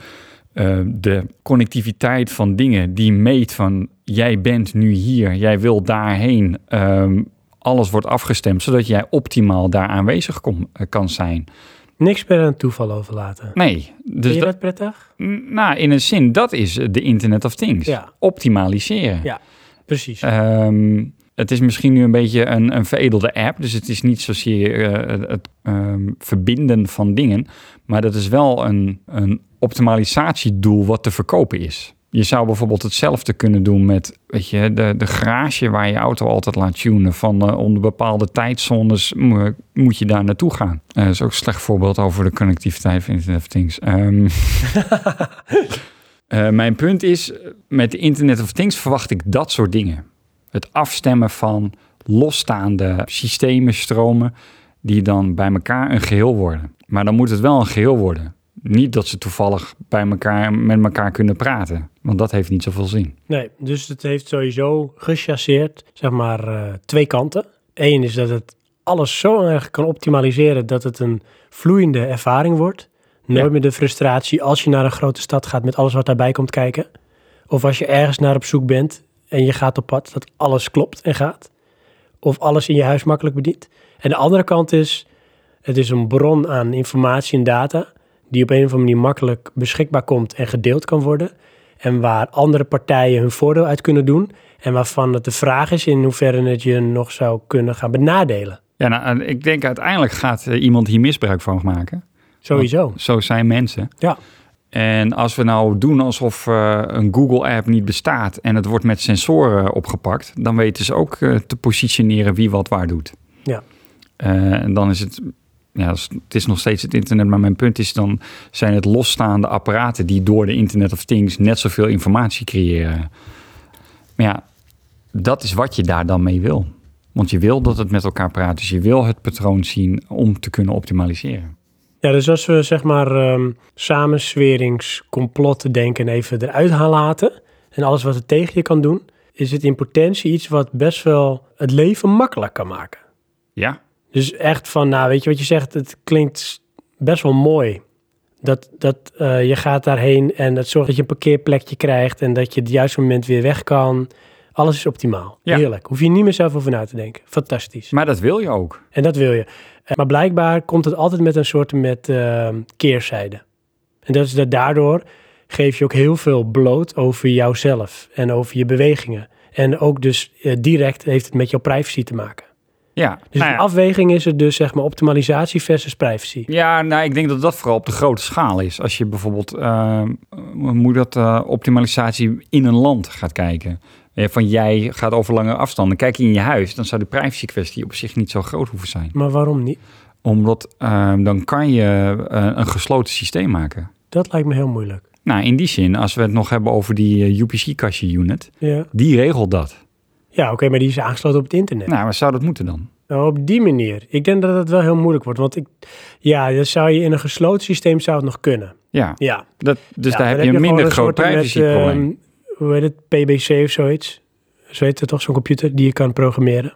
B: eh, de connectiviteit van dingen die meet van jij bent nu hier, jij wil daarheen. Ehm, alles wordt afgestemd zodat jij optimaal daar aanwezig kom- eh, kan zijn.
A: Niks meer aan toeval overlaten.
B: Nee, dus
A: Vind je
B: dat-
A: dat prettig?
B: n- nou, in een zin, dat is eh, de Internet of Things.
A: Ja.
B: Optimaliseren.
A: Ja. Precies.
B: Ehm, het is misschien nu een beetje een, een veredelde app, dus het is niet zozeer eh, het ehm, verbinden van dingen, maar dat is wel een, een optimalisatiedoel wat te verkopen is. Je zou bijvoorbeeld hetzelfde kunnen doen met weet je, de, de garage waar je auto altijd laat tunen. Van eh, onder bepaalde tijdzones mo- moet je daar naartoe gaan. Eh, dat is ook een slecht voorbeeld over de connectiviteit van Internet of Things. Ehm, eh, mijn punt is, met de Internet of Things verwacht ik dat soort dingen. Het afstemmen van losstaande systemen, stromen, die dan bij elkaar een geheel worden. Maar dan moet het wel een geheel worden. Niet dat ze toevallig bij elkaar, met elkaar kunnen praten, want dat heeft niet zoveel zin.
A: Nee, dus het heeft sowieso gechasseerd, zeg maar, eh, twee kanten. Eén is dat het alles zo erg kan optimaliseren dat het een vloeiende ervaring wordt. Nooit
B: Ja.
A: meer de frustratie als je naar een grote stad gaat met alles wat daarbij komt kijken. Of als je ergens naar op zoek bent en je gaat op pad, dat alles klopt en gaat. Of alles in je huis makkelijk bedient. En de andere kant is, het is een bron aan informatie en data die op een of andere manier makkelijk beschikbaar komt en gedeeld kan worden en waar andere partijen hun voordeel uit kunnen doen. En waarvan het de vraag is in hoeverre het je nog zou kunnen gaan benadelen.
B: Ja, nou, eh, ik denk uiteindelijk gaat eh, iemand hier misbruik van maken.
A: Sowieso.
B: Zo zijn mensen.
A: Ja.
B: En als we nou doen alsof eh, een Google-app niet bestaat en het wordt met sensoren opgepakt, dan weten ze ook eh, te positioneren wie wat waar doet.
A: Ja.
B: Eh, en dan is het, ja, dat is- het is nog steeds het internet, maar mijn punt is dan zijn het losstaande apparaten die door de Internet of Things net zoveel informatie creëren. Maar ja, dat is wat je daar dan mee wil. Want je wil dat het met elkaar praat, dus je wil het patroon zien om te kunnen optimaliseren.
A: Ja, dus als we zeg maar ehm samensweringscomplotten denken even eruit gaan laten. En alles wat het tegen je kan doen. Is het in potentie iets wat best wel het leven makkelijk kan maken.
B: Ja,
A: Dus echt van, nou weet je wat je zegt, het klinkt best wel mooi. Dat, dat eh, je gaat daarheen en dat zorgt dat je een parkeerplekje krijgt en dat je het juiste moment weer weg kan. Alles is optimaal.
B: Ja.
A: Heerlijk. Hoef je niet meer zelf over na te denken. Fantastisch.
B: Maar dat wil je ook.
A: En dat wil je. Eh, Maar blijkbaar komt het altijd met een soort met ehm, keerzijde. En dat is dat daardoor geef je ook heel veel bloot over jouzelf en over je bewegingen. En ook dus eh, direct heeft het met jouw privacy te maken.
B: Ja.
A: Dus
B: nou
A: een
B: ja.
A: afweging is het dus zeg maar optimalisatie versus privacy.
B: Ja, nou, ik denk dat dat vooral op de grote schaal is. Als je bijvoorbeeld, eh, hoe moet dat, eh, optimalisatie in een land gaat kijken. Eh, van jij gaat over lange afstanden. Kijk je in je huis, dan zou de privacy kwestie op zich niet zo groot hoeven zijn.
A: Maar waarom niet?
B: Omdat eh, dan kan je eh, een gesloten systeem maken.
A: Dat lijkt me heel moeilijk.
B: Nou, in die zin, als we het nog hebben over die eh, UPC-kastje unit,
A: Ja,
B: die regelt dat.
A: ja oké, maar die is aangesloten op het internet.
B: Nou, maar zou dat moeten dan?
A: Nou, op die manier. Ik denk dat het wel heel moeilijk wordt. Want ik, ja, dan zou je in een gesloten systeem zou het nog kunnen.
B: Ja,
A: Ja.
B: dat, dus
A: Ja,
B: daar heb je
A: dan
B: een
A: gewoon
B: minder
A: soort
B: groot
A: met,
B: privacyprobleem.
A: ehm, hoe heet het? PBC of zoiets. Zo heet het toch, zo'n computer die je kan programmeren.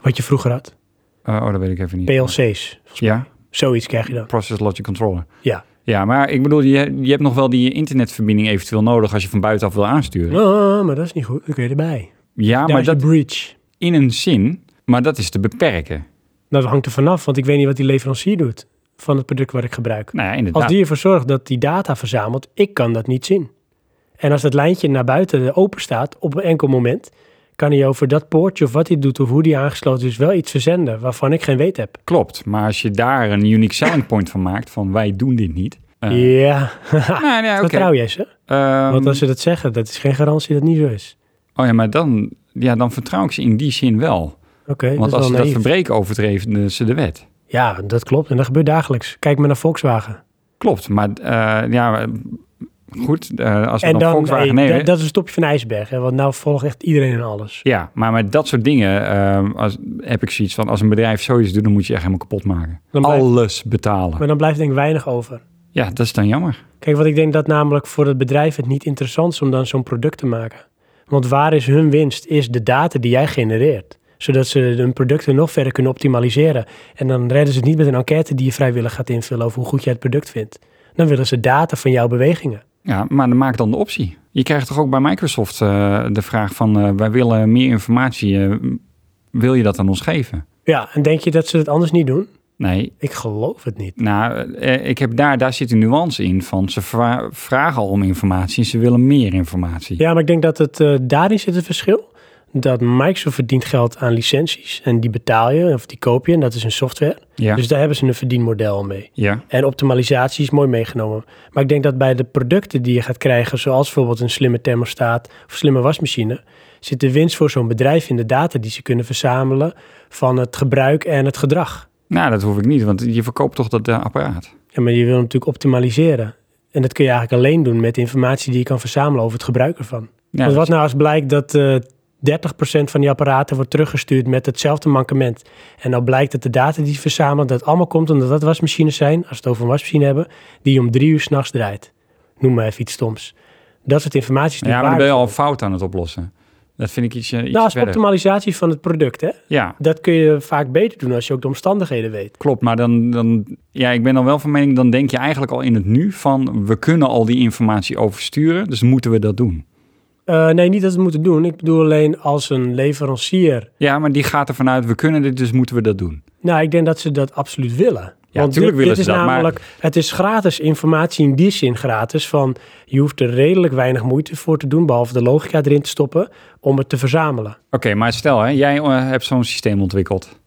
A: Wat je vroeger had. ehm,
B: Eh, oh, dat weet ik even niet.
A: PLC's.
B: Ja,
A: Zoiets krijg je dan.
B: Process Logic Controller.
A: Ja.
B: Ja, maar ik bedoel, je, je hebt nog wel die internetverbinding eventueel nodig als je van buitenaf wil aansturen.
A: Oh, maar dat is niet goed. Dan kun je erbij.
B: Ja,
A: Daar
B: maar
A: is die
B: dat
A: breach.
B: in een zin, maar dat is te beperken.
A: Nou, dat hangt er vanaf, want ik weet niet wat die leverancier doet van het product wat ik gebruik.
B: Nou ja,
A: Als
B: inderdaad.
A: die ervoor zorgt dat die data verzamelt, ik kan dat niet zien. En als dat lijntje naar buiten open staat op een enkel moment, kan hij over dat poortje of wat hij doet of hoe die aangesloten is wel iets verzenden waarvan ik geen weet heb.
B: Klopt, maar als je daar een unique selling point van maakt, van wij doen dit niet. eh,
A: Ja,
B: nou, nee,
A: dat
B: oké.
A: trouw jij ze.
B: Ehm,
A: Want als ze dat zeggen, dat is geen garantie dat het niet zo is.
B: Oh ja, maar dan, ja, dan vertrouw ik ze in die zin wel.
A: Oké, dat
B: Want
A: is
B: als
A: wel
B: ze dat
A: naïef.
B: verbreken, overtreden ze de wet.
A: Ja, dat klopt. En dat gebeurt dagelijks. Kijk maar naar Volkswagen.
B: Klopt, maar eh, ja, goed, eh, als we
A: en
B: dan,
A: dan,
B: Volkswagen
A: hey,
B: nemen-
A: dat, dat is een topje van de ijsberg. Hè, want nou volgt echt iedereen en alles.
B: Ja, maar met dat soort dingen ehm, als, heb ik zoiets van... als een bedrijf zoiets doet, dan moet je echt helemaal kapot maken.
A: Dan blijft-
B: Alles betalen.
A: Maar dan blijft denk ik weinig over.
B: Ja, dat is dan jammer.
A: Kijk, wat ik denk dat namelijk voor het bedrijf het niet interessant is om dan zo'n product te maken. Want waar is hun winst? Is de data die jij genereert. Zodat ze hun producten nog verder kunnen optimaliseren. En dan redden ze het niet met een enquête die je vrijwillig gaat invullen over hoe goed jij het product vindt. Dan willen ze data van jouw bewegingen.
B: Ja, maar dan maak dan de optie. Je krijgt toch ook bij Microsoft eh, de vraag van... eh, wij willen meer informatie, eh, wil je dat aan ons geven?
A: Ja, en denk je dat ze het anders niet doen?
B: Nee,
A: Ik geloof het niet.
B: nou, eh, ik heb daar, daar zit een nuance in van... ze vra- vragen al om informatie en ze willen meer informatie.
A: Ja, maar ik denk dat het eh, daarin zit het verschil. Dat Microsoft verdient geld aan licenties. En die betaal je of die koop je. En dat is een software.
B: Ja,
A: Dus daar hebben ze een verdienmodel mee.
B: ja.
A: En optimalisatie is mooi meegenomen. Maar ik denk dat bij de producten die je gaat krijgen, zoals bijvoorbeeld een slimme thermostaat of slimme wasmachine, zit de winst voor zo'n bedrijf in de data die ze kunnen verzamelen van het gebruik en het gedrag.
B: Nou, dat hoef ik niet, want je verkoopt toch dat eh, apparaat.
A: Ja, maar je wil hem natuurlijk optimaliseren. En dat kun je eigenlijk alleen doen met informatie die je kan verzamelen over het gebruik ervan.
B: Ja,
A: Want
B: dat
A: wat nou als blijkt dat eh 30% van die apparaten wordt teruggestuurd met hetzelfde mankement. En dan blijkt dat de data die ze verzamelen, dat allemaal komt omdat dat wasmachines zijn, als we het over een wasmachine hebben, die om drie uur s'nachts draait. Noem maar even iets stoms. Dat soort informatie is niet
B: Ja, maar dan ben je al
A: waardevol.
B: fout aan het oplossen. Dat vind ik iets, eh, iets
A: Nou, als
B: verder.
A: optimalisatie van het product, hè?
B: Ja,
A: dat kun je vaak beter doen als je ook de omstandigheden weet.
B: klopt. Maar dan, dan, ja, ik ben dan wel van mening, dan denk je eigenlijk al in het nu van... we kunnen al die informatie oversturen, dus moeten we dat doen.
A: Eh, nee, niet dat we het moeten doen. Ik bedoel alleen als een leverancier.
B: Ja, maar die gaat ervan uit, we kunnen dit, dus moeten we dat doen.
A: Nou, ik denk dat ze dat absoluut willen.
B: Ja,
A: Want
B: tuurlijk
A: dit,
B: willen
A: dit
B: ze
A: is
B: dat, maar-
A: namelijk, Het is gratis informatie in die zin gratis. Van je hoeft er redelijk weinig moeite voor te doen, behalve de logica erin te stoppen, om het te verzamelen.
B: Oké, maar stel, hè, jij eh, hebt zo'n systeem ontwikkeld...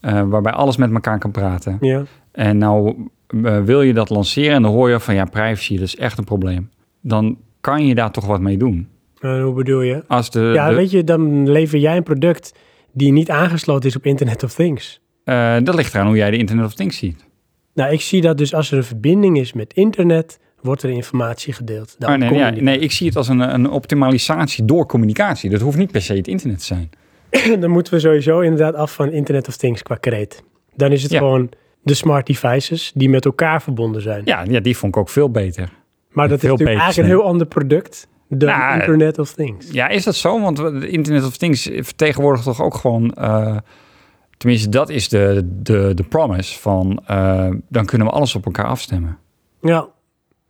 B: eh, waarbij alles met elkaar kan praten.
A: Ja.
B: En nou eh, wil je dat lanceren en dan hoor je van... ja, privacy, dat is echt een probleem. Dan kan je daar toch wat mee doen.
A: En Eh, hoe bedoel je?
B: Als de,
A: Ja,
B: de-
A: weet je, dan lever jij een product die niet aangesloten is op Internet of Things.
B: eh, dat ligt eraan hoe jij de Internet of Things ziet.
A: Nou, ik zie dat dus als er een verbinding is met internet, wordt er informatie gedeeld. Dan
B: Oh, nee,
A: kom je
B: ja,
A: niet.
B: nee, ik zie het als een, een optimalisatie door communicatie. Dat hoeft niet per se het internet te zijn.
A: Dan moeten we sowieso inderdaad af van Internet of Things qua kreet. Dan is het
B: Ja.
A: gewoon de smart devices die met elkaar verbonden zijn.
B: Ja, ja die vond ik ook veel beter.
A: Maar dat is
B: Veel
A: natuurlijk
B: beter
A: eigenlijk een heel ander product dan
B: Nou,
A: Internet of Things.
B: Ja, is dat zo? Want het Internet of Things vertegenwoordigt toch ook gewoon... eh, tenminste, dat is de, de, de promise van... eh, dan kunnen we alles op elkaar afstemmen.
A: Ja,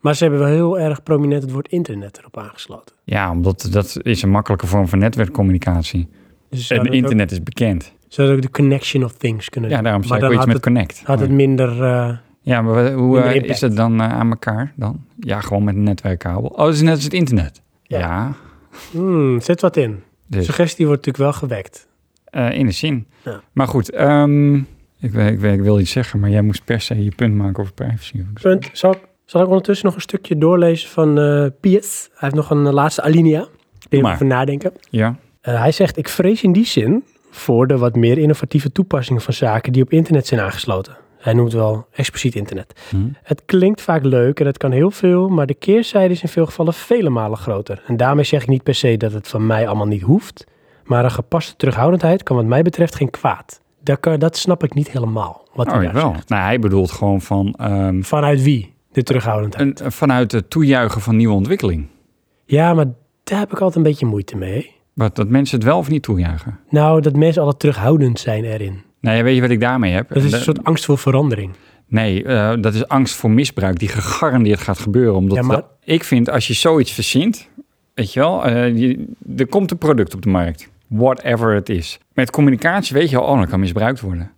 A: Maar ze hebben wel heel erg prominent het woord internet erop aangesloten.
B: Ja, omdat dat is een makkelijke vorm van netwerkcommunicatie.
A: Dus ze
B: En
A: hadden het
B: internet is bekend.
A: Ook, ze hadden ook de connection of things kunnen
B: Ja,
A: doen.
B: daarom
A: Maar
B: zei ik ook
A: dan
B: iets met
A: had
B: connect.
A: Had het minder... eh,
B: Ja, maar wat- hoe
A: Minder
B: eh,
A: impact.
B: is het dan eh, aan elkaar dan? Ja, gewoon met een netwerkkabel. Oh, dat is net als het internet.
A: Ja.
B: Ja,
A: hmm, zit wat in.
B: dus
A: Suggestie wordt natuurlijk wel gewekt.
B: eh, in de zin.
A: Ja.
B: Maar goed, ehm, ik, weet- ik, weet- ik wil iets zeggen, maar jij moest per se je punt maken over privacy. of zo.
A: Punt. Zal, ik- zal ik ondertussen nog een stukje doorlezen van eh Piet? Hij heeft nog een eh, laatste alinea. Even
B: maar.
A: over nadenken.
B: Ja,
A: Eh, hij zegt, ik vrees in die zin voor de wat meer innovatieve toepassing van zaken die op internet zijn aangesloten. Hij noemt wel expliciet internet.
B: Hm.
A: Het klinkt vaak leuk en het kan heel veel, maar de keerzijde is in veel gevallen vele malen groter. En daarmee zeg ik niet per se dat het van mij allemaal niet hoeft, maar een gepaste terughoudendheid kan wat mij betreft geen kwaad. Dat, kan, dat snap ik niet helemaal. Wat hij
B: oh,
A: daar
B: wel.
A: zegt.
B: Nou, hij bedoelt gewoon van ehm,
A: Vanuit wie, de terughoudendheid?
B: een, vanuit het toejuichen van nieuwe ontwikkeling.
A: Ja, maar daar heb ik altijd een beetje moeite mee.
B: Wat, dat mensen het wel of niet toejuichen.
A: Nou, dat mensen altijd terughoudend zijn erin.
B: Nou, ja, weet je wat ik daarmee heb?
A: Dat is een
B: De-
A: soort angst voor verandering.
B: Nee, eh, dat is angst voor misbruik die gegarandeerd gaat gebeuren. Omdat
A: Ja, maar-
B: dat- ik vind als je zoiets verzint, weet je wel, eh, je- er komt een product op de markt. Whatever het is. Met communicatie weet je al, oh, dat kan misbruikt worden.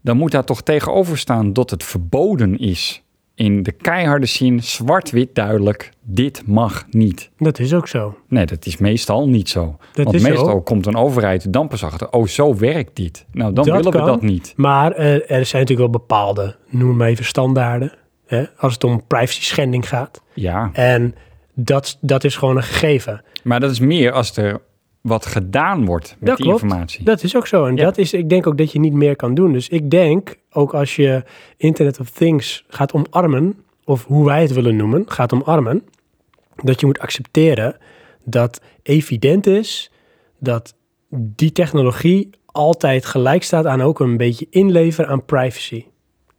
B: Dan moet daar toch tegenover staan dat het verboden is. In de keiharde zin, zwart-wit duidelijk, dit mag niet.
A: Dat is ook zo.
B: Nee, dat is meestal niet zo.
A: Dat
B: Want
A: is zo.
B: meestal komt een overheid dan pas achter, oh, zo werkt dit. Nou, dan
A: Dat
B: willen
A: kan.
B: we dat niet.
A: Maar eh, er zijn natuurlijk wel bepaalde, noem maar even standaarden, hè, als het om privacy schending gaat.
B: Ja.
A: En dat, dat is gewoon een gegeven.
B: Maar dat is meer als er wat gedaan wordt met
A: Dat
B: die
A: klopt.
B: informatie.
A: Dat is ook zo. En
B: Ja.
A: dat is, ik denk ook dat je niet meer kan doen. Dus ik denk, ook als je Internet of Things gaat omarmen, of hoe wij het willen noemen, gaat omarmen, dat je moet accepteren dat evident is dat die technologie altijd gelijk staat aan ook een beetje inleveren aan privacy.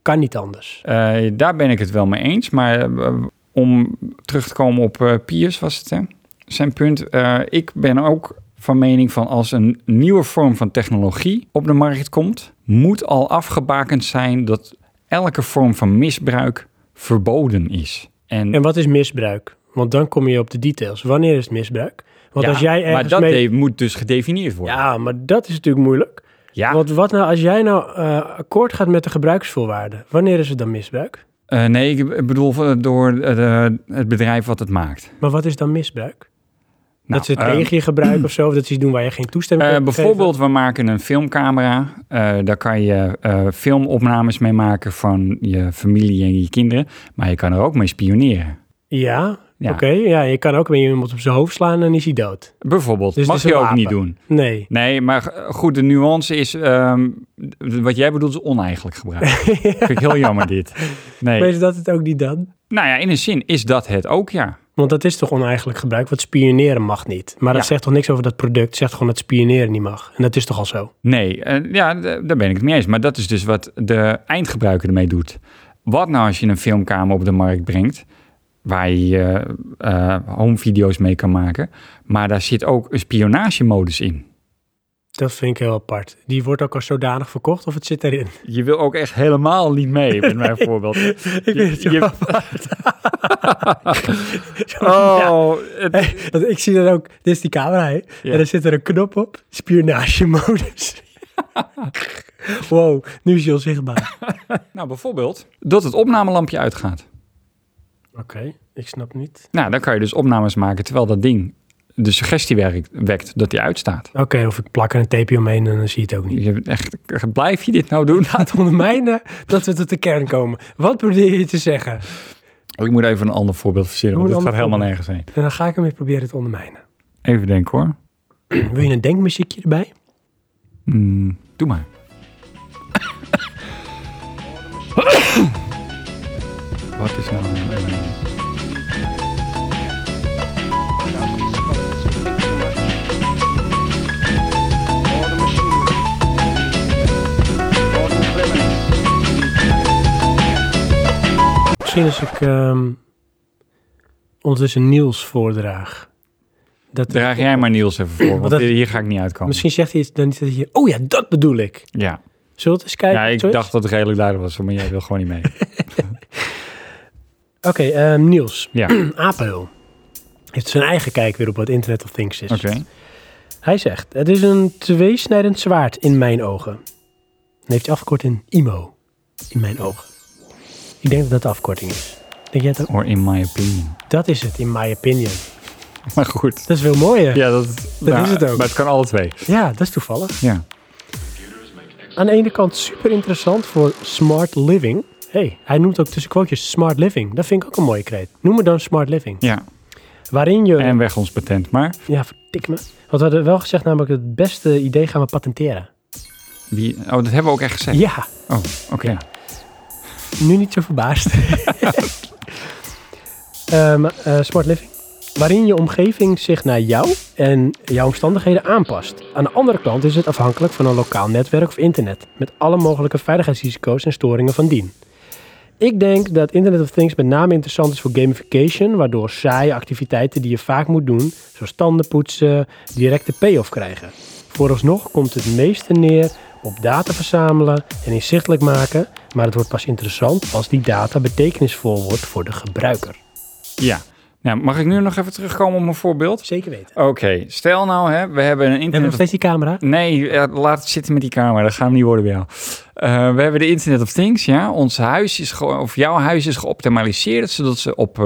A: Kan niet anders.
B: Eh, daar ben ik het wel mee eens. Maar eh, om terug te komen op eh Piers was het, hè? zijn punt. eh, ik ben ook van mening van als een nieuwe vorm van technologie op de markt komt... moet al afgebakend zijn dat elke vorm van misbruik verboden is. En,
A: En wat is misbruik? Want dan kom je op de details. Wanneer is het misbruik? Want
B: Ja,
A: als jij ergens
B: maar dat
A: mee...
B: de- moet dus gedefinieerd worden.
A: Ja, maar dat is natuurlijk moeilijk.
B: Ja.
A: Want wat nou als jij nou eh, akkoord gaat met de gebruiksvoorwaarden? Wanneer is het dan misbruik?
B: Eh, nee, ik bedoel eh, door eh, de- het bedrijf wat het maakt.
A: Maar wat is dan misbruik?
B: Nou,
A: dat ze het
B: eh,
A: tegen je gebruiken of zo? Of dat ze iets doen waar je geen toestemming
B: Eh,
A: hebt gegeven?
B: bijvoorbeeld, we maken een filmcamera. Eh, daar kan je eh, filmopnames mee maken van je familie en je kinderen. Maar je kan er ook mee spioneren.
A: Ja,
B: Ja.
A: oké. Ja, je kan ook weer iemand op zijn hoofd slaan en is hij dood.
B: Bijvoorbeeld,
A: Dus het
B: mag
A: is een
B: je ook
A: wapen.
B: niet doen.
A: Nee.
B: Nee, maar eh, goed, de nuance is... ehm, wat jij bedoelt is oneigenlijk gebruik. Vind ik heel jammer dit. Nee.
A: Maar is dat het ook niet dan?
B: Nou ja, in een zin is dat het ook, ja.
A: Want dat is toch oneigenlijk gebruik? Want spioneren mag niet. Maar dat
B: Ja.
A: zegt toch niks over dat product? Het Zegt gewoon dat spioneren niet mag. En dat is toch al zo?
B: Nee, eh, ja, d- daar ben ik het mee eens. Maar dat is dus wat de eindgebruiker ermee doet. Wat nou als je een filmkamer op de markt brengt, waar je eh, eh, homevideo's mee kan maken, maar daar zit ook een spionagemodus in.
A: Dat vind ik heel apart. Die wordt ook als zodanig verkocht of het zit erin?
B: Je wil ook echt helemaal niet mee, met mijn voorbeeld.
A: Ik vind het zo
B: je-
A: apart.
B: Oh, het-
A: Hey, want ik zie dan ook, dit is die camera, hè?
B: Ja.
A: En dan zit er een knop op, spionagemodus. wow, nu is je onzichtbaar.
B: nou bijvoorbeeld dat het opnamelampje uitgaat.
A: Oké, ik snap niet.
B: Nou, dan kan je dus opnames maken terwijl dat ding de suggestie werkt, wekt dat die uitstaat.
A: Oké, of ik plak er een tape omheen en dan zie je het ook niet.
B: Je hebt echt, blijf je dit nou doen?
A: Laat ondermijnen dat we tot de kern komen. Wat probeer je te zeggen?
B: Oh, Ik moet even een ander voorbeeld verzinnen,
A: Doe
B: want
A: een
B: dit gaat
A: ander
B: helemaal nergens heen.
A: En dan ga ik hem weer proberen te ondermijnen.
B: Even denken hoor.
A: Wil je een denkmuziekje erbij?
B: Hmm, doe maar. Wat is nou... eh,
A: Misschien als ik ehm ondertussen Niels voordraag. Dat,
B: Draag jij maar Niels even voor, want
A: dat-
B: hier ga ik niet uitkomen.
A: Misschien zegt hij het dan niet dat je... Oh ja, dat bedoel ik.
B: Ja,
A: Zullen we het eens kijken?
B: ja ik
A: Zoiets?
B: dacht dat het redelijk duidelijk was, maar jij wil gewoon niet mee.
A: Oké, ehm, Niels.
B: Ja.
A: Apel heeft zijn eigen kijk weer op wat Internet of Things is.
B: Oké.
A: Hij zegt, het is een tweesnijdend zwaard in mijn ogen. Dan heeft hij afgekort in IMO. In mijn ogen. Ik denk dat dat de afkorting is. Denk jij dat ook?
B: Or in my opinion.
A: Dat is het, in my opinion.
B: Maar goed.
A: Dat is veel mooier. Ja,
B: Ja, dat, nou,
A: is het ook.
B: Maar het kan alle twee.
A: dat is toevallig.
B: Ja.
A: Aan de ene kant super interessant voor smart living. hey, hij noemt ook tussen quotejes smart living. Dat vind ik ook een mooie kreet. Noem het dan smart living.
B: ja.
A: Waarin je...
B: En weg ons patent. Maar
A: Ja, vertik me. Want we hadden wel gezegd namelijk het beste idee gaan we patenteren.
B: wie... Oh, dat hebben we ook echt gezegd.
A: Ja,
B: Oh, oké. ja.
A: nu niet zo verbaasd. Ehm, eh, smart living. Waarin je omgeving zich naar jou en jouw omstandigheden aanpast. Aan de andere kant is het afhankelijk van een lokaal netwerk of internet. Met alle mogelijke veiligheidsrisico's en storingen van dien. Ik denk dat Internet of Things met name interessant is voor gamification, waardoor saaie activiteiten die je vaak moet doen, zoals tanden poetsen, directe payoff krijgen. Vooralsnog komt het meeste neer op data verzamelen en inzichtelijk maken, maar het wordt pas interessant als die data betekenisvol wordt voor de gebruiker.
B: Ja. Nou, mag ik nu nog even terugkomen op mijn voorbeeld?
A: Zeker weten.
B: Oké, stel nou, hè, we hebben een
A: Hebben we
B: internet...
A: nog steeds die camera?
B: Nee, ja, laat het zitten met die camera. Dat gaan we niet worden bij jou. Eh, we hebben de Internet of Things, ja. Ons huis is, ge- of jouw huis is geoptimaliseerd... zodat ze op eh,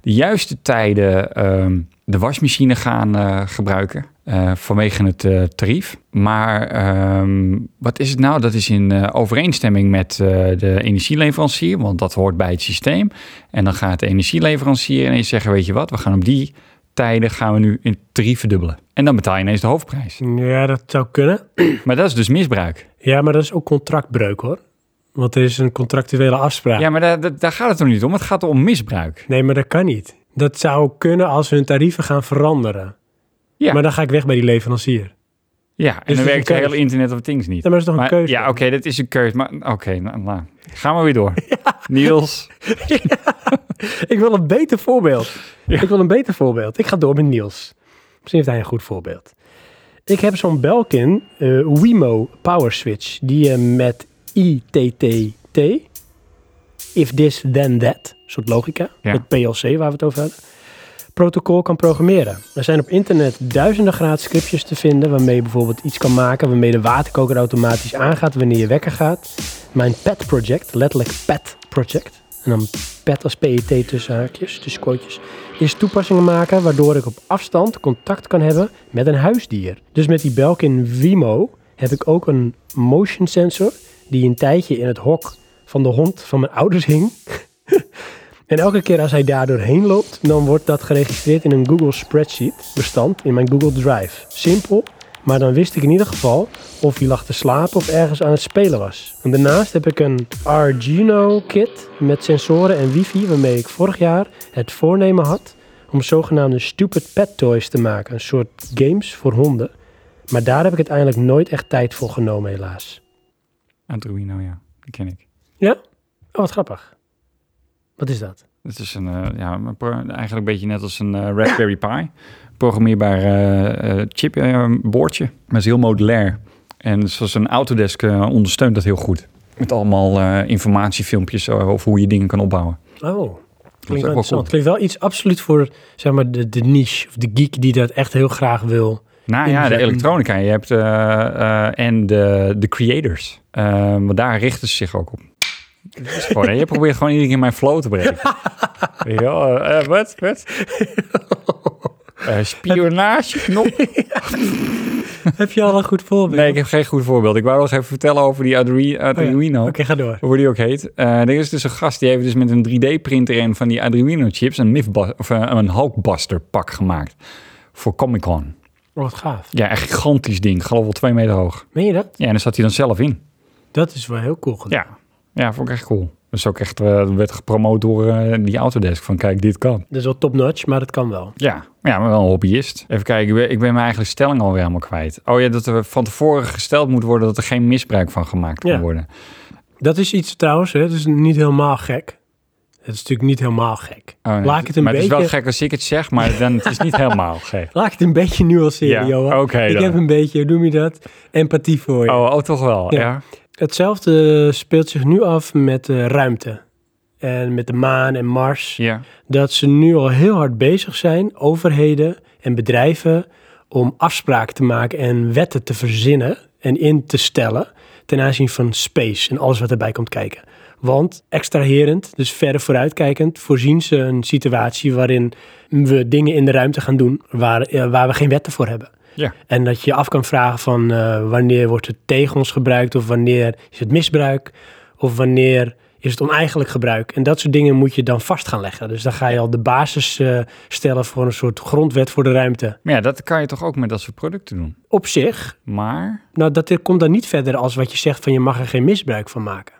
B: de juiste tijden ehm, de wasmachine gaan eh, gebruiken... eh, vanwege het eh, tarief. Maar ehm, wat is het nou? Dat is in eh, overeenstemming met eh, de energieleverancier... want dat hoort bij het systeem. En dan gaat de energieleverancier ineens zeggen... weet je wat, we gaan op die tijden gaan we nu in tarief verdubbelen. En dan betaal je ineens de hoofdprijs.
A: Ja, dat zou kunnen.
B: Maar dat is dus misbruik.
A: Ja, maar dat is ook contractbreuk hoor. Want er is een contractuele afspraak.
B: Ja, maar daar, daar- daar gaat het toch niet om? Het gaat om misbruik.
A: Nee, maar dat kan niet. Dat zou kunnen als hun tarieven gaan veranderen.
B: Ja.
A: Maar dan ga ik weg bij die leverancier.
B: Ja, en
A: het is
B: dan
A: een
B: werkt het
A: keuze.
B: hele internet of things niet.
A: Ja, maar dat is toch een
B: Maar-
A: keuze?
B: Ja, oké, dat is een keuze. Maar oké, nou, nou, gaan we weer door. Niels.
A: Ik wil een beter voorbeeld. Ik wil een beter voorbeeld. Ik ga door met Niels. Misschien heeft hij een goed voorbeeld. Ik heb zo'n Belkin eh Wemo Power Switch die je met ITTT, if this then that, soort logica,
B: Ja.
A: het PLC waar we het over hadden, protocol kan programmeren. Er zijn op internet duizenden graadscriptjes te vinden waarmee je bijvoorbeeld iets kan maken waarmee de waterkoker automatisch aangaat wanneer je wekker gaat. Mijn pet project, letterlijk pet project, en dan pet als PET tussen haakjes, tussen quotejes, is toepassingen maken waardoor ik op afstand contact kan hebben met een huisdier. Dus met die Belkin Wimo heb ik ook een motion sensor die een tijdje in het hok van de hond van mijn ouders hing. en elke keer als hij daar doorheen loopt, dan wordt dat geregistreerd in een Google Spreadsheet bestand in mijn Google Drive. Simpel, maar dan wist ik in ieder geval of hij lag te slapen of ergens aan het spelen was. En daarnaast heb ik een Arduino kit met sensoren en wifi waarmee ik vorig jaar het voornemen had om zogenaamde stupid pet toys te maken, een soort games voor honden. Maar daar heb ik uiteindelijk nooit echt tijd voor genomen helaas.
B: Arduino, ja. Die ken ik.
A: Ja? Oh, wat grappig. Wat is dat?
B: Het is een, eh, ja, een pro- eigenlijk een beetje net als een eh, Raspberry Pi. Programmeerbaar eh, eh, chip, eh, boordje. Maar het is heel modulair. En zoals een Autodesk eh, ondersteunt dat heel goed. Met allemaal eh, informatiefilmpjes eh, over hoe je dingen kan opbouwen.
A: Oh,
B: wel
A: klinkt wel interessant.
B: cool.
A: Klinkt wel iets absoluut voor zeg maar, de, de niche of de geek die dat echt heel graag wil.
B: Nou ja, de
A: Inzetten.
B: elektronica. Je hebt eh, eh, en de, de creators. Eh, want daar richten ze zich ook op. Dat is gewoon, hè, je probeert gewoon iedere keer mijn flow te breken. Weet je wel, eh, eh, wat? Wat? Eh, spionage? knop?
A: heb je al een goed voorbeeld?
B: Nee, ik heb geen goed voorbeeld. Oh Ik wou nog even vertellen over die Adri- Arduino.
A: Oh Oké, ga door.
B: Hoe die ook heet. Eh, er is dus een gast die heeft dus met een 3D-printer en van die Arduino-chips een, Mythbu- of, eh, een Hulkbuster-pak gemaakt. Voor Comic-Con.
A: Oh, wat gaaf.
B: Ja, een gigantisch ding. Ik Geloof wel twee meter hoog.
A: Meen je dat?
B: Ja, en daar zat hij dan zelf in.
A: Dat is wel heel cool gedaan.
B: Ja, ja vond ik echt cool. Dus ook echt eh, werd gepromoot door eh, die Autodesk van kijk, dit kan.
A: Dat is wel top-notch, maar dat kan wel.
B: Ja, ja, maar wel een hobbyist. Even kijken, ik ben, ik ben mijn eigen stelling alweer helemaal kwijt. Oh ja, dat er van tevoren gesteld moet worden dat er geen misbruik van gemaakt kan
A: Ja.
B: worden.
A: Dat is iets trouwens, hè, dat is niet helemaal gek. Het is natuurlijk niet helemaal gek.
B: Oh, nee,
A: Laat ik het een
B: maar het is wel
A: beetje-
B: gek als ik het zeg, maar dan, het is niet helemaal gek.
A: Laat ik het een beetje nuanceren,
B: Ja,
A: Johan.
B: oké
A: ik
B: dan.
A: heb een beetje, hoe noem je dat, empathie voor je.
B: Oh, oh, toch wel,
A: Ja.
B: ja.
A: Hetzelfde speelt zich nu af met eh, ruimte. en met de maan en Mars.
B: Ja.
A: Dat ze nu al heel hard bezig zijn, overheden en bedrijven, om afspraken te maken en wetten te verzinnen en in te stellen ten aanzien van space en alles wat erbij komt kijken. Want extraherend, dus verder vooruitkijkend, voorzien ze een situatie waarin we dingen in de ruimte gaan doen waar, eh, waar we geen wetten voor hebben.
B: Ja.
A: En dat je je af kan vragen van eh, wanneer wordt het tegen ons gebruikt of wanneer is het misbruik of wanneer is het oneigenlijk gebruik. En dat soort dingen moet je dan vast gaan leggen. Dus dan ga je al de basis eh, stellen voor een soort grondwet voor de ruimte.
B: Maar ja, dat kan je toch ook met dat soort producten doen.
A: Op zich,
B: Maar
A: nou dat komt dan niet verder als wat je zegt van je mag er geen misbruik van maken.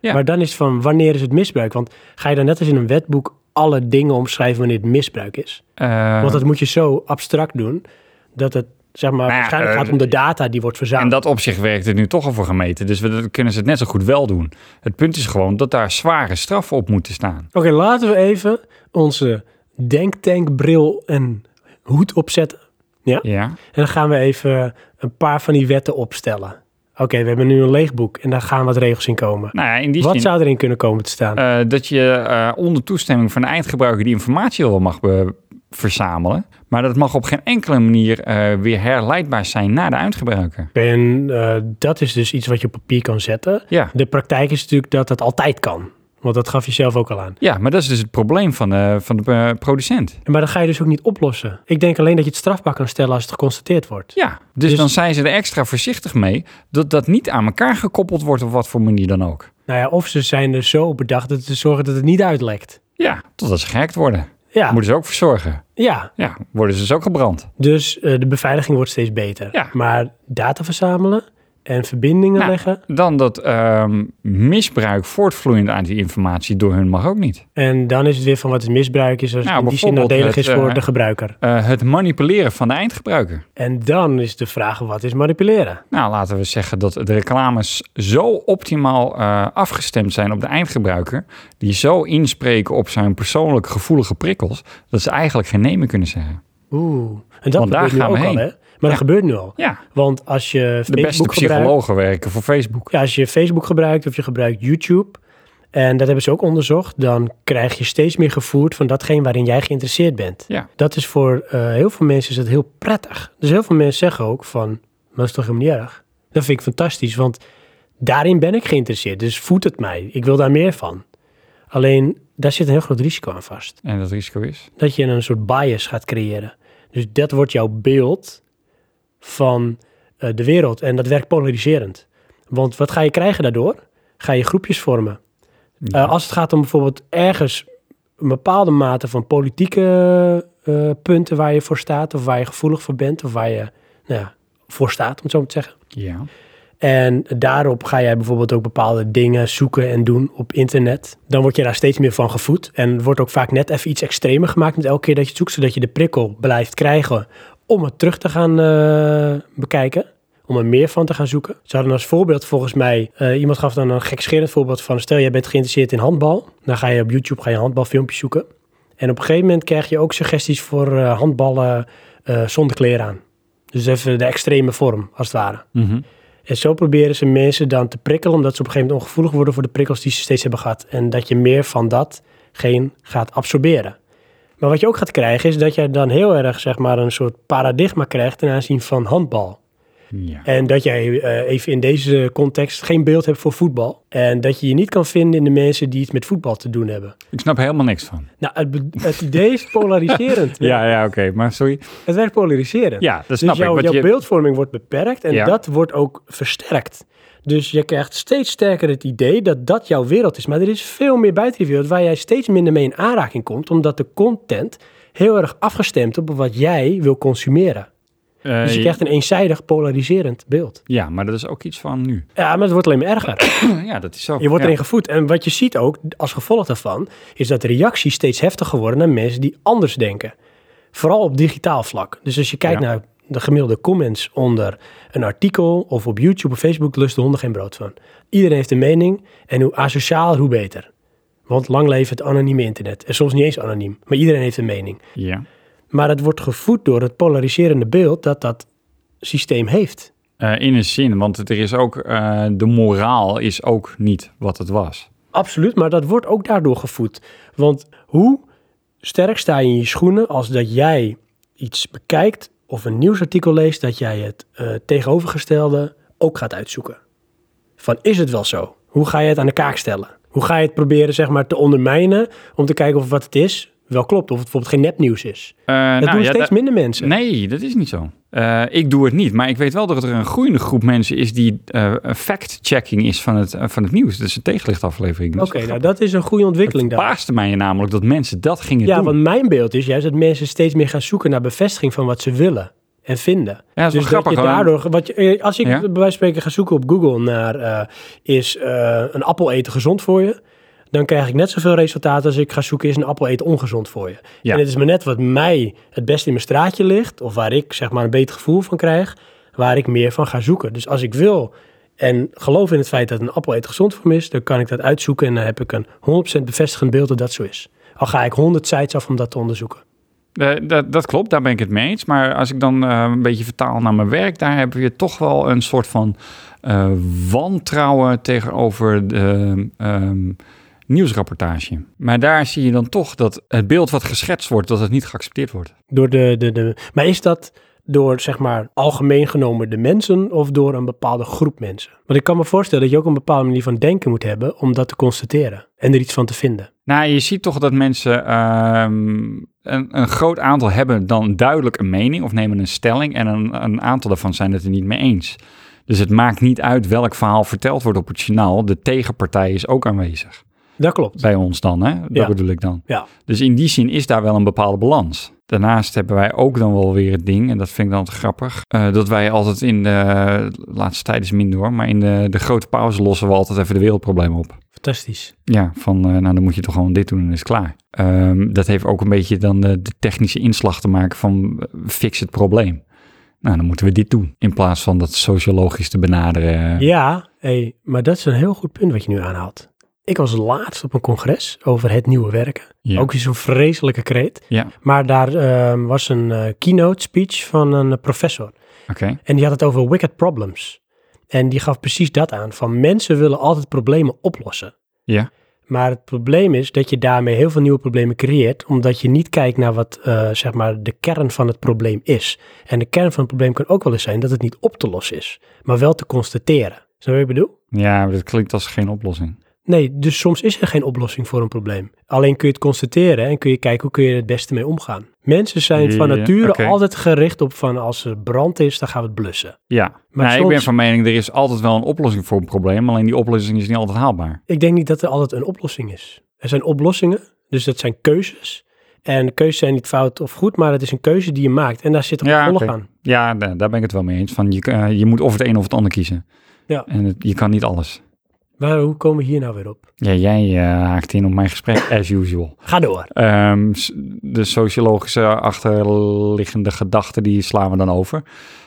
B: Ja.
A: Maar dan is het van wanneer is het misbruik? Want ga je dan net als in een wetboek alle dingen omschrijven wanneer het misbruik is?
B: eh,
A: Want dat moet je zo abstract doen dat het zeg maar,
B: ja,
A: waarschijnlijk
B: eh,
A: gaat om de data die wordt
B: in
A: verzameld.
B: dat opzicht werkt het nu toch al voor gemeten. Dus we dat kunnen ze het net zo goed wel doen. Het punt is gewoon dat daar zware straffen op moeten staan.
A: Oké, laten we even onze denktankbril en hoed opzetten.
B: Ja.
A: En dan gaan we even een paar van die wetten opstellen. Oké, we hebben nu een leeg boek en daar gaan wat regels in komen.
B: Nou ja, in die
A: Wat
B: zin
A: zou erin kunnen komen te staan?
B: eh, dat je eh, onder toestemming van de eindgebruiker die informatie wel mag eh, verzamelen. Maar dat mag op geen enkele manier eh, weer herleidbaar zijn naar de eindgebruiker.
A: En eh, dat is dus iets wat je op papier kan zetten.
B: Ja.
A: De praktijk is natuurlijk dat dat altijd kan. Want dat gaf je zelf ook al aan.
B: Ja, maar dat is dus het probleem van de, van de eh, producent.
A: Maar dat ga je dus ook niet oplossen. Ik denk alleen dat je het strafbaar kan stellen als het geconstateerd wordt.
B: Ja, dus,
A: Dus-
B: dan zijn ze er extra voorzichtig mee dat dat niet aan elkaar gekoppeld wordt op wat voor manier dan ook.
A: Nou ja, of ze zijn er zo op bedacht dat ze zorgen dat het niet uitlekt.
B: Ja, totdat ze gehackt worden.
A: Ja,
B: Moeten ze ook voor zorgen.
A: ja.
B: Ja, worden ze dus ook gebrand.
A: dus eh, de beveiliging wordt steeds beter.
B: Ja.
A: Maar data verzamelen en verbindingen
B: Nou.
A: leggen
B: Dan dat ehm, misbruik voortvloeiend uit die informatie door hun mag ook niet.
A: en dan is het weer van wat het misbruik is als het
B: Nou,
A: in die zin
B: bijvoorbeeld
A: nadelig is
B: het,
A: voor
B: eh,
A: de gebruiker.
B: Eh, het manipuleren van de eindgebruiker.
A: En dan is de vraag wat is manipuleren?
B: Nou, laten we zeggen dat de reclames zo optimaal eh, afgestemd zijn op de eindgebruiker, die zo inspreken op zijn persoonlijk gevoelige prikkels, dat ze eigenlijk geen nee meer kunnen zeggen.
A: Oeh, en dat
B: Want daar
A: gebeurt nu
B: gaan
A: ook
B: we
A: al
B: heen.
A: hè? Maar dat
B: Ja.
A: gebeurt nu al.
B: Ja,
A: Want als je
B: de beste
A: Facebook gebruikt,
B: psychologen werken voor Facebook.
A: ja, als je Facebook gebruikt of je gebruikt YouTube, en dat hebben ze ook onderzocht, dan krijg je steeds meer gevoerd van datgene waarin jij geïnteresseerd bent.
B: Ja.
A: Dat is voor eh, heel veel mensen is dat heel prettig. Dus heel veel mensen zeggen ook van, maar dat is toch helemaal niet erg. Dat vind ik fantastisch, want daarin ben ik geïnteresseerd. Dus voedt het mij. Ik wil daar meer van. Alleen, daar zit een heel groot risico aan vast.
B: En dat risico is.
A: Dat je een soort bias gaat creëren. Dus dat wordt jouw beeld van eh, de wereld. En dat werkt polariserend. Want wat ga je krijgen daardoor? Ga je groepjes vormen. Eh, als het gaat om bijvoorbeeld ergens een bepaalde mate van politieke eh, punten waar je voor staat, of waar je gevoelig voor bent, of waar je nou ja, voor staat, om het zo maar te zeggen.
B: Ja.
A: En daarop ga jij bijvoorbeeld ook bepaalde dingen zoeken en doen op internet. Dan word je daar steeds meer van gevoed. En het wordt ook vaak net even iets extremer gemaakt met elke keer dat je het zoekt, zodat je de prikkel blijft krijgen om het terug te gaan eh, bekijken. Om er meer van te gaan zoeken. Ze hadden als voorbeeld volgens mij, eh, iemand gaf dan een gekscherend voorbeeld van, stel jij bent geïnteresseerd in handbal. Dan ga je op YouTube ga je handbalfilmpjes zoeken. En op een gegeven moment krijg je ook suggesties voor eh, handballen eh, zonder kleren aan. Dus even de extreme vorm, als het ware.
B: Mhm.
A: En zo proberen ze mensen dan te prikkelen, omdat ze op een gegeven moment ongevoelig worden voor de prikkels die ze steeds hebben gehad. En dat je meer van dat geen gaat absorberen. Maar wat je ook gaat krijgen, is dat je dan heel erg zeg maar, een soort paradigma krijgt ten aanzien van handbal.
B: ja.
A: En dat jij eh, even in deze context geen beeld hebt voor voetbal. En dat je je niet kan vinden in de mensen die iets met voetbal te doen hebben.
B: Ik snap er helemaal niks van.
A: Nou, het, be- het idee is polariserend.
B: Ja, ja, oké. Maar sorry.
A: Het werkt polariserend.
B: Ja, dat snap
A: Dus jouw,
B: ik.
A: jouw
B: Want je-
A: beeldvorming wordt beperkt en
B: Ja.
A: dat wordt ook versterkt. Dus je krijgt steeds sterker het idee dat dat jouw wereld is. Maar er is veel meer buiten die wereld waar jij steeds minder mee in aanraking komt, omdat de content heel erg afgestemd op wat jij wil consumeren.
B: eh,
A: Dus je krijgt een eenzijdig polariserend beeld.
B: Ja, maar dat is ook iets van nu.
A: Ja, maar het wordt alleen maar erger.
B: ja, dat is zo.
A: Je wordt
B: ja.
A: erin gevoed. En wat je ziet ook als gevolg daarvan, is dat de reacties steeds heftiger worden naar mensen die anders denken. Vooral op digitaal vlak. Dus als je kijkt
B: Ja.
A: naar de gemiddelde comments onder een artikel of op YouTube of Facebook, lust de honden geen brood van. Iedereen heeft een mening en hoe asociaal, hoe beter. Want lang leven het anonieme internet. En soms niet eens anoniem, maar iedereen heeft een mening.
B: Ja.
A: Maar het wordt gevoed door het polariserende beeld dat dat systeem heeft.
B: Eh, in een zin, want er is ook eh, de moraal is ook niet wat het was.
A: Absoluut, maar dat wordt ook daardoor gevoed. Want hoe sterk sta je in je schoenen als dat jij iets bekijkt of een nieuwsartikel leest, dat jij het eh, tegenovergestelde ook gaat uitzoeken? Van is het wel zo? Hoe ga je het aan de kaak stellen? Hoe ga je het proberen zeg maar, te ondermijnen om te kijken of wat het is wel klopt? Of het bijvoorbeeld geen nepnieuws is?
B: Eh,
A: Dat
B: nou,
A: doen
B: ja,
A: steeds
B: da-
A: minder mensen.
B: Nee, dat is niet zo. Eh, ik doe het niet, maar ik weet wel dat er een groeiende groep mensen is die eh, fact-checking is van het, eh, van het nieuws. Dat is een tegenlichtaflevering. Dus
A: Oké, nou dat is een goede ontwikkeling
B: Het
A: daar.
B: verbaasde mij namelijk dat mensen dat gingen
A: Ja,
B: doen.
A: want mijn beeld is juist dat mensen steeds meer gaan zoeken naar bevestiging van wat ze willen en vinden.
B: Ja, dat is wel
A: dus dat
B: grappig.
A: je
B: hoor.
A: daardoor, wat je, eh, als ik
B: Ja?
A: bij wijze van spreken ga zoeken op Google naar eh, is eh, een appel eten gezond voor je, dan krijg ik net zoveel resultaten als ik ga zoeken is een appel eten ongezond voor je.
B: Ja.
A: En het is maar net wat mij het beste in mijn straatje ligt, of waar ik zeg maar een beter gevoel van krijg, waar ik meer van ga zoeken. Dus als ik wil en geloof in het feit dat een appel eten gezond voor me is, dan kan ik dat uitzoeken en dan heb ik een 100% bevestigend beeld dat dat zo is. Al ga ik 100 sites af om dat te onderzoeken.
B: Eh, dat, dat klopt, daar ben ik het mee eens. Maar als ik dan eh, een beetje vertaal naar mijn werk, daar heb je toch wel een soort van eh, wantrouwen tegenover de ehm, nieuwsrapportage. Maar daar zie je dan toch dat het beeld wat geschetst wordt, dat het niet geaccepteerd wordt.
A: Door de, de, de, maar is dat door, zeg maar, algemeen genomen de mensen of door een bepaalde groep mensen? Want ik kan me voorstellen dat je ook een bepaalde manier van denken moet hebben om dat te constateren en er iets van te vinden.
B: Nou, je ziet toch dat mensen ehm, een, een groot aantal hebben dan duidelijk een mening of nemen een stelling en een, een aantal daarvan zijn het er niet mee eens. Dus het maakt niet uit welk verhaal verteld wordt op het journaal, de tegenpartij is ook aanwezig.
A: Dat klopt.
B: bij ons dan, hè? Dat
A: Ja.
B: bedoel ik dan.
A: Ja.
B: Dus in die zin is daar wel een bepaalde balans. Daarnaast hebben wij ook dan wel weer het ding, en dat vind ik dan te grappig, eh, dat wij altijd in de, de laatste tijd is minder hoor, maar in de, de grote pauze lossen we altijd even de wereldproblemen op.
A: Fantastisch.
B: Ja, van eh, nou dan moet je toch gewoon dit doen en is het klaar. Ehm, dat heeft ook een beetje dan de, de technische inslag te maken van eh, fix het probleem. Nou, dan moeten we dit doen. In plaats van dat sociologisch te benaderen.
A: Ja, hey, maar dat is een heel goed punt wat je nu aanhaalt. Ik was laatst op een congres over het nieuwe werken.
B: Ja.
A: Ook weer zo'n vreselijke kreet.
B: Ja.
A: Maar daar ehm, was een eh, keynote speech van een eh, professor.
B: Oké.
A: En die had het over wicked problems. En die gaf precies dat aan. Van mensen willen altijd problemen oplossen.
B: Ja.
A: Maar het probleem is dat je daarmee heel veel nieuwe problemen creëert. Omdat je niet kijkt naar wat eh, zeg maar de kern van het probleem is. En de kern van het probleem kan ook wel eens zijn dat het niet op te lossen is. Maar wel te constateren. Snap je wat ik bedoel?
B: Ja, dat klinkt als geen oplossing.
A: Nee, dus soms is er geen oplossing voor een probleem. Alleen kun je het constateren en kun je kijken hoe kun je er het beste mee omgaan. Mensen zijn van
B: Ja,
A: nature
B: oké.
A: altijd gericht op van als er brand is, dan gaan we het blussen.
B: Ja,
A: Maar
B: maar ik
A: soms-
B: ben van mening, er is altijd wel een oplossing voor een probleem, alleen die oplossing is niet altijd haalbaar.
A: Ik denk niet dat er altijd een oplossing is. Er zijn oplossingen, dus dat zijn keuzes. En keuzes zijn niet fout of goed, maar het is een keuze die je maakt. En daar zit een
B: Ja,
A: gevolg
B: oké.
A: aan.
B: Ja, da- daar ben ik het wel mee eens. Van je, eh, je moet of het een of het ander kiezen.
A: Ja.
B: En het- je kan niet alles.
A: Maar hoe komen we hier nou weer op?
B: Ja, jij eh, haakt in op mijn gesprek, as usual.
A: Ga door.
B: Ehm, s- de sociologische achterliggende gedachten, die slaan we dan over.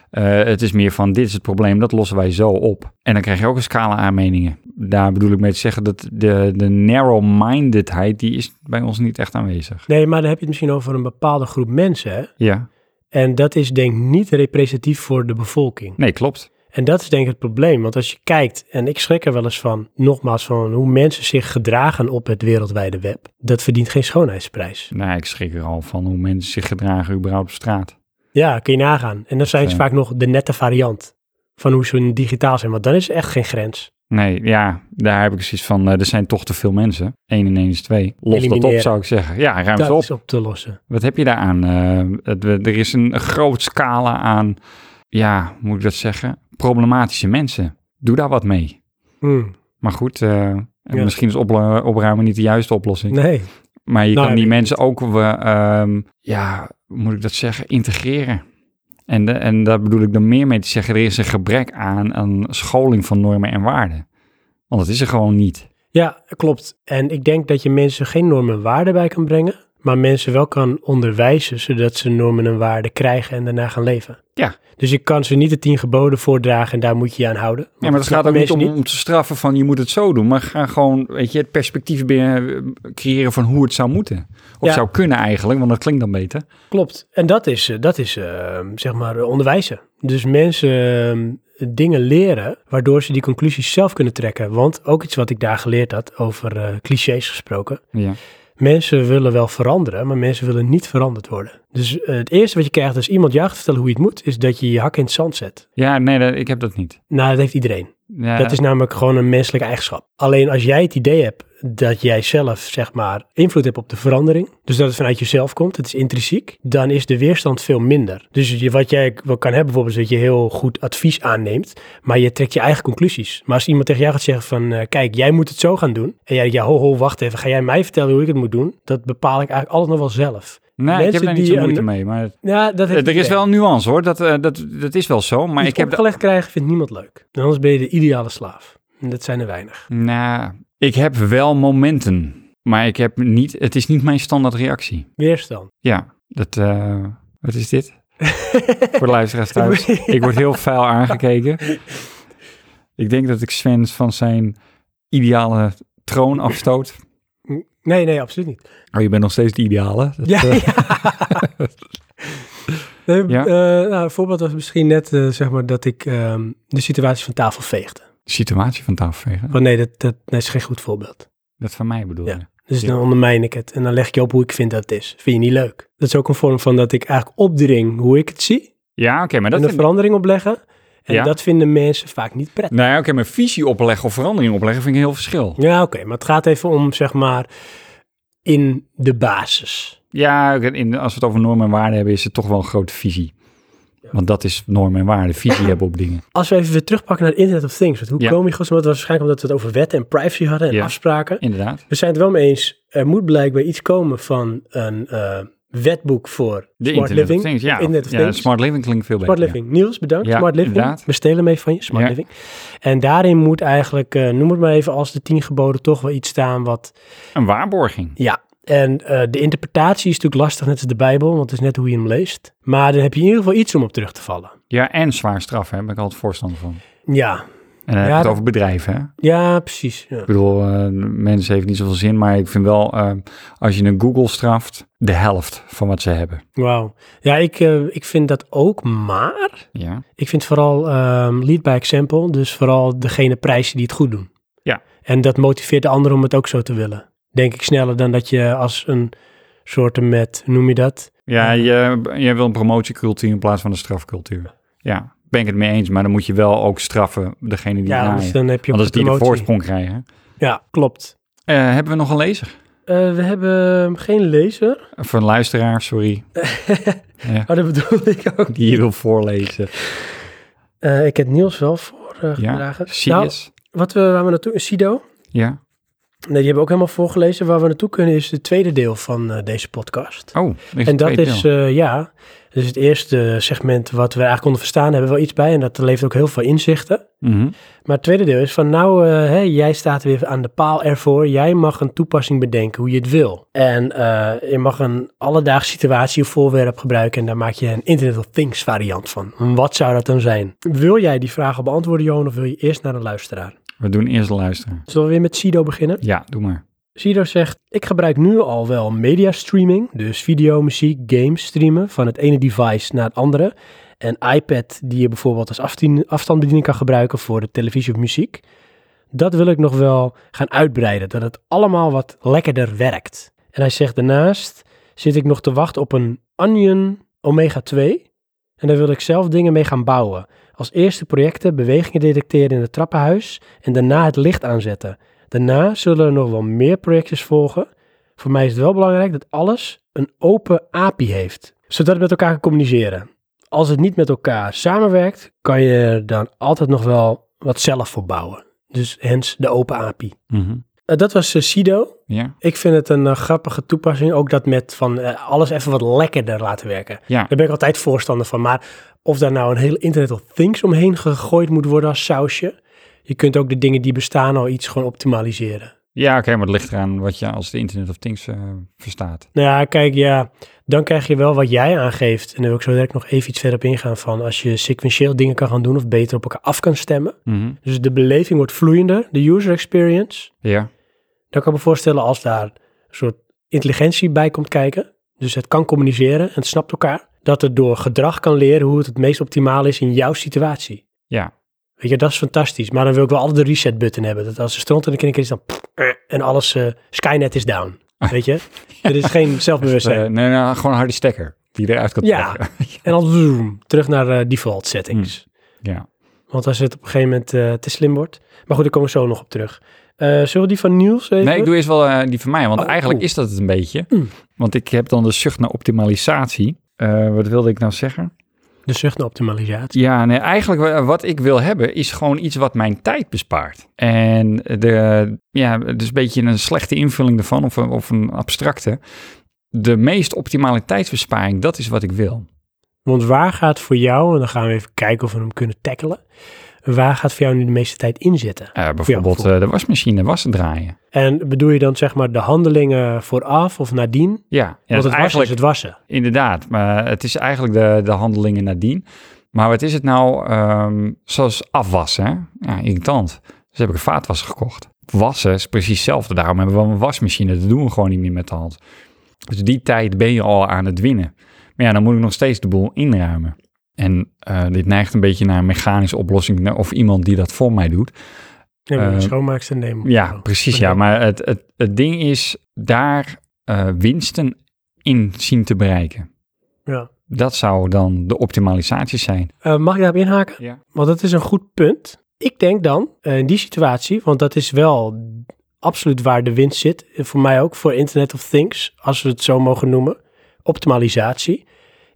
B: Eh, het is meer van, dit is het probleem, dat lossen wij zo op. En dan krijg je ook een scala aan meningen. Daar bedoel ik mee te zeggen dat de, de narrow-mindedheid, die is bij ons niet echt aanwezig.
A: Nee, maar dan heb je het misschien over een bepaalde groep mensen. Hè?
B: Ja,
A: En dat is denk ik niet representatief voor de bevolking.
B: nee, klopt.
A: En dat is denk ik het probleem. Want als je kijkt, en ik schrik er wel eens van, nogmaals van hoe mensen zich gedragen op het wereldwijde web. Dat verdient geen schoonheidsprijs.
B: Nou, ik schrik er al van hoe mensen zich gedragen überhaupt op straat.
A: Ja, kun je nagaan. En dan zijn ze
B: Ja.
A: vaak nog de nette variant van hoe ze digitaal zijn. Want dan is er echt geen grens.
B: Nee, ja, daar heb ik zoiets van, eh, er zijn toch te veel mensen. 1 en 1 is 2. Los dat op,
A: Elimineren.
B: zou ik zeggen. Ja, ruim
A: Dat
B: ze op.
A: is op te lossen.
B: Wat heb je daaraan? Eh, het- we- er is een, een groot scala aan, ja, hoe moet ik dat zeggen? Problematische mensen. Doe daar wat mee.
A: Hmm,
B: Maar goed, eh, en
A: Ja.
B: misschien is opla- opruimen niet de juiste oplossing.
A: Nee.
B: Maar je
A: Nou,
B: kan
A: ja,
B: die
A: weet
B: mensen ook, we, ehm, ja, hoe moet ik dat zeggen, integreren. En, de, en daar bedoel ik dan meer mee te zeggen, er is een gebrek aan, aan scholing van normen en waarden. Want dat is er gewoon niet.
A: Ja, klopt. En ik denk dat je mensen geen normen en waarden bij kan brengen. Maar mensen wel kan onderwijzen, zodat ze normen en waarden krijgen en daarna gaan leven.
B: Ja.
A: Dus je kan ze niet de tien geboden voordragen en daar moet je je aan houden.
B: Ja, maar het gaat
A: snappen
B: ook niet om,
A: mensen
B: om te straffen van je moet het zo doen. Maar ga gewoon, weet je, het perspectief binnen- creëren van hoe het zou moeten. Of
A: Ja.
B: zou kunnen eigenlijk, want dat klinkt dan beter.
A: ehm, Klopt. En dat is, eh, dat is eh, zeg maar eh, onderwijzen. Dus mensen eh, dingen leren, waardoor ze die conclusies zelf kunnen trekken. Want ook iets wat ik daar geleerd had, over eh, clichés gesproken.
B: Ja.
A: Mensen willen wel veranderen, maar mensen willen niet veranderd worden. Dus eh, het eerste wat je krijgt als iemand je gaat vertellen hoe je het moet, is dat je je hak in het zand zet.
B: ja, nee, dat- ik heb dat niet.
A: Nou, dat heeft iedereen.
B: Ja,
A: Dat is namelijk gewoon een menselijke eigenschap. Alleen als jij het idee hebt dat jij zelf, zeg maar, invloed hebt op de verandering, dus dat het vanuit jezelf komt, het is intrinsiek, dan is de weerstand veel minder. Dus je- wat jij wel kan hebben bijvoorbeeld, is dat je heel goed advies aanneemt, maar je trekt je eigen conclusies. Maar als iemand tegen jou gaat zeggen van, eh, kijk, jij moet het zo gaan doen, en jij denkt, ja, ho, ho, wacht even, ga jij mij vertellen hoe ik het moet doen? Dat bepaal ik eigenlijk alles nog wel zelf.
B: nee, ik heb
A: mensen
B: daar niet
A: die
B: zo moeite
A: een-
B: mee. Maar
A: Ja, dat heeft
B: Eh, er is
A: iedereen.
B: wel een nuance hoor, dat, eh, dat, dat is wel zo. Maar
A: Iets
B: ik heb
A: opgelegd krijgen vindt niemand leuk. En anders ben je de ideale slaaf. En dat zijn er weinig.
B: Nou, ik heb wel momenten, maar ik heb niet, het is niet mijn standaard reactie.
A: Weerstand.
B: Ja, dat, eh, wat is dit? Voor de luisteraars thuis. Ik word heel vuil aangekeken. Ik denk dat ik Sven van zijn ideale troon afstoot.
A: Nee, nee, absoluut niet.
B: Oh, je bent nog steeds de ideale. Dat,
A: Ja,
B: eh,
A: Nee,
B: Ja.
A: eh, nou, een voorbeeld was misschien net eh, zeg maar dat ik ehm, de situatie van tafel veegde.
B: De situatie van tafel vegen.
A: Want nee, dat, dat, nee, is geen goed voorbeeld.
B: Dat van mij bedoel
A: Ja.
B: je.
A: Dus
B: Ja.
A: dan ondermijn ik het en dan leg ik je op hoe ik vind dat het is. Vind je niet leuk? Dat is ook een vorm van dat ik eigenlijk opdring hoe ik het zie
B: Ja, oké, maar dat
A: en
B: vind
A: een
B: ik-
A: verandering opleggen. En
B: Ja.
A: dat vinden mensen vaak niet prettig.
B: Nou ja, oké, maar visie opleggen of verandering opleggen vind ik een heel verschil.
A: Ja, oké, maar het gaat even om zeg maar in de basis.
B: Ja, oké, in, als we het over normen en waarden hebben, is het toch wel een grote visie. Want dat is normen en waarden, visie hebben op dingen.
A: Als we even weer terugpakken naar het Internet of Things. Want hoe
B: Ja.
A: komen je godsnaam? Dat was waarschijnlijk omdat we het over wetten en privacy hadden en
B: Ja.
A: afspraken.
B: Inderdaad.
A: We zijn het wel mee eens. Er moet blijkbaar iets komen van een eh, wetboek voor
B: De
A: smart
B: Internet
A: living.
B: of Things, ja.
A: Internet of
B: ja,
A: Things.
B: Smart living klinkt veel
A: Smart
B: beter.
A: living. Niels, bedankt.
B: Ja,
A: smart living.
B: inderdaad.
A: We stelen mee van je. Smart
B: Ja.
A: living. En daarin moet eigenlijk, eh, noem het maar even als de tien geboden, toch wel iets staan wat...
B: ja. Een waarborging.
A: Ja, en eh, de interpretatie is natuurlijk lastig, net als de Bijbel, want het is net hoe je hem leest. Maar dan heb je in ieder geval iets om op terug te vallen.
B: Ja, en zwaar straf, hè, ben ik altijd voorstander van.
A: Ja,
B: En dan heb
A: Ja,
B: je het
A: dat-
B: over bedrijven, hè.
A: ja precies. Ja.
B: Ik bedoel, eh, mensen heeft niet zoveel zin, maar ik vind wel, eh, als je een Google straft, de helft van wat ze hebben.
A: Wauw. Ja, ik, eh, ik vind dat ook, maar...
B: Ja.
A: Ik vind vooral ehm, lead by example, dus vooral degene prijzen die het goed doen.
B: Ja.
A: En dat motiveert de ander om het ook zo te willen. Denk ik sneller dan dat je als een soort met, hoe noem je dat?
B: Ja, je, je wil een promotiecultuur in plaats van een strafcultuur. Ja, ben ik het mee eens, maar dan moet je wel ook straffen degene die
A: Ja,
B: naaien.
A: anders dan heb je op
B: Anders
A: de
B: die de
A: promotie.
B: voorsprong krijgen.
A: Ja, klopt.
B: Eh, hebben we nog een lezer?
A: Eh, we hebben geen lezer.
B: Of een luisteraar, sorry. Ja,
A: Oh, dat bedoelde ik ook.
B: die je wil voorlezen.
A: Eh, ik heb Niels wel voorgedragen.
B: Ja, Sius.
A: Nou, wat we, waar we naartoe... Sido?
B: Ja.
A: Nee, die hebben we ook helemaal voorgelezen. Waar we naartoe kunnen is het tweede deel van eh, deze podcast.
B: Oh, er is
A: En
B: een
A: dat
B: tweede
A: is,
B: deel.
A: eh, ja, dus het eerste segment wat we eigenlijk konden verstaan, hebben we wel iets bij. En dat levert ook heel veel inzichten.
B: Mhm.
A: Maar het tweede deel is van, nou, eh, hè, jij staat weer aan de paal ervoor. Jij mag een toepassing bedenken hoe je het wil. En eh, je mag een alledaagse situatie of voorwerp gebruiken. En daar maak je een Internet of Things variant van. Wat zou dat dan zijn? Wil jij die vragen beantwoorden, Johan, of wil je eerst naar een luisteraar?
B: We doen eerst de luisteraar.
A: Zullen we weer met Sido beginnen?
B: Ja, doe maar.
A: Sido zegt, ik gebruik nu al wel media streaming, dus video, muziek, games streamen van het ene device naar het andere. En iPad die je bijvoorbeeld als afdien- afstandsbediening kan gebruiken voor de televisie of muziek. Dat wil ik nog wel gaan uitbreiden, dat het allemaal wat lekkerder werkt. En hij zegt daarnaast zit ik nog te wachten op een Onion Omega 2. En daar wil ik zelf dingen mee gaan bouwen. Als eerste projecten bewegingen detecteren in het trappenhuis en daarna het licht aanzetten. Daarna zullen er nog wel meer projectjes volgen. Voor mij is het wel belangrijk dat alles een open API heeft, zodat het met elkaar kan communiceren. Als het niet met elkaar samenwerkt, kan je er dan altijd nog wel wat zelf voor bouwen. Dus hens de open API.
B: Mhm.
A: Eh, dat was eh, Sido.
B: Ja.
A: Ik vind het een eh, grappige toepassing. Ook dat met van eh, alles even wat lekkerder laten werken.
B: Ja.
A: Daar ben ik altijd voorstander van. Maar of daar nou een hele Internet of Things omheen gegooid moet worden als sausje. Je kunt ook de dingen die bestaan al iets gewoon optimaliseren.
B: Ja, oké, maar het ligt eraan wat je als de Internet of Things eh, verstaat.
A: Nou ja, kijk, ja, dan krijg je wel wat jij aangeeft. En daar wil ik zo direct nog even iets verder op ingaan van als je sequentieel dingen kan gaan doen of beter op elkaar af kan stemmen.
B: Mhm.
A: Dus de beleving wordt vloeiender, de user experience.
B: Ja.
A: Dan kan ik me voorstellen als daar een soort intelligentie bij komt kijken. Dus het kan communiceren en het snapt elkaar. Dat het door gedrag kan leren hoe het het meest optimaal is in jouw situatie.
B: Ja.
A: Weet je, dat is fantastisch. Maar dan wil ik wel altijd de reset button hebben. Dat als er stront in de knikker is, dan... En alles... eh, Skynet is down. Weet je? Er is geen
B: Eh,
A: zelfbewustzijn.
B: nee, nou, gewoon een harde stekker die je eruit kan
A: Ja.
B: trekken.
A: En dan zoom, terug naar eh, default settings.
B: Hmm. ja.
A: Want als het op een gegeven moment eh, te slim wordt. Maar goed, daar komen we zo nog op terug. Eh, zullen we die van Niels even?
B: Nee, ik doe eerst wel eh, die van mij, want
A: Oh,
B: eigenlijk
A: cool.
B: is dat het een beetje.
A: Mm.
B: Want ik heb dan de zucht naar optimalisatie. Eh, wat wilde ik nou zeggen?
A: De zucht naar optimalisatie.
B: Ja, nee, eigenlijk wa- wat ik wil hebben is gewoon iets wat mijn tijd bespaart. En de, ja, dus een beetje een slechte invulling ervan of een, of een abstracte. De meest optimale tijdsbesparing, dat is wat ik wil. Eh,
A: Want waar gaat voor jou, en dan gaan we even kijken of we hem kunnen tackelen. Waar gaat voor jou nu de meeste tijd in zitten?
B: Eh, bijvoorbeeld eh, de wasmachine, wassen draaien.
A: En bedoel je dan zeg maar de handelingen vooraf of nadien? Want
B: Ja,
A: het
B: dat is
A: wassen
B: eigenlijk
A: is het wassen.
B: Inderdaad, maar het is eigenlijk de, de handelingen nadien. Maar wat is het nou, ehm, zoals afwassen, hè? ja, irritant. Dus heb ik een vaatwasser gekocht. Wassen is precies hetzelfde, daarom hebben we wel een wasmachine. Dat doen we gewoon niet meer met de hand. Dus die tijd ben je al aan het winnen. Maar ja, dan moet ik nog steeds de boel inruimen. En eh, dit neigt een beetje naar een mechanische oplossing nou, of iemand die dat voor mij doet.
A: Ja, maar
B: Eh,
A: de schoonmaakster nemen.
B: Ja, precies. Ja, maar het, het, het ding is daar eh, winsten in zien te bereiken.
A: Ja.
B: Dat zou dan de optimalisatie zijn.
A: Eh, mag ik daarop inhaken?
B: Ja.
A: Want dat is een goed punt. Ik denk dan, eh, in die situatie, want dat is wel absoluut waar de winst zit. eh, Voor mij ook, voor Internet of Things, als we het zo mogen noemen. Optimalisatie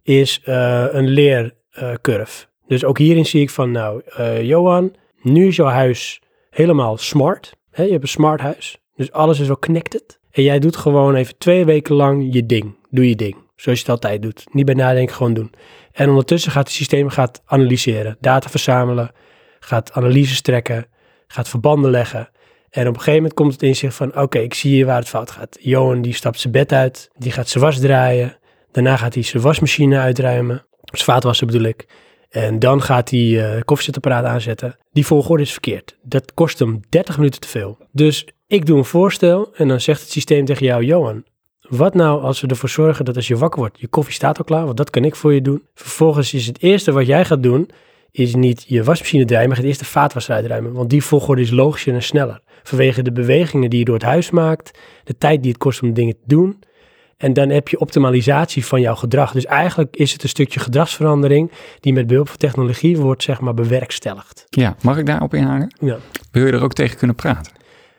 A: is eh, een leercurve. dus ook hierin zie ik van, nou, eh, Johan, nu is jouw huis helemaal smart. Hè? Je hebt een smart huis, dus alles is wel connected. En jij doet gewoon even twee weken lang je ding. Doe je ding, zoals je het altijd doet. Niet bij nadenken, gewoon doen. En ondertussen gaat het systeem gaat analyseren, data verzamelen, gaat analyses trekken, gaat verbanden leggen. En op een gegeven moment komt het inzicht van, oké, ik zie hier waar het fout gaat. Johan die stapt zijn bed uit, die gaat zijn was draaien. Daarna gaat hij zijn wasmachine uitruimen, zijn vaatwasser bedoel ik. En dan gaat hij eh koffiezetapparaat aanzetten. Die volgorde is verkeerd. Dat kost hem 30 minuten te veel. Dus ik doe een voorstel en dan zegt het systeem tegen jou, Johan, wat nou als we ervoor zorgen dat als je wakker wordt, je koffie staat al klaar, want dat kan ik voor je doen. Vervolgens is het eerste wat jij gaat doen, is niet je wasmachine draaien, maar gaat eerst de vaatwasser uitruimen. Want die volgorde is logischer en sneller. Vanwege de bewegingen die je door het huis maakt, de tijd die het kost om dingen te doen. En dan heb je optimalisatie van jouw gedrag. Dus eigenlijk is het een stukje gedragsverandering die met behulp van technologie wordt zeg maar bewerkstelligd.
B: ja, mag ik daarop inhaken?
A: Ja.
B: Wil je er ook tegen kunnen praten?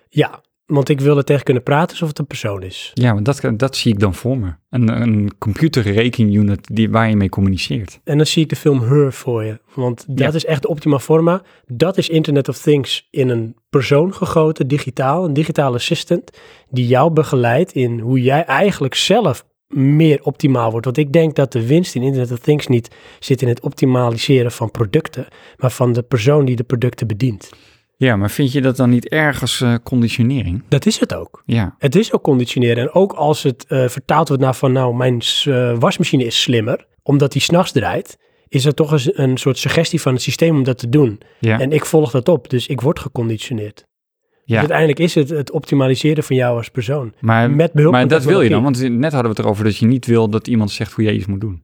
A: Ja, want ik wil er tegen kunnen praten alsof het een persoon is.
B: Ja, want dat, dat zie ik dan voor me. Een, een computerrekenunit die, waar je mee communiceert.
A: En dan zie ik de film Her voor je. Want dat
B: Ja.
A: is echt de optima forma. Dat is Internet of Things in een persoon gegoten, digitaal. Een digitale assistant die jou begeleidt in hoe jij eigenlijk zelf meer optimaal wordt. Want ik denk dat de winst in Internet of Things niet zit in het optimaliseren van producten, maar van de persoon die de producten bedient.
B: Ja, maar vind je dat dan niet erg als eh, conditionering?
A: Dat is het ook.
B: Ja.
A: Het is ook conditioneren. En ook als het eh, vertaald wordt naar van nou, mijn s- eh, wasmachine is slimmer, omdat die s'nachts draait, is er toch eens een soort suggestie van het systeem om dat te doen.
B: Ja.
A: En ik volg dat op, dus ik word geconditioneerd. Dus
B: ja.
A: uiteindelijk is het het optimaliseren van jou als persoon.
B: Maar,
A: Met behulp
B: maar
A: van
B: dat wil je dan,
A: technologie.
B: want net hadden we het erover dat je niet wil dat iemand zegt hoe jij iets moet doen.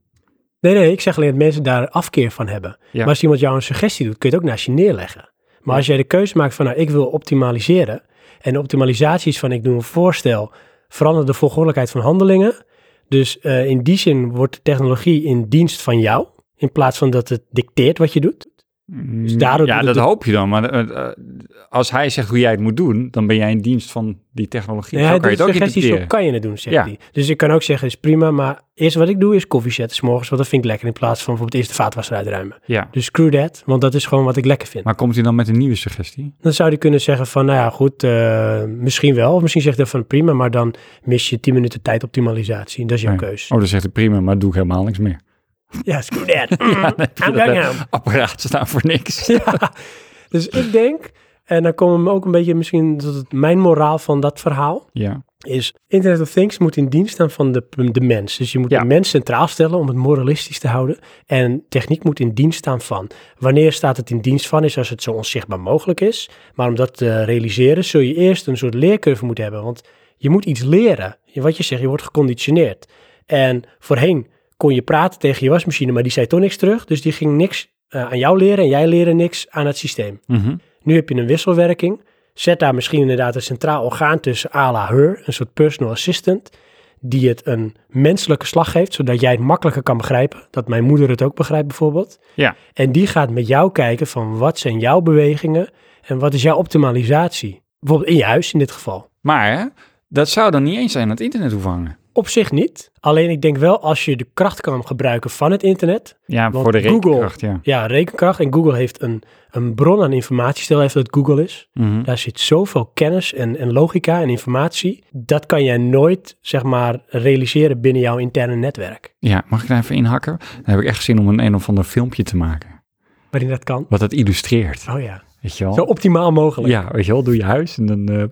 A: Nee, nee, ik zeg alleen dat mensen daar afkeer van hebben.
B: Ja.
A: Maar als iemand jou een suggestie doet, kun je het ook naast je neerleggen. Maar als jij de keuze maakt van, nou, ik wil optimaliseren. En de optimalisatie is van, ik doe een voorstel, verander de volgordelijkheid van handelingen. Dus eh, in die zin wordt de technologie in dienst van jou, in plaats van dat het dicteert wat je doet.
B: Mm,
A: Dus daardoor
B: ja,
A: doet
B: dat
A: het-
B: hoop je dan. Maar eh, eh, als hij zegt hoe jij het moet doen, dan ben jij in dienst van die technologie.
A: Nee,
B: zo
A: hij
B: kan je
A: doet
B: het ook
A: suggesties, zo
B: interpreteren.
A: kan je het doen, zegt
B: Ja.
A: hij. Dus ik kan ook zeggen, is prima, maar eerst wat ik doe is koffie zetten, 's morgens, want dat vind ik lekker, in plaats van bijvoorbeeld eerst de vaatwasser uitruimen.
B: Ja.
A: Dus screw that, want dat is gewoon wat ik lekker vind.
B: Maar komt hij dan met een nieuwe suggestie?
A: Dan zou die kunnen zeggen van, nou ja, goed, eh, misschien wel. Of misschien zegt hij van, prima, maar dan mis je 10 minuten tijdoptimalisatie. En dat is jouw
B: Nee.
A: keus.
B: Oh, dan zegt hij prima, maar doe ik helemaal niks meer.
A: Ja, screw that. I'm
B: dat,
A: going
B: eh,
A: home.
B: Apparaat staan voor niks.
A: Ja. Dus ik denk, en dan komen we ook een beetje misschien tot het, mijn moraal van dat verhaal,
B: Ja.
A: is Internet of Things moet in dienst staan van de, de mens. Dus je moet
B: Ja.
A: de mens centraal stellen om het moralistisch te houden. En techniek moet in dienst staan van. Wanneer staat het in dienst van is als het zo onzichtbaar mogelijk is. Maar om dat te realiseren zul je eerst een soort leercurve moeten hebben. Want je moet iets leren. Je- Wat je zegt, je wordt geconditioneerd. En voorheen kon je praten tegen je wasmachine, maar die zei toch niks terug. Dus die ging niks eh, aan jou leren en jij leren niks aan het systeem.
B: Mhm.
A: Nu heb je een wisselwerking. Zet daar misschien inderdaad een centraal orgaan tussen à la her, een soort personal assistant, die het een menselijke slag geeft, zodat jij het makkelijker kan begrijpen. Dat mijn moeder het ook begrijpt bijvoorbeeld.
B: Ja.
A: En die gaat met jou kijken van wat zijn jouw bewegingen en wat is jouw optimalisatie. Bijvoorbeeld in je huis in dit geval.
B: Maar hè, dat zou dan niet eens aan het internet hoeven hangen.
A: Op zich niet. Alleen ik denk wel als je de kracht kan gebruiken van het internet,
B: Ja,
A: Want
B: voor de
A: Google-
B: rekenkracht, ja.
A: Ja, rekenkracht. En Google heeft een, een bron aan informatie. Stel even dat Google is.
B: Mhm.
A: Daar zit zoveel kennis en, en logica en informatie. Dat kan jij nooit, zeg maar, realiseren binnen jouw interne netwerk.
B: Ja, mag ik daar even inhakken? Dan heb ik echt zin om een een of ander filmpje te maken.
A: Waarin dat kan.
B: Wat dat illustreert,
A: Oh ja,
B: weet je wel.
A: zo optimaal mogelijk.
B: Ja, weet je wel, doe je huis en dan... eh,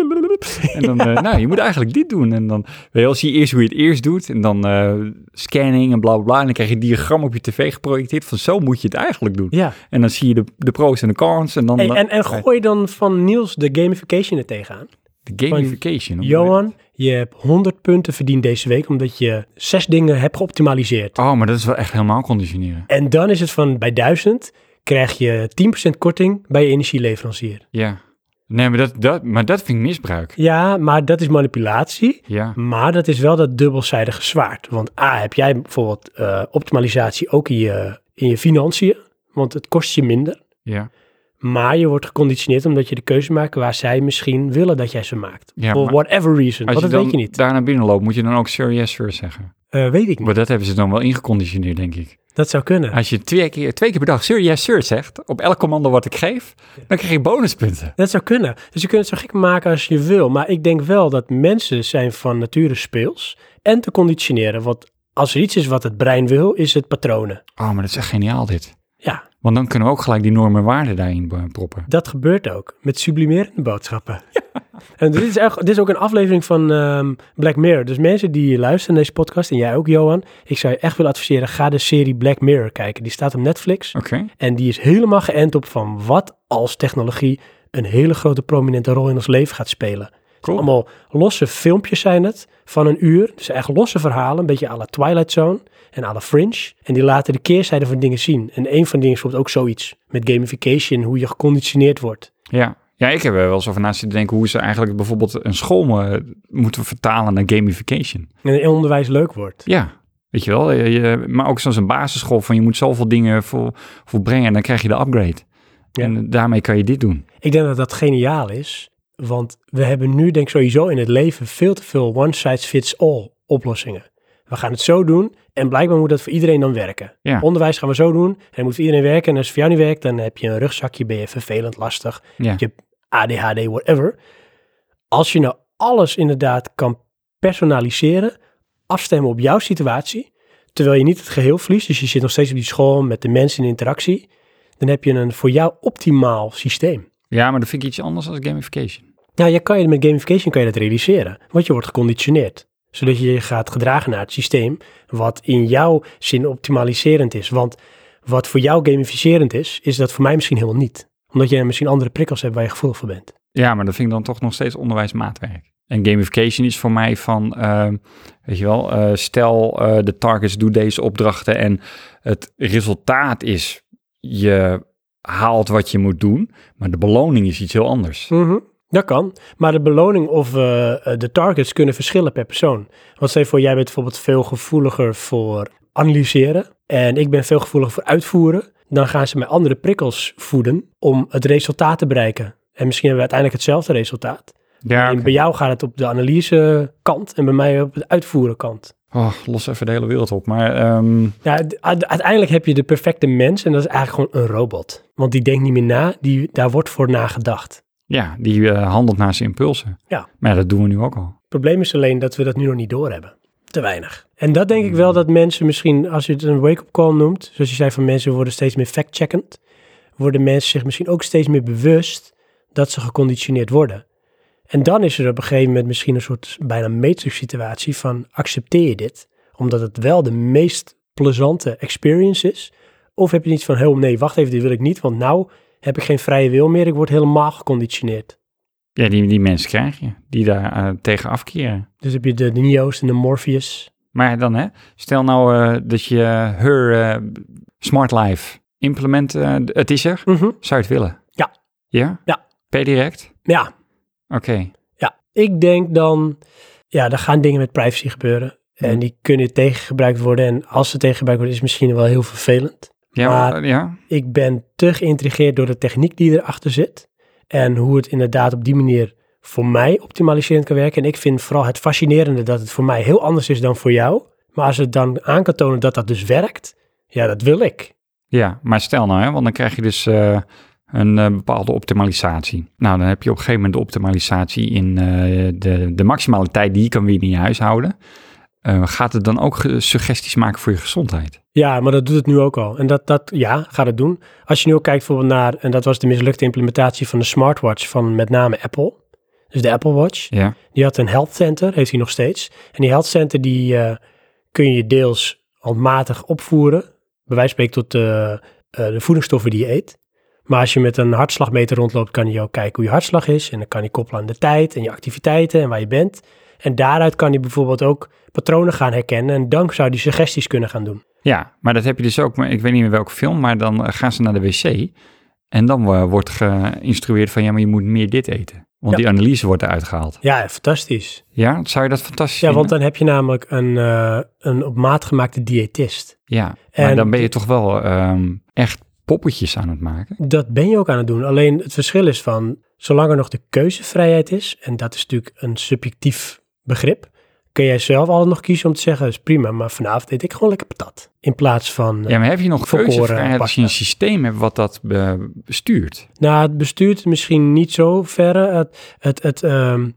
B: en dan, eh, nou, je moet eigenlijk dit doen. En dan weet je wel, zie je eerst hoe je het eerst doet. En dan eh, scanning en bla, bla, bla. En dan krijg je een diagram op je tv geprojecteerd van zo moet je het eigenlijk doen.
A: Ja.
B: En dan zie je de, de pros en de cons. En dan
A: Hey, en, en
B: eh,
A: gooi dan van Niels de gamification er tegenaan.
B: de gamification. hoe bedoel je?
A: Johan, je hebt 100 punten verdiend deze week omdat je zes dingen hebt geoptimaliseerd.
B: Oh, maar dat is wel echt helemaal conditioneren.
A: En dan is het van bij 1000 krijg je 10% korting bij je energieleverancier.
B: Ja. Nee, maar dat, dat, maar dat vind ik misbruik.
A: Ja, maar dat is manipulatie.
B: Ja.
A: Maar dat is wel dat dubbelzijdige zwaard. Want A, heb jij bijvoorbeeld eh, optimalisatie ook in je, in je financiën, want het kost je minder.
B: Ja.
A: Maar je wordt geconditioneerd omdat je de keuze maakt waar zij misschien willen dat jij ze maakt.
B: Ja,
A: For
B: maar
A: whatever reason,
B: Als
A: want
B: je
A: dat
B: dan
A: weet je niet.
B: daar naar binnen loopt, moet je dan ook sir yes sir zeggen.
A: Eh, weet ik niet,
B: Maar dat hebben ze dan wel ingeconditioneerd, denk ik.
A: dat zou kunnen.
B: Als je twee keer, twee keer per dag sir yes sir zegt, op elk commando wat ik geef, dan krijg je bonuspunten.
A: Dat zou kunnen. Dus je kunt het zo gek maken als je wil. Maar ik denk wel dat mensen zijn van nature speels en te conditioneren. Want als er iets is wat het brein wil, is het patronen.
B: Oh, maar dat is echt geniaal dit.
A: Ja,
B: Want dan kunnen we ook gelijk die normen en waarden daarin eh, proppen.
A: Dat gebeurt ook met sublimerende boodschappen. En dit is, echt, dit is ook een aflevering van ehm, Black Mirror. Dus mensen die luisteren naar deze podcast, en jij ook, Johan, ik zou je echt willen adviseren: ga de serie Black Mirror kijken. Die staat op Netflix.
B: Oké.
A: En die is helemaal geënt op van wat als technologie een hele grote prominente rol in ons leven gaat spelen.
B: Cool.
A: Allemaal losse filmpjes zijn het van een uur. Dus echt losse verhalen, een beetje à la Twilight Zone en à la Fringe. En die laten de keerzijde van dingen zien. En een van die dingen is bijvoorbeeld ook zoiets met gamification, hoe je geconditioneerd wordt.
B: Ja. ja, ik heb er wel eens over naast te denken hoe ze eigenlijk bijvoorbeeld een school eh, moeten vertalen naar gamification.
A: En het onderwijs leuk wordt.
B: Ja, weet je wel. Je, je- maar ook zoals een basisschool van je moet zoveel dingen vol, volbrengen en dan krijg je de upgrade.
A: Ja.
B: En daarmee kan je dit doen.
A: Ik denk dat dat geniaal is, want we hebben nu denk ik sowieso in het leven veel te veel one size fits all oplossingen. We gaan het zo doen en blijkbaar moet dat voor iedereen dan werken.
B: Ja.
A: Onderwijs gaan we zo doen en dan moet voor iedereen werken. En als het voor jou niet werkt, dan heb je een rugzakje, ben je vervelend, lastig,
B: Ja.
A: Je- ADHD, whatever. Als je nou alles inderdaad kan personaliseren, afstemmen op jouw situatie, terwijl je niet het geheel verliest, dus je zit nog steeds op die school met de mensen in interactie, dan heb je een voor jou optimaal systeem.
B: ja, maar dat vind ik iets anders dan gamification.
A: Nou, je kan je, met gamification kan je dat realiseren, want je wordt geconditioneerd. Zodat je je gaat gedragen naar het systeem wat in jouw zin optimaliserend is. Want wat voor jou gamificerend is, is dat voor mij misschien helemaal niet. Omdat jij misschien andere prikkels hebt waar je gevoelig voor bent.
B: Ja, maar dat vind ik dan toch nog steeds onderwijsmaatwerk. En gamification is voor mij van, ehm, weet je wel, eh, stel eh, de targets doe deze opdrachten en het resultaat is je haalt wat je moet doen, maar de beloning is iets heel anders.
A: Mhm, Dat kan. Maar de beloning of eh, eh, de targets kunnen verschillen per persoon. Want stel je voor, jij bent bijvoorbeeld veel gevoeliger voor analyseren. En ik ben veel gevoeliger voor uitvoeren. Dan gaan ze mij andere prikkels voeden om het resultaat te bereiken. En misschien hebben we uiteindelijk hetzelfde resultaat.
B: Ja,
A: En bij jou gaat het op de analyse kant en bij mij op de uitvoeren kant.
B: oh, los even de hele wereld op. Maar ehm,
A: Ja, d- uite- uiteindelijk heb je de perfecte mens en dat is eigenlijk gewoon een robot. Want die denkt niet meer na, die, daar wordt voor nagedacht.
B: Ja, die eh, handelt naar zijn impulsen.
A: Ja.
B: Maar ja, dat doen we nu ook al.
A: Het probleem is alleen dat we dat nu nog niet doorhebben. Te weinig. En dat denk ik wel dat mensen misschien, als je het een wake-up call noemt, zoals je zei van mensen worden steeds meer fact-checkend, worden mensen zich misschien ook steeds meer bewust dat ze geconditioneerd worden. En dan is er op een gegeven moment misschien een soort bijna matrix situatie van accepteer je dit, omdat het wel de meest plezante experience is, of heb je niet van, heel nee, wacht even, dit wil ik niet, want nou heb ik geen vrije wil meer, ik word helemaal geconditioneerd.
B: Ja, die, die mensen krijg je, die daar eh, tegen afkeren.
A: Dus heb je de, de Neo's en de Morpheus.
B: Maar dan, hè, stel nou eh, dat je her eh, smart life implement, eh, d- het is er.
A: Mhm.
B: Zou je het willen?
A: Ja.
B: Ja?
A: Ja.
B: Per direct?
A: Ja,
B: Oké.
A: Ja, ik denk dan, ja, er gaan dingen met privacy gebeuren. En
B: Hmm.
A: die kunnen tegengebruikt worden. En als ze tegengebruikt worden, is het misschien wel heel vervelend.
B: Ja,
A: Maar-
B: wel, eh, ja?
A: Ik ben te geïntrigeerd door de techniek die erachter zit. En hoe het inderdaad op die manier voor mij optimaliserend kan werken. En ik vind vooral het fascinerende dat het voor mij heel anders is dan voor jou. Maar als het dan aan kan tonen dat dat dus werkt, ja, dat wil ik.
B: Ja, maar stel nou, hè, want dan krijg je dus eh, een eh, bepaalde optimalisatie. Nou, dan heb je op een gegeven moment de optimalisatie in eh, de, de maximale tijd die je kan weer in je huis houden. Eh, gaat het dan ook ge- suggesties maken voor je gezondheid?
A: Ja, maar dat doet het nu ook al. En dat, dat ja, gaat het doen. Als je nu ook kijkt bijvoorbeeld naar, en dat was de mislukte implementatie van de smartwatch van met name Apple. Dus de Apple Watch.
B: Ja,
A: Die had een health center, heeft hij nog steeds. En die health center die eh, kun je deels handmatig opvoeren. Bij wijze van spreken tot de, eh, de voedingsstoffen die je eet. Maar als je met een hartslagmeter rondloopt, kan hij ook kijken hoe je hartslag is. En dan kan hij koppelen aan de tijd en je activiteiten en waar je bent. En daaruit kan hij bijvoorbeeld ook patronen gaan herkennen. En dan zou hij suggesties kunnen gaan doen.
B: ja maar dat heb je dus ook, maar ik weet niet meer welke film, maar dan eh, gaan ze naar de wc. En dan eh, wordt geïnstrueerd van, ja, maar je moet meer dit eten. Want
A: Ja.
B: die analyse wordt eruit gehaald.
A: Ja, fantastisch.
B: Ja, zou je dat fantastisch
A: Ja, want
B: vinden?
A: dan heb je namelijk een, eh, een op maat gemaakte diëtist.
B: Ja, maar
A: eh, en-
B: dan ben je toch wel ehm, echt poppetjes aan het maken.
A: Dat ben je ook aan het doen. Alleen het verschil is van, zolang er nog de keuzevrijheid is, en dat is natuurlijk een subjectief begrip, kun jij zelf altijd nog kiezen om te zeggen, is prima, maar vanavond eet ik gewoon lekker patat. In plaats van, eh,
B: Ja, maar heb je nog
A: Volkoren
B: keuzevrijheid als je een
A: pasta.
B: systeem hebt wat dat be- bestuurt?
A: nou, het bestuurt het misschien niet zo verre, het, het, het ehm,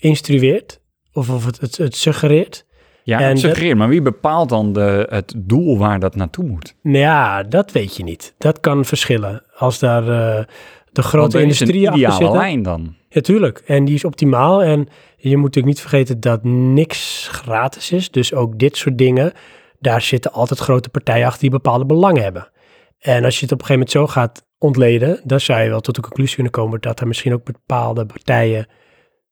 A: instrueert, of, of het, het, het suggereert.
B: Ja,
A: En
B: en
A: dat-
B: suggereer, maar wie bepaalt dan de, het doel waar dat naartoe moet?
A: Nou ja, dat weet je niet. Dat kan verschillen. Als daar eh, de
B: Want
A: grote
B: er is een
A: industrie achter
B: ideale
A: zit.
B: lijn dan.
A: Ja, tuurlijk. En die is optimaal. En je moet natuurlijk niet vergeten dat niks gratis is. Dus ook dit soort dingen, daar zitten altijd grote partijen achter die bepaalde belangen hebben. En als je het op een gegeven moment zo gaat ontleden, dan zou je wel tot de conclusie kunnen komen dat er misschien ook bepaalde partijen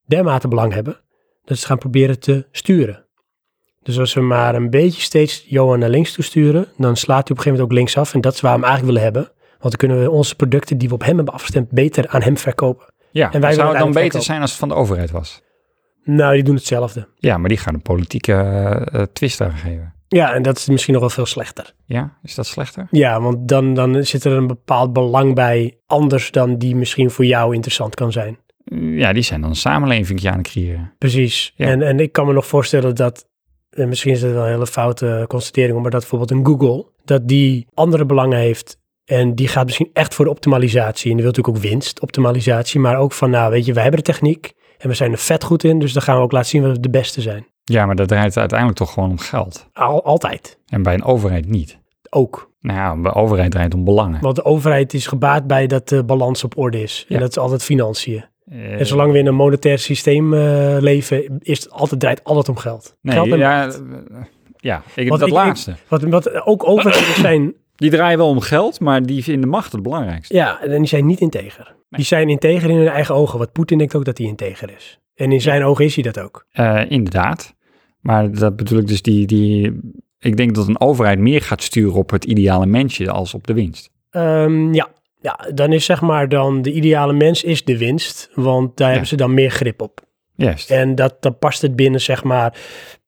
A: dermate belang hebben, dat ze gaan proberen te sturen. Dus als we maar een beetje steeds Johan naar links toe sturen, dan slaat hij op een gegeven moment ook links af. En dat is waar we hem eigenlijk willen hebben. Want dan kunnen we onze producten die we op hem hebben afgestemd beter aan hem verkopen.
B: Ja,
A: En wij willen
B: zou het dan
A: uiteindelijk verkopen.
B: beter zijn als het van de overheid was?
A: Nou, die doen hetzelfde.
B: Ja, maar die gaan een politieke eh, eh, twist aan geven.
A: Ja, en dat is misschien nog wel veel slechter.
B: Ja, is dat slechter?
A: Ja, want dan, dan zit er een bepaald belang bij, anders dan die misschien voor jou interessant kan zijn.
B: Ja, die zijn dan een samenleving aan het creëren.
A: Precies.
B: Ja.
A: En, en ik kan me nog voorstellen dat, en misschien is dat wel een hele foute constatering, maar dat bijvoorbeeld een Google, dat die andere belangen heeft en die gaat misschien echt voor de optimalisatie. En die wil natuurlijk ook winst, optimalisatie, maar ook van, nou weet je, wij hebben de techniek en we zijn er vet goed in, dus dan gaan we ook laten zien dat we de beste zijn.
B: Ja, maar dat draait uiteindelijk toch gewoon om geld.
A: Al, altijd.
B: En bij een overheid niet.
A: Ook.
B: Nou ja, bij de overheid draait het om belangen.
A: Want de overheid is gebaat bij dat de balans op orde is.
B: Ja.
A: En dat is altijd financiën.
B: Eh,
A: en zolang we in een monetair systeem eh, leven, is het altijd, draait altijd om geld.
B: nee,
A: geld en
B: ja,
A: macht.
B: eh, ja ik,
A: Want
B: dat
A: ik- ik-
B: laatste.
A: Wat, wat ook overheden zijn,
B: Die draaien wel om geld, maar die vinden macht het belangrijkste.
A: ja, en die zijn niet integer. Die zijn integer in hun eigen ogen. Wat Poetin denkt ook dat hij integer is. En in zijn ogen is hij dat ook.
B: Eh, inderdaad. Maar dat bedoel ik dus die, die... Ik denk dat een overheid meer gaat sturen op het ideale mensje als op de winst.
A: Ehm, ja. ja, dan is zeg maar dan de ideale mens is de winst. Want daar hebben ze dan meer grip op.
B: Juist.
A: En dat, dan past het binnen zeg maar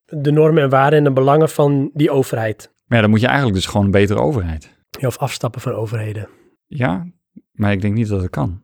A: de normen en waarden en de belangen van die overheid.
B: Maar ja, dan moet je eigenlijk dus gewoon een betere overheid.
A: Ja, Of afstappen van overheden.
B: Ja, maar ik denk niet dat het kan.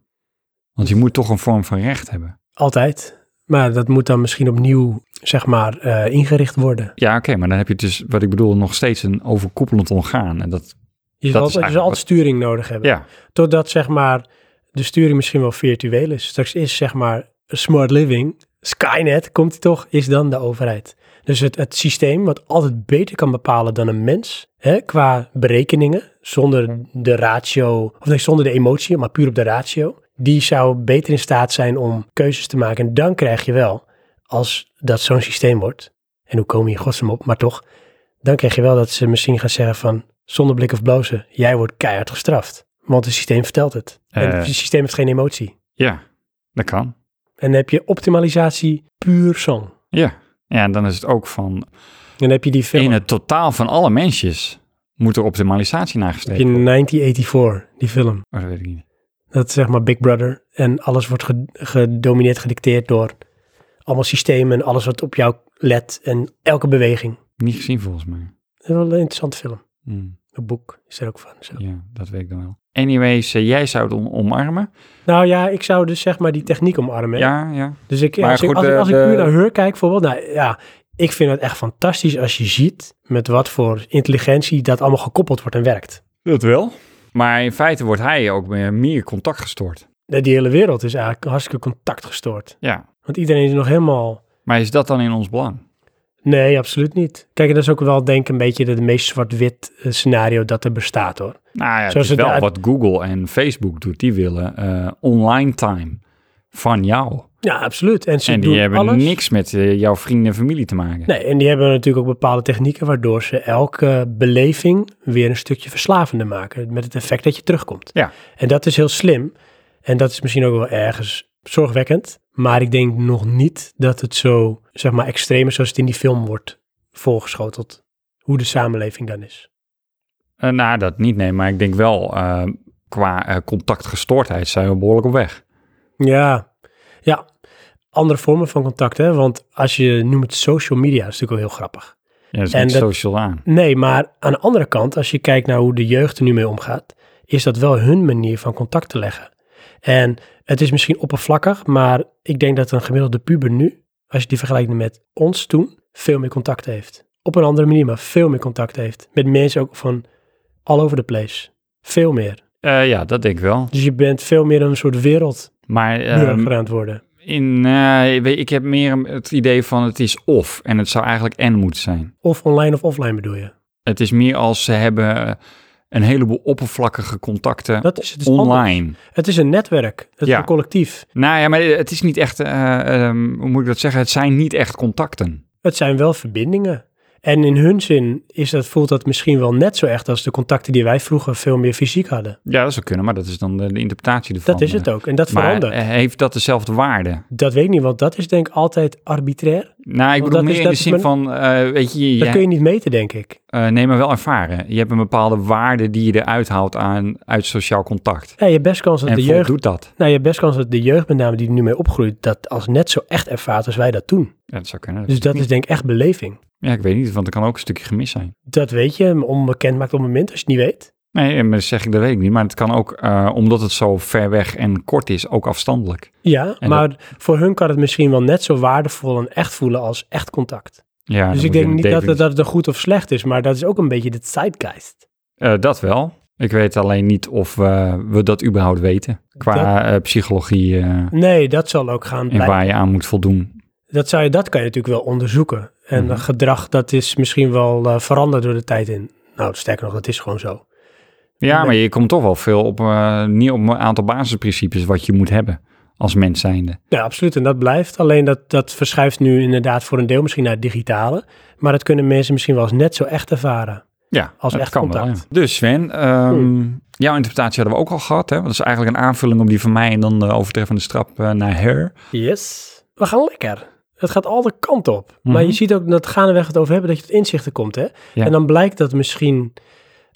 B: Want je moet toch een vorm van recht hebben.
A: Altijd. Maar dat moet dan misschien opnieuw, zeg maar, eh, ingericht worden.
B: Ja, oké, maar dan heb je dus, wat ik bedoel, nog steeds een overkoepelend orgaan. En dat,
A: Je zal,
B: Dat is
A: altijd- je zal
B: eigenlijk wat-
A: altijd sturing nodig hebben.
B: ja,
A: Totdat, zeg maar, de sturing misschien wel virtueel is. Straks is, zeg maar, smart living, Skynet, komt die toch, is dan de overheid. Dus het, het systeem wat altijd beter kan bepalen dan een mens, hè, qua berekeningen, zonder de ratio, of nee, zonder de emotie, maar puur op de ratio, die zou beter in staat zijn om keuzes te maken. En dan krijg je wel, als dat zo'n systeem wordt, en hoe komen je in godsnaam op, maar toch, dan krijg je wel dat ze misschien gaan zeggen van, zonder blik of blozen, jij wordt keihard gestraft. Want het systeem vertelt het. en
B: Eh.
A: het systeem heeft geen emotie.
B: ja, dat kan.
A: En dan heb je optimalisatie puur zang. En
B: Ja, en dan is het ook van
A: dan heb je die film.
B: in het totaal van alle mensjes Moet er optimalisatie
A: Heb je
B: nagestreefd worden?
A: 1984, die film.
B: Oh, dat weet ik niet.
A: Dat is zeg maar Big Brother. En alles wordt ge- gedomineerd, gedicteerd door allemaal systemen en alles wat op jou let en elke beweging.
B: Niet gezien volgens mij.
A: Dat is wel een interessante film.
B: Hmm,
A: Een boek is er ook van. zo.
B: ja, dat weet ik dan wel. Anyways, eh, jij zou het on- omarmen.
A: Nou ja, ik zou dus zeg maar die techniek omarmen.
B: Ja, ja.
A: Dus ik,
B: Maar
A: als, ik,
B: goed,
A: als, ik-
B: de-
A: als ik
B: de-
A: puur naar Heur kijk bijvoorbeeld, nou ja, ik vind het echt fantastisch als je ziet met wat voor intelligentie dat allemaal gekoppeld wordt en werkt.
B: Dat wel. Maar in feite wordt hij ook meer, meer contact gestoord.
A: Nee, Die hele wereld is eigenlijk hartstikke contactgestoord.
B: Ja.
A: Want iedereen is nog helemaal
B: Maar is dat dan in ons belang?
A: Nee, absoluut niet. Kijk, en dat is ook wel denk ik een beetje de, de meest zwart-wit eh, scenario dat er bestaat hoor.
B: Nou ja,
A: Zoals
B: het is
A: het
B: wel
A: uit-
B: wat Google en Facebook doet. Die willen eh, online time van jou.
A: Ja, absoluut. En ze
B: en
A: doen
B: die hebben
A: alles.
B: niks met eh, jouw vrienden en familie te maken.
A: Nee, en die hebben natuurlijk ook bepaalde technieken waardoor ze elke beleving weer een stukje verslavender maken. Met het effect dat je terugkomt.
B: Ja.
A: En dat is heel slim. En dat is misschien ook wel ergens zorgwekkend. Maar ik denk nog niet dat het zo, zeg maar, extreem is zoals het in die film wordt voorgeschoteld. Hoe de samenleving dan is.
B: Eh, nou, dat niet, nee. Maar ik denk wel, eh, qua eh, contactgestoordheid zijn we behoorlijk op weg.
A: Ja, ja. Andere vormen van contact, hè? Want als je noemt het social media, dat is natuurlijk wel heel grappig.
B: Ja, dat is
A: En
B: niks
A: dat-
B: social aan.
A: Nee, maar aan de andere kant, als je kijkt naar hoe de jeugd er nu mee omgaat, is dat wel hun manier van contact te leggen. En het is misschien oppervlakkig, maar ik denk dat een gemiddelde puber nu, als je die vergelijkt met ons toen, veel meer contact heeft. Op een andere manier, maar veel meer contact heeft. Met mensen ook van all over the place. Veel meer.
B: Eh, ja, dat denk ik wel.
A: Dus je bent veel meer een soort wereldburger
B: Maar ehm,
A: aan het worden.
B: in, eh, ik weet- ik heb meer een- het idee van het is of. En het zou eigenlijk en moeten zijn.
A: Of online of offline bedoel je?
B: Het is meer als ze hebben eh, een heleboel oppervlakkige contacten
A: Dat is het. is anders.
B: online.
A: Het is een netwerk. Het is
B: Ja.
A: een collectief.
B: Nou ja, maar het is niet echt, eh, ehm, hoe moet ik dat zeggen? Het zijn niet echt contacten.
A: Het zijn wel verbindingen. En in hun zin is dat, voelt dat misschien wel net zo echt als de contacten die wij vroeger veel meer fysiek hadden.
B: Ja, dat zou kunnen, maar dat is dan de, de interpretatie ervan.
A: Dat is het ook. En dat
B: Maar
A: verandert.
B: eh, heeft dat dezelfde waarde?
A: dat weet ik niet, want dat is denk ik altijd arbitrair.
B: Nou, ik
A: Want
B: bedoel
A: dat
B: meer
A: is-
B: in
A: dat
B: de
A: is
B: zin
A: mijn-
B: van, eh, weet je,
A: Dat
B: je
A: kun je niet meten, denk ik.
B: eh, nee, maar wel ervaren. Je hebt een bepaalde waarde die je eruit haalt aan, uit sociaal contact.
A: Ja, je hebt best kans dat
B: en
A: de
B: Volt
A: jeugd,
B: doet dat.
A: nou, je hebt best kans dat de jeugd met name die er nu mee opgroeit, dat als net zo echt ervaart als wij dat toen.
B: Ja, dat zou kunnen.
A: Dus dat is denk ik echt beleving.
B: Ja, ik weet niet, want er kan ook een stukje gemist zijn.
A: Dat weet je, onbekend maakt op het moment als je het niet weet.
B: Nee, eh, maar dat zeg ik, dat weet ik niet. Maar het kan ook, eh, omdat het zo ver weg en kort is, ook afstandelijk.
A: Ja,
B: En
A: maar voor hun kan het misschien wel net zo waardevol en echt voelen als echt contact.
B: Ja,
A: dus
B: Ah, dan
A: ik
B: moet je
A: denk
B: een
A: niet dat,
B: definitie-
A: het- dat het een goed of slecht is, maar dat is ook een beetje de zeitgeist.
B: Eh, dat wel. Ik weet alleen niet of eh, we dat überhaupt weten. Qua eh, psychologie eh,
A: Nee, dat zal ook gaan
B: en
A: blijven.
B: waar je aan moet voldoen.
A: Dat, zou je, dat kan je natuurlijk wel onderzoeken. En
B: Mhm.
A: eh, gedrag, dat is misschien wel eh, veranderd door de tijd in. Nou, sterker nog, dat is gewoon zo.
B: Ja,
A: Nee.
B: maar je komt toch wel veel op, eh, niet op een aantal basisprincipes wat je moet hebben als mens zijnde.
A: Ja, absoluut. En dat blijft. Alleen dat, dat verschuift nu inderdaad voor een deel misschien naar het digitale. Maar dat kunnen mensen misschien wel eens net zo echt ervaren.
B: Ja,
A: Als
B: dat
A: echt
B: kan wel,
A: contact.
B: ja. Dus Sven, ehm,
A: Hmm.
B: jouw interpretatie hadden we ook al gehad. Hè? Dat is eigenlijk een aanvulling op die van mij en dan de overtreffende strap eh, naar her.
A: Yes. We gaan lekker. Het gaat alle kanten op. Maar
B: Mhm.
A: je ziet ook dat gaandeweg het over hebben dat je tot inzichten komt. Hè?
B: Ja.
A: En dan blijkt dat misschien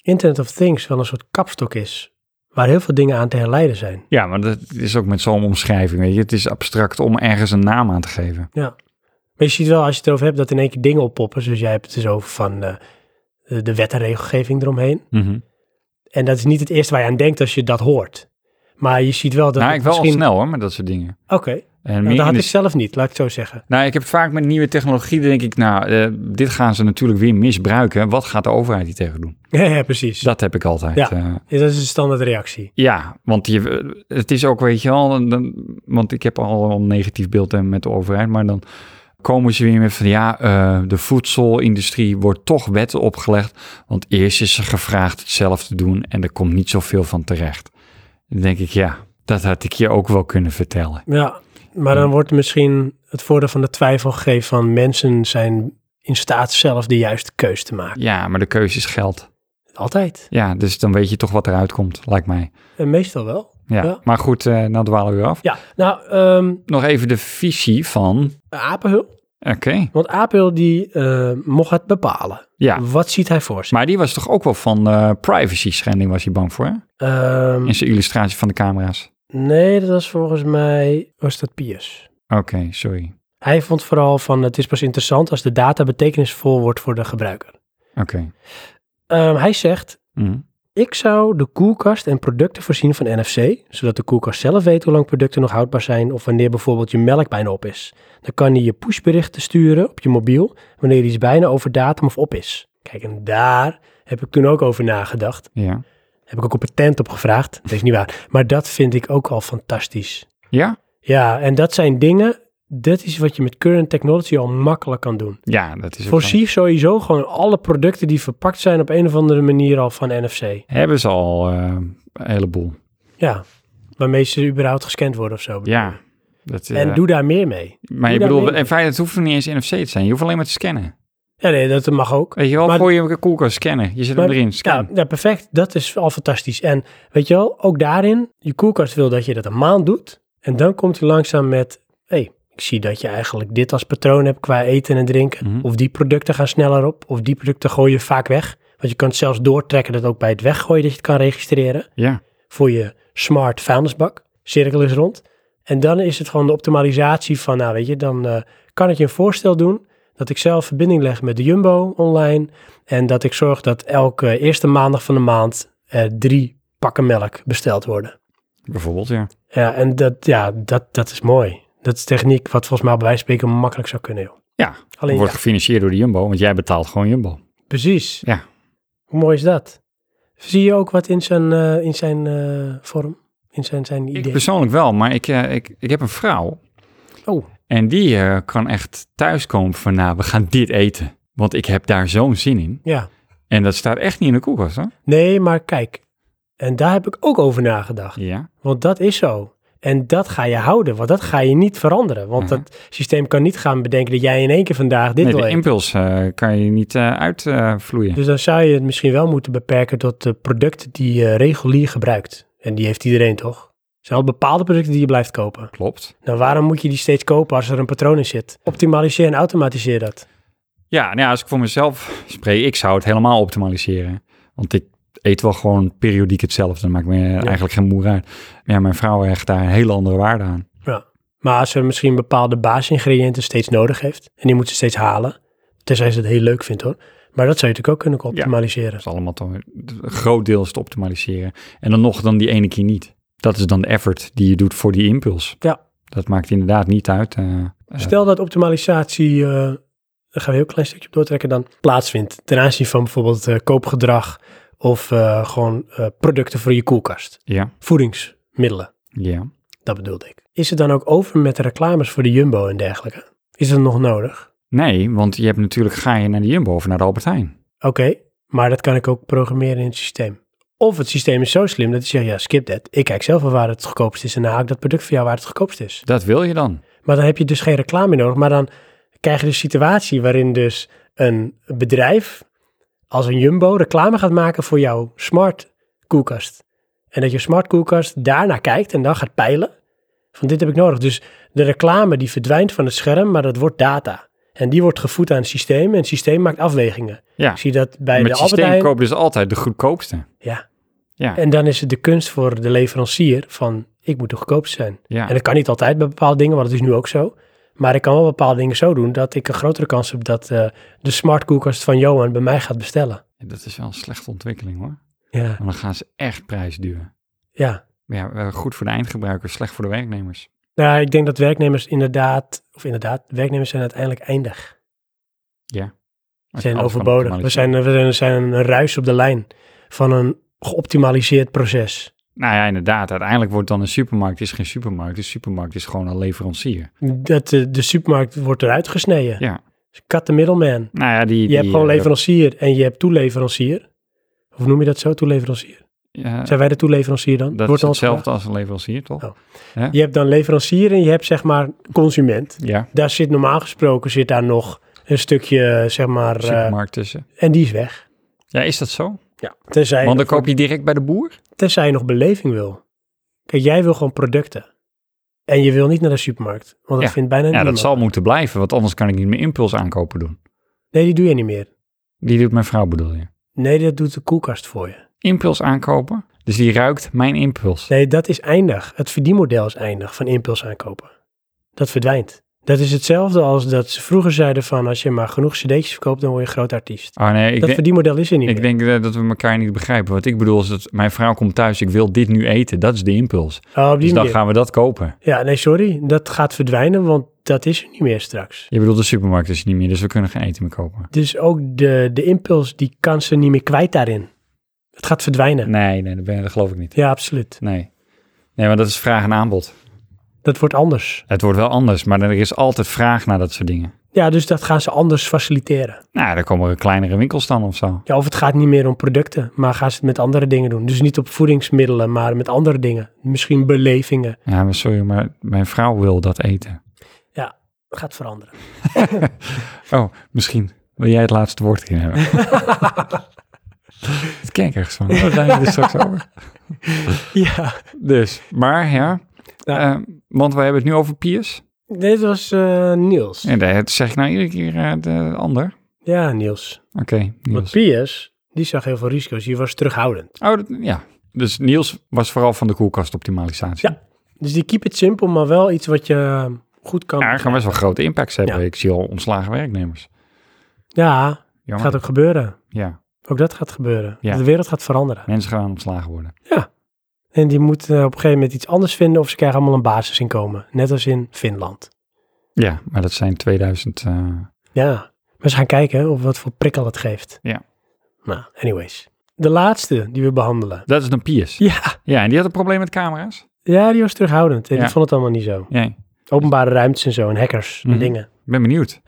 A: Internet of Things wel een soort kapstok is. Waar heel veel dingen aan te herleiden zijn.
B: Ja, maar dat is ook met zo'n omschrijving. Weet je? Het is abstract om ergens een naam aan te geven.
A: Maar je ziet wel als je het erover hebt dat in één keer dingen oppoppen. Dus jij hebt het dus over van eh, de de wet en regelgeving eromheen.
B: Mhm.
A: En dat is niet het eerste waar je aan denkt als je dat hoort. Maar je ziet wel dat
B: Nou,
A: het
B: ik wel
A: misschien...
B: al snel hoor, met dat soort dingen.
A: Oké,
B: En
A: nou,
B: meer
A: dat
B: in
A: had
B: de
A: ik zelf niet, laat ik het zo zeggen.
B: Nou, ik heb het vaak met nieuwe technologie. Dan denk ik, nou, eh, dit gaan ze natuurlijk weer misbruiken. Wat gaat de overheid hier tegen doen?
A: ja, ja, precies.
B: Dat heb ik altijd.
A: Ja.
B: eh.
A: Ja, dat is een standaard reactie.
B: ja want je, het is ook, weet je wel, dan- dan- want ik heb al een negatief beeld eh, met de overheid. Maar dan komen ze weer met van, ja, eh, de voedselindustrie wordt toch wetten opgelegd. Want eerst is ze gevraagd het zelf te doen en er komt niet zoveel van terecht. Dan denk ik, ja, dat had ik je ook wel kunnen vertellen.
A: Ja, maar dan wordt misschien het voordeel van de twijfel gegeven van mensen zijn in staat zelf de juiste keus te maken.
B: Ja, maar de keuze is geld.
A: Altijd.
B: Ja, dus dan weet je toch wat eruit komt, lijkt mij.
A: En Eh, meestal wel.
B: Ja,
A: Ja.
B: maar goed, eh nou dwalen we weer af.
A: Ja, nou, ehm
B: Nog even de visie van...
A: apenhul.
B: Oké.
A: Want Apel die eh, mocht het bepalen.
B: Ja.
A: Wat ziet hij voor zich?
B: Maar die was toch ook wel van eh, privacy schending, was hij bang voor, hè?
A: Ehm,
B: In zijn illustratie van de camera's.
A: nee, dat was volgens mij, was dat Pius.
B: Oké, sorry.
A: Hij vond vooral van, het is pas interessant als de data betekenisvol wordt voor de gebruiker.
B: Oké.
A: Ehm, hij zegt,
B: Mm.
A: Ik zou de koelkast en producten voorzien van NFC, zodat de koelkast zelf weet hoe lang producten nog houdbaar zijn of wanneer bijvoorbeeld je melk bijna op is. Dan kan hij je pushberichten sturen op je mobiel wanneer iets bijna over datum of op is. Kijk, en daar heb ik toen ook over nagedacht.
B: Ja.
A: Heb ik ook een patent op gevraagd. Dat is niet waar. Maar dat vind ik ook al fantastisch.
B: Ja?
A: Ja, en dat zijn dingen, dat is wat je met current technology al makkelijk kan doen.
B: Ja, dat is ook
A: Voorzie sowieso gewoon alle producten die verpakt zijn op een of andere manier al van NFC.
B: zo. Hebben ze al eh, een heleboel.
A: Ja, waarmee ze überhaupt gescand worden of zo.
B: Ja. Dat, eh,
A: En doe daar meer mee.
B: maar ik
A: doe daar
B: bedoel,
A: mee.
B: in feite, het hoeft niet eens NFC te zijn. Je hoeft alleen maar te scannen.
A: Ja, nee, dat mag ook.
B: Weet je wel,
A: Maar-
B: gooi je een koelkast scannen. Je zit
A: Maar-
B: hem erin,
A: Ja,
B: scan.
A: ja, perfect. Dat is al fantastisch. En weet je wel, ook daarin, je koelkast wil dat je dat een maand doet. En dan komt hij langzaam met, hé, hey, ik zie dat je eigenlijk dit als patroon hebt qua eten en drinken.
B: Mhm.
A: Of die producten gaan sneller op. Of die producten gooi je vaak weg. Want je kan het zelfs doortrekken dat ook bij het weggooien dat je het kan registreren.
B: Ja.
A: voor je smart vuilnisbak. Cirkel is rond. En dan is het gewoon de optimalisatie van, nou weet je, dan eh, kan ik je een voorstel doen dat ik zelf verbinding leg met de Jumbo online. En dat ik zorg dat elke eerste maandag van de maand eh, drie pakken melk besteld worden.
B: Bijvoorbeeld, ja.
A: Ja, en dat, ja, dat, dat is mooi. Dat is techniek wat volgens mij bij wijze van spreken makkelijk zou kunnen. Joh.
B: Ja,
A: Alleen,
B: wordt
A: ja,
B: gefinancierd door de Jumbo, want jij betaalt gewoon Jumbo.
A: precies.
B: Ja.
A: Hoe mooi is dat? Zie je ook wat in zijn, eh, in zijn eh, vorm? In zijn, zijn
B: Ik
A: idee?
B: persoonlijk wel, maar ik, eh, ik, ik heb een vrouw.
A: Oh.
B: En die eh, kan echt thuiskomen van, nou, we gaan dit eten. Want ik heb daar zo'n zin in.
A: Ja.
B: En dat staat echt niet in de koelkast, hoor.
A: Nee, maar kijk. En daar heb ik ook over nagedacht.
B: Ja.
A: Want dat is zo. En dat ga je houden, want dat ga je niet veranderen. Want
B: Mhm.
A: dat systeem kan niet gaan bedenken dat jij in één keer vandaag dit
B: Nee,
A: wil
B: de
A: eten.
B: impuls eh, kan je niet uitvloeien.
A: Dus dan zou je het misschien wel moeten beperken tot de producten die je regulier gebruikt. En die heeft iedereen toch? Er zijn al bepaalde producten die je blijft kopen.
B: Klopt.
A: Nou, waarom moet je die steeds kopen als er een patroon in zit? Optimaliseer en automatiseer dat.
B: Ja, nou ja, als ik voor mezelf spreek, ik zou het helemaal optimaliseren. Want ik eet wel gewoon periodiek hetzelfde. Dat maakt me eh, eigenlijk geen moer uit. Maar ja, mijn vrouw hecht daar een hele andere waarde aan.
A: Maar als ze misschien bepaalde basisingrediënten steeds nodig heeft, en die moet ze steeds halen, tenzij ze het heel leuk vindt hoor. Maar dat zou je natuurlijk ook kunnen optimaliseren.
B: Dat is allemaal toch grootdeels te optimaliseren. En dan nog dan die ene keer niet. Dat is dan de effort die je doet voor die impuls.
A: Ja.
B: Dat maakt inderdaad niet uit. eh,
A: Stel dat optimalisatie, eh, daar gaan we een heel klein stukje op doortrekken dan, plaatsvindt ten aanzien van bijvoorbeeld eh, koopgedrag of eh, gewoon eh, producten voor je koelkast.
B: ja,
A: Voedingsmiddelen,
B: ja.
A: dat bedoelde ik. Is het dan ook over met de reclames voor de Jumbo en dergelijke? Is dat nog nodig?
B: Nee, want je hebt natuurlijk, ga je naar de Jumbo of naar de Albert Heijn.
A: Oké, maar dat kan ik ook programmeren in het systeem. Of het systeem is zo slim dat je zegt, ja, skip dat. Ik kijk zelf wel waar het goedkoopst is en dan haal ik dat product voor jou waar het goedkoopst is.
B: Dat wil je dan.
A: Maar dan heb je dus geen reclame nodig. Maar dan krijg je de situatie waarin dus een bedrijf als een Jumbo reclame gaat maken voor jouw smart koelkast. En dat je smart koelkast daarnaar kijkt en dan gaat peilen van dit heb ik nodig. Dus de reclame die verdwijnt van het scherm, maar dat wordt data. En die wordt gevoed aan het systeem en het systeem maakt afwegingen.
B: Ja.
A: Ik zie dat bij
B: Met
A: de Albert
B: systeem
A: Heijn.
B: koop je dus altijd de goedkoopste.
A: Ja.
B: Ja.
A: En dan is het de kunst voor de leverancier van ik moet de goedkoopste zijn.
B: Ja.
A: En dat kan niet altijd bij bepaalde dingen, want dat is nu ook zo. Maar ik kan wel bepaalde dingen zo doen dat ik een grotere kans heb dat eh, de smart koelkast van Johan bij mij gaat bestellen.
B: Dat is wel een slechte ontwikkeling hoor.
A: Ja,
B: Want dan gaan ze echt prijs duwen.
A: ja.
B: Maar Ja, eh, goed voor de eindgebruikers, slecht voor de werknemers.
A: Nou, ik denk dat werknemers inderdaad, of inderdaad, werknemers zijn uiteindelijk eindig.
B: Als je
A: zijn
B: alles kan
A: overbodig. We
B: optimaliseren.
A: zijn, we zijn- we zijn een ruis op de lijn van een geoptimaliseerd proces.
B: Nou ja, inderdaad. Uiteindelijk wordt dan een supermarkt is geen supermarkt. De supermarkt is gewoon een leverancier.
A: Dat, eh, de supermarkt wordt eruit gesneden.
B: Ja.
A: Cut the middleman.
B: Nou ja, die...
A: Je hebt
B: die,
A: gewoon
B: eh,
A: leverancier en je hebt toeleverancier. Of noem je dat zo, toeleverancier?
B: ja,
A: Zijn wij de toeleverancier dan?
B: Dat
A: Wordt
B: is
A: ons
B: hetzelfde als een leverancier, toch?
A: Oh. gevraagd. Je hebt dan leverancier en je hebt zeg maar consument.
B: Ja,
A: Daar zit normaal gesproken zit daar nog een stukje zeg maar... eh,
B: supermarkt tussen.
A: en die is weg.
B: Ja, is dat zo?
A: Ja. Tenzij,
B: Want dan koop je direct bij de boer?
A: tenzij je nog beleving wil. Kijk, jij wil gewoon producten. En je wil niet naar de supermarkt, want dat
B: Ja.
A: vindt bijna
B: Ja,
A: niemand.
B: dat zal moeten blijven, want anders kan ik niet meer impuls aankopen doen.
A: Nee, die doe je niet meer.
B: Die doet mijn vrouw, bedoel je?
A: Nee, dat doet de koelkast voor je.
B: Impuls aankopen, dus die ruikt mijn impuls.
A: Nee, dat is eindig. Het verdienmodel is eindig van impuls aankopen. Dat verdwijnt. Dat is hetzelfde als dat ze vroeger zeiden van als je maar genoeg cd'tjes verkoopt, dan word je een groot artiest.
B: Oh nee, ik,
A: dat
B: denk-
A: verdienmodel is er niet
B: ik
A: meer.
B: denk eh, dat we elkaar niet begrijpen. Wat ik bedoel is dat mijn vrouw komt thuis, ik wil dit nu eten. Dat is de impuls.
A: Oh, op die
B: Dus dan
A: manier.
B: gaan we dat kopen.
A: Ja, nee, sorry. Dat gaat verdwijnen, want dat is er niet meer straks.
B: Je bedoelt de supermarkt is er niet meer, dus we kunnen geen eten meer kopen.
A: Dus ook de, de impuls, die kan ze niet meer kwijt daarin. Het gaat verdwijnen.
B: Nee, nee, dat, ben, dat geloof ik niet.
A: Ja, absoluut.
B: Nee. Nee, maar dat is vraag en aanbod.
A: Dat wordt anders.
B: Het wordt wel anders, maar er is altijd vraag naar dat soort dingen.
A: Ja, dus dat gaan ze anders faciliteren.
B: Nou, dan komen er kleinere winkels dan of zo.
A: Ja, of het gaat niet meer om producten, maar gaan ze het met andere dingen doen. Dus niet op voedingsmiddelen, maar met andere dingen. Misschien belevingen.
B: Ja, maar sorry, maar mijn vrouw wil dat eten.
A: gaat veranderen.
B: Oh, misschien wil jij het laatste woord in hebben. Het ken ik ergens van. Oh, Daar zijn we er straks over.
A: Ja,
B: Dus, maar ja,
A: Ja.
B: eh, want we hebben het nu over Piers.
A: dit was eh, Niels. Ja,
B: En dat zeg ik nou iedere keer eh, de ander.
A: Niels.
B: Oké,
A: Want
B: Niels.
A: Piers, die zag heel veel risico's. Die was terughoudend.
B: Oh, dat- ja. Dus Niels was vooral van de koelkastoptimalisatie.
A: Ja. Dus die keep it simpel, maar wel iets wat je eh, goed kan.
B: Ja, er gaan best wel grote impacts hebben.
A: Ja.
B: Ik zie al ontslagen werknemers.
A: Ja, het
B: Jammer.
A: gaat ook gebeuren.
B: Ja,
A: Ook dat gaat gebeuren.
B: Ja.
A: De wereld gaat veranderen.
B: mensen gaan ontslagen worden.
A: En die moeten op een gegeven moment iets anders vinden of ze krijgen allemaal een basisinkomen. Net als in Finland.
B: Ja, maar dat zijn 2000... eh,
A: Ja, maar ze gaan kijken hè, of wat voor prikkel het geeft.
B: Ja.
A: Nou, anyways. De laatste die we behandelen.
B: Dat is dan Piers.
A: Ja,
B: Ja, en die had een probleem met camera's.
A: ja die was terughoudend. En
B: Ja.
A: die vond het allemaal niet zo.
B: Ja, ik
A: Openbare ruimtes en zo en hackers en
B: Mhm.
A: dingen.
B: ben benieuwd.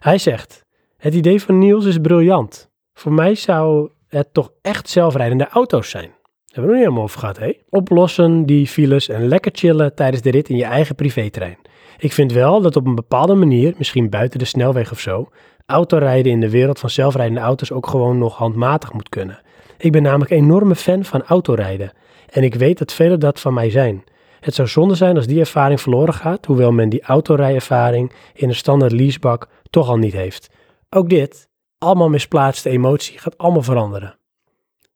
A: Hij zegt, het idee van Niels is briljant. Voor mij zou het toch echt zelfrijdende auto's zijn. Daar hebben we nog niet helemaal over gehad, hè? Oplossen die files en lekker chillen tijdens de rit in je eigen privéterrein. Ik vind wel dat op een bepaalde manier, misschien buiten de snelweg of zo, autorijden in de wereld van zelfrijdende auto's ook gewoon nog handmatig moet kunnen. Ik ben namelijk een enorme fan van autorijden en ik weet dat velen dat van mij zijn. Het zou zonde zijn als die ervaring verloren gaat, hoewel men die autorijervaring in een standaard leasebak toch al niet heeft. Ook dit, allemaal misplaatste emotie, gaat allemaal veranderen.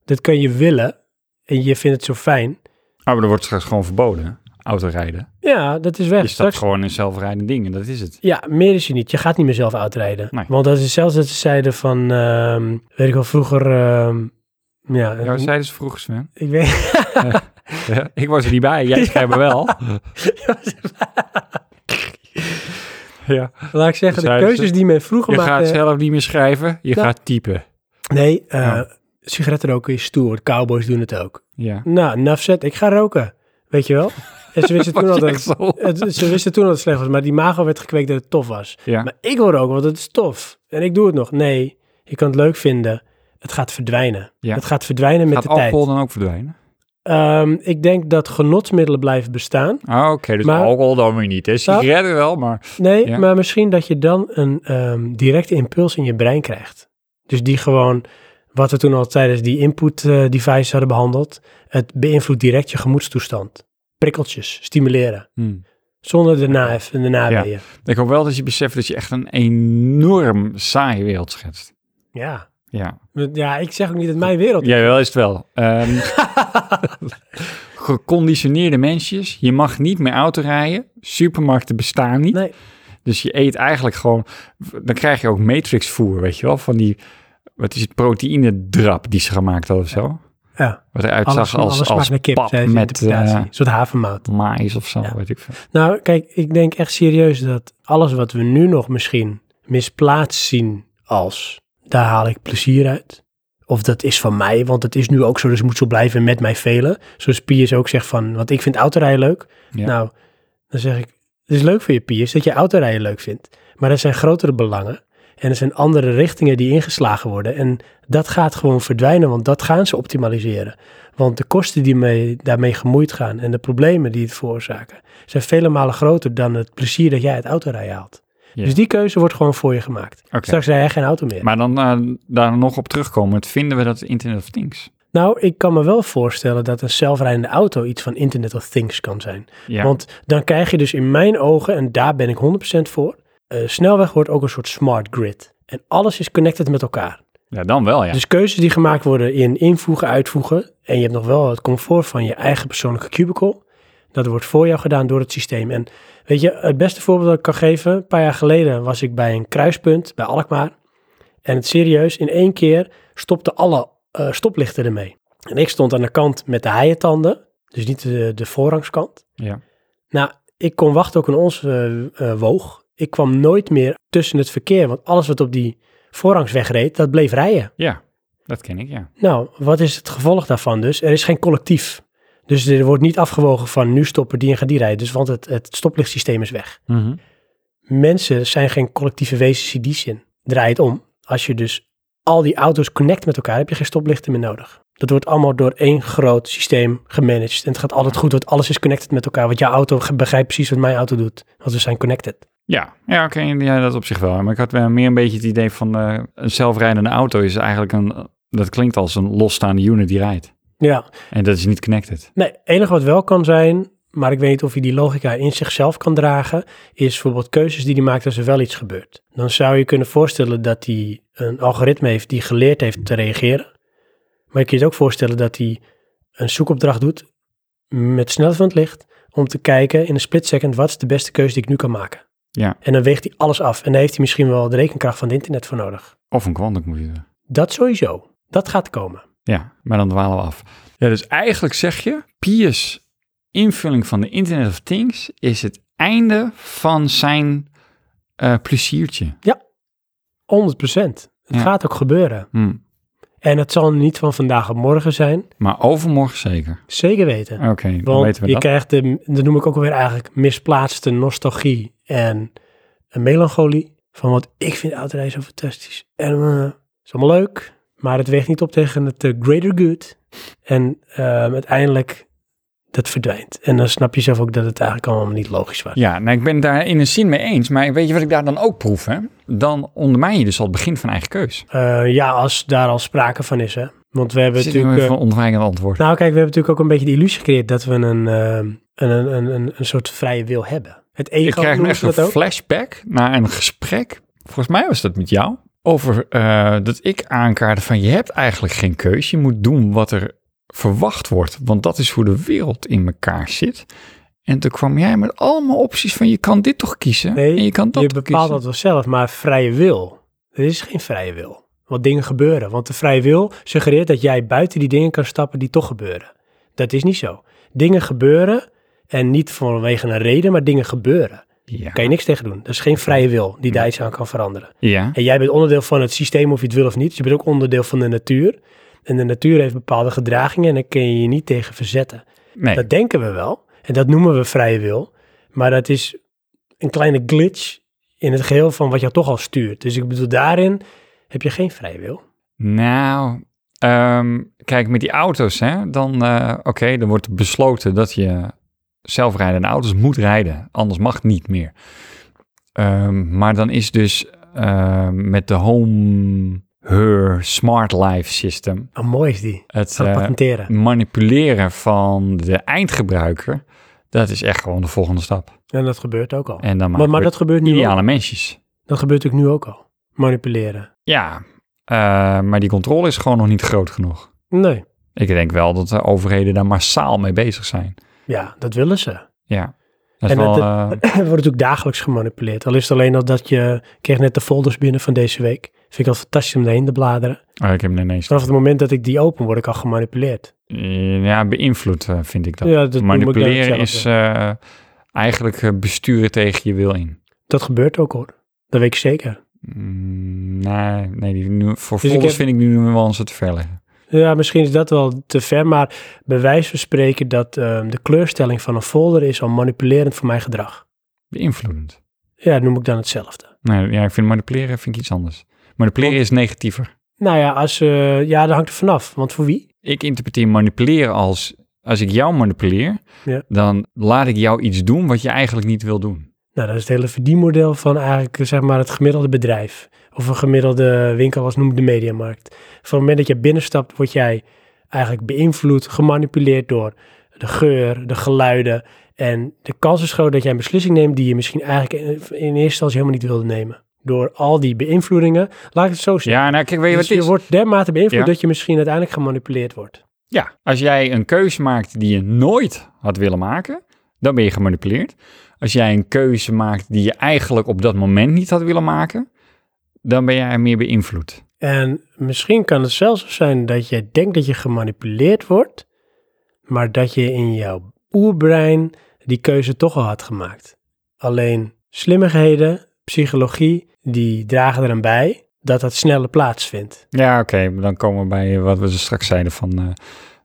A: Dit kun je willen en je vindt het zo fijn.
B: Oh, maar er wordt straks gewoon verboden, hè? autorijden.
A: Ja, dat is weg.
B: Je stapt
A: Straks-
B: gewoon in zelfrijdende dingen, dat is het.
A: Ja, meer is je niet. Je gaat niet meer zelf uitrijden.
B: Nee.
A: Want dat is zelfs dat ze zeiden van, ehm, weet ik wel, vroeger... ehm, ja,
B: Ja, dat zeiden ze vroeger, Sven.
A: ik weet...
B: Ja, ik was er niet bij, jij schrijft me wel. ja.
A: Laat ik zeggen, de
B: Zeiden ze-
A: keuzes die men vroeger
B: Je gaat
A: maakte...
B: zelf niet meer schrijven, je
A: eh, Nou.
B: gaat typen.
A: Nee, eh
B: Ja.
A: sigaretten roken is stoer. Cowboys doen het ook.
B: Ja.
A: Nou, naf zet, ik ga roken. Weet je wel? En ze wisten, toen al
B: Was
A: dat,
B: echt zo.
A: het- ze wisten toen dat het slecht was, maar die mago werd gekweekt dat het tof was.
B: Ja.
A: Maar ik wil roken, want het is tof. En ik doe het nog. Nee, je kan het leuk vinden. Het gaat verdwijnen.
B: Ja.
A: Het gaat verdwijnen met
B: Gaat
A: de tijd.
B: alcohol dan ook verdwijnen?
A: Ehm, ik denk dat genotsmiddelen blijven bestaan.
B: Ah, oké, dus
A: Maar- Nou-
B: alcohol dan weer niet. Hè? Sigaretten wel, maar...
A: Nee,
B: Ja.
A: maar misschien dat je dan een ehm, directe impuls in je brein krijgt. Dus die gewoon, wat we toen al tijdens die input eh, device hadden behandeld, het beïnvloedt direct je gemoedstoestand. Prikkeltjes, stimuleren.
B: Hmm.
A: Zonder de naaf en de naweeën. Ja.
B: Ik hoop wel dat je beseft dat je echt een enorm saaie wereld schetst.
A: Ja.
B: Ja.
A: ik zeg ook niet dat mijn wereld.
B: Jij wel is het wel. Ehm, geconditioneerde mensjes. Je mag niet meer auto rijden. Supermarkten bestaan niet.
A: Nee.
B: Dus je eet eigenlijk gewoon... Dan krijg je ook matrixvoer, weet je wel? Van die... Wat is het? Proteïnedrap die ze gemaakt hadden of zo.
A: Ja,
B: Wat eruit
A: alles,
B: zag als,
A: alles
B: als
A: smaakt naar kip,
B: pap
A: zei ze
B: met
A: interpretatie.
B: eh,
A: Een soort havermout.
B: maïs of zo,
A: Ja.
B: weet ik veel.
A: Nou, kijk, ik denk echt serieus dat alles wat we nu nog misschien misplaatst zien als... daar haal ik plezier uit. Of dat is van mij, want het is nu ook zo, dus het moet zo blijven met mij velen. Zoals Piers ook zegt van, want ik vind autorijden leuk.
B: Ja.
A: Nou, dan zeg ik, het is leuk voor je Piers dat je autorijden leuk vindt. Maar er zijn grotere belangen en er zijn andere richtingen die ingeslagen worden. En dat gaat gewoon verdwijnen, want dat gaan ze optimaliseren. Want de kosten die mee, daarmee gemoeid gaan en de problemen die het veroorzaken, zijn vele malen groter dan het plezier dat jij uit autorijden haalt.
B: Ja.
A: Dus die keuze wordt gewoon voor je gemaakt.
B: Oké.
A: Straks rij jij geen auto meer.
B: Maar dan eh, daar nog op terugkomen. Het vinden we dat Internet of Things.
A: Nou, ik kan me wel voorstellen dat een zelfrijdende auto iets van Internet of Things kan zijn.
B: Ja.
A: Want dan krijg je dus in mijn ogen, en daar ben ik 100% voor, eh, snelweg wordt ook een soort smart grid. En alles is connected met elkaar.
B: ja, dan wel, ja.
A: Dus keuzes die gemaakt worden in invoegen, uitvoegen. En je hebt nog wel het comfort van je eigen persoonlijke cubicle. Dat wordt voor jou gedaan door het systeem. En weet je, het beste voorbeeld dat ik kan geven. Een paar jaar geleden was ik bij een kruispunt bij Alkmaar. En het serieus, in één keer stopten alle eh, stoplichten ermee. En ik stond aan de kant met de heientanden. Dus niet de, de voorrangskant.
B: ja.
A: Nou, ik kon wachten ook in onze eh, eh, woog. Ik kwam nooit meer tussen het verkeer. Want alles wat op die voorrangsweg reed, dat bleef rijden.
B: Ja, dat ken ik, ja.
A: Nou, wat is het gevolg daarvan dus? Er is geen collectief. Dus er wordt niet afgewogen van nu stoppen die en gaan die rijden. Dus want het, het stoplichtsysteem is weg.
B: Mhm.
A: Mensen zijn geen collectieve wezens in die zin. Draai het om. Als je dus al die auto's connect met elkaar, heb je geen stoplichten meer nodig. Dat wordt allemaal door één groot systeem gemanaged. En het gaat altijd goed, want alles is connected met elkaar. Want jouw auto ge- begrijpt precies wat mijn auto doet. Want we zijn connected.
B: Ja, ja oké, ja, dat op zich wel. Maar ik had wel meer een beetje het idee van eh, een zelfrijdende auto is eigenlijk een... Dat klinkt als een losstaande unit die rijdt.
A: Ja,
B: En dat is niet connected.
A: Nee, het enige wat wel kan zijn, maar ik weet niet of je die logica in zichzelf kan dragen, is bijvoorbeeld keuzes die hij maakt als er wel iets gebeurt. Dan zou je kunnen voorstellen dat hij een algoritme heeft die geleerd heeft te reageren. Maar je kunt je ook voorstellen dat hij een zoekopdracht doet met snelheid van het licht om te kijken in een split second wat is de beste keuze die ik nu kan maken.
B: Ja.
A: En dan weegt hij alles af en daar heeft hij misschien wel de rekenkracht van het internet voor nodig.
B: Of een quantumcomputer.
A: Dat sowieso. Dat gaat komen.
B: Ja, maar dan dwalen we af. Ja, dus eigenlijk zeg je, Piers invulling van de Internet of Things is het einde van zijn eh, pleziertje.
A: 100%. Het
B: Ja.
A: gaat ook gebeuren.
B: Hm.
A: En het zal niet van vandaag op morgen zijn.
B: Maar overmorgen zeker.
A: Zeker weten.
B: Oké, dan
A: Want
B: weten
A: je
B: we dat.
A: krijgt de, dat noem ik ook weer eigenlijk, misplaatste nostalgie en een melancholie. Van wat ik vind autorijden zo fantastisch. En eh, het is allemaal leuk, maar het weegt niet op tegen het eh, greater good. En ehm, uiteindelijk, dat verdwijnt. En dan snap je zelf ook dat het eigenlijk allemaal niet logisch was.
B: Ja, nou, ik ben het daar in een zin mee eens. Maar weet je wat ik daar dan ook proef? Hè? Dan ondermijn je dus al het begin van eigen keus.
A: Eh, ja, als daar al sprake van is, hè. Want we hebben
B: Zit nu
A: natuurlijk... eh,
B: even een ontwijkend antwoord.
A: Nou, kijk, we hebben natuurlijk ook een beetje de illusie gecreëerd dat we een, ehm, een, een, een, een, een soort vrije wil hebben. Het ego
B: ik krijg nu
A: noemen
B: echt
A: ze
B: een
A: dat ook.
B: flashback naar een gesprek. Volgens mij was dat met jou. Over eh, dat ik aankaarde van je hebt eigenlijk geen keus. Je moet doen wat er verwacht wordt. Want dat is hoe de wereld in elkaar zit. En toen kwam jij met allemaal opties van je kan dit toch kiezen.
A: Nee,
B: en je kan dat
A: je
B: toch
A: bepaalt
B: kiezen.
A: dat wel zelf, maar vrije wil, er is geen vrije wil. Wat dingen gebeuren. Want de vrije wil suggereert dat jij buiten die dingen kan stappen die toch gebeuren. Dat is niet zo. Dingen gebeuren en niet vanwege een reden, maar dingen gebeuren.
B: Ja.
A: Daar kan je niks tegen doen. Dat is geen vrije wil die daar iets aan kan veranderen.
B: ja,
A: En jij bent onderdeel van het systeem, of je het wil of niet. Dus je bent ook onderdeel van de natuur. En de natuur heeft bepaalde gedragingen en daar kun je je niet tegen verzetten.
B: nee.
A: Dat denken we wel. En dat noemen we vrije wil. Maar dat is een kleine glitch in het geheel van wat jou toch al stuurt. Dus ik bedoel, daarin heb je geen vrije wil.
B: Nou, ehm, kijk, met die auto's, hè, dan, eh, oké, dan wordt besloten dat je zelfrijdende auto's moet rijden. Anders mag het niet meer. Ehm, maar dan is dus ehm, met de Home Her Smart Life System
A: Ah, mooi is die.
B: het
A: Gaan we
B: eh,
A: patenteren.
B: manipuleren van de eindgebruiker. Dat is echt gewoon de volgende stap.
A: En dat gebeurt ook al.
B: En dan
A: Maar,
B: maken
A: maar
B: we
A: dat gebeurt nu ook.
B: ideale mensjes.
A: Dat gebeurt ook nu ook al. Manipuleren.
B: Ja, eh, maar die controle is gewoon nog niet groot genoeg.
A: Nee.
B: Ik denk wel dat de overheden daar massaal mee bezig zijn.
A: Ja, dat willen ze.
B: Ja. Dat is
A: En
B: wel,
A: het-
B: eh,
A: Er wordt natuurlijk dagelijks gemanipuleerd. Al is het alleen al dat je... Ik kreeg net de folders binnen van deze week. Vind ik al fantastisch om daarheen te bladeren. Dus
B: oh, ik heb hem ineens.
A: Vanaf het moment dat ik die open, word ik al gemanipuleerd.
B: Ja, beïnvloed eh, vind ik dat.
A: ja, dat noem ik dan
B: Manipuleren
A: hetzelfde.
B: is eh, eigenlijk eh, besturen tegen je wil in.
A: Dat gebeurt ook hoor. Dat weet ik zeker.
B: Mm, nee, nee die, nu, voor
A: Dus ik
B: folders
A: heb-
B: vind ik nu een nuance te ver liggen.
A: Ja, misschien is dat wel te ver, maar bij wijze van spreken dat ehm, de kleurstelling van een folder is al manipulerend voor mijn gedrag.
B: Beïnvloedend.
A: Ja, dat noem ik dan hetzelfde.
B: Nee, ja, ik vind manipuleren vind ik iets anders. Manipuleren is negatiever.
A: Nou ja, als, eh, ja dat hangt er vanaf. Want voor wie?
B: Ik interpreteer manipuleren als, als ik jou manipuleer,
A: Ja.
B: dan laat ik jou iets doen wat je eigenlijk niet wil doen.
A: Nou, dat is het hele verdienmodel van eigenlijk eh, zeg maar het gemiddelde bedrijf. Of een gemiddelde winkel als noem ik de mediamarkt. Van het moment dat je binnenstapt, word jij eigenlijk beïnvloed, gemanipuleerd door de geur, de geluiden. En de kans is groot dat jij een beslissing neemt die je misschien eigenlijk in in eerste instantie helemaal niet wilde nemen. Door al die beïnvloedingen. Laat ik het zo zeggen.
B: Ja, nou kijk, weet je
A: Dus
B: wat
A: je
B: het is?
A: wordt dermate beïnvloed
B: Ja.
A: dat je misschien uiteindelijk gemanipuleerd wordt.
B: Ja, als jij een keuze maakt die je nooit had willen maken, dan ben je gemanipuleerd. Als jij een keuze maakt die je eigenlijk op dat moment niet had willen maken, dan ben jij meer beïnvloed.
A: En misschien kan het zelfs zo zijn dat jij denkt dat je gemanipuleerd wordt, maar dat je in jouw oerbrein die keuze toch al had gemaakt. Alleen slimmigheden, psychologie, die dragen eraan bij dat dat sneller plaatsvindt.
B: Ja, oké, maar dan komen we bij wat we zo straks zeiden van eh,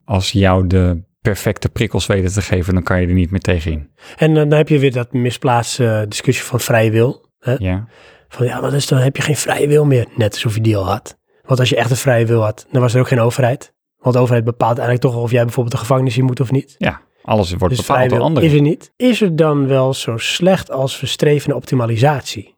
B: als jou de perfecte prikkels weten te geven, dan kan je er niet meer tegenin.
A: En dan heb je weer dat misplaatste discussie van vrije wil. Hè?
B: Ja,
A: Van ja, maar dus dan heb je geen vrije wil meer. Net alsof je die al had. Want als je echt een vrije wil had, dan was er ook geen overheid. Want de overheid bepaalt eigenlijk toch of jij bijvoorbeeld de gevangenis in moet of niet.
B: ja alles wordt
A: Dus
B: bepaald door
A: vrijwel
B: anderen.
A: is er niet. Is er dan wel zo slecht als we streven naar optimalisatie?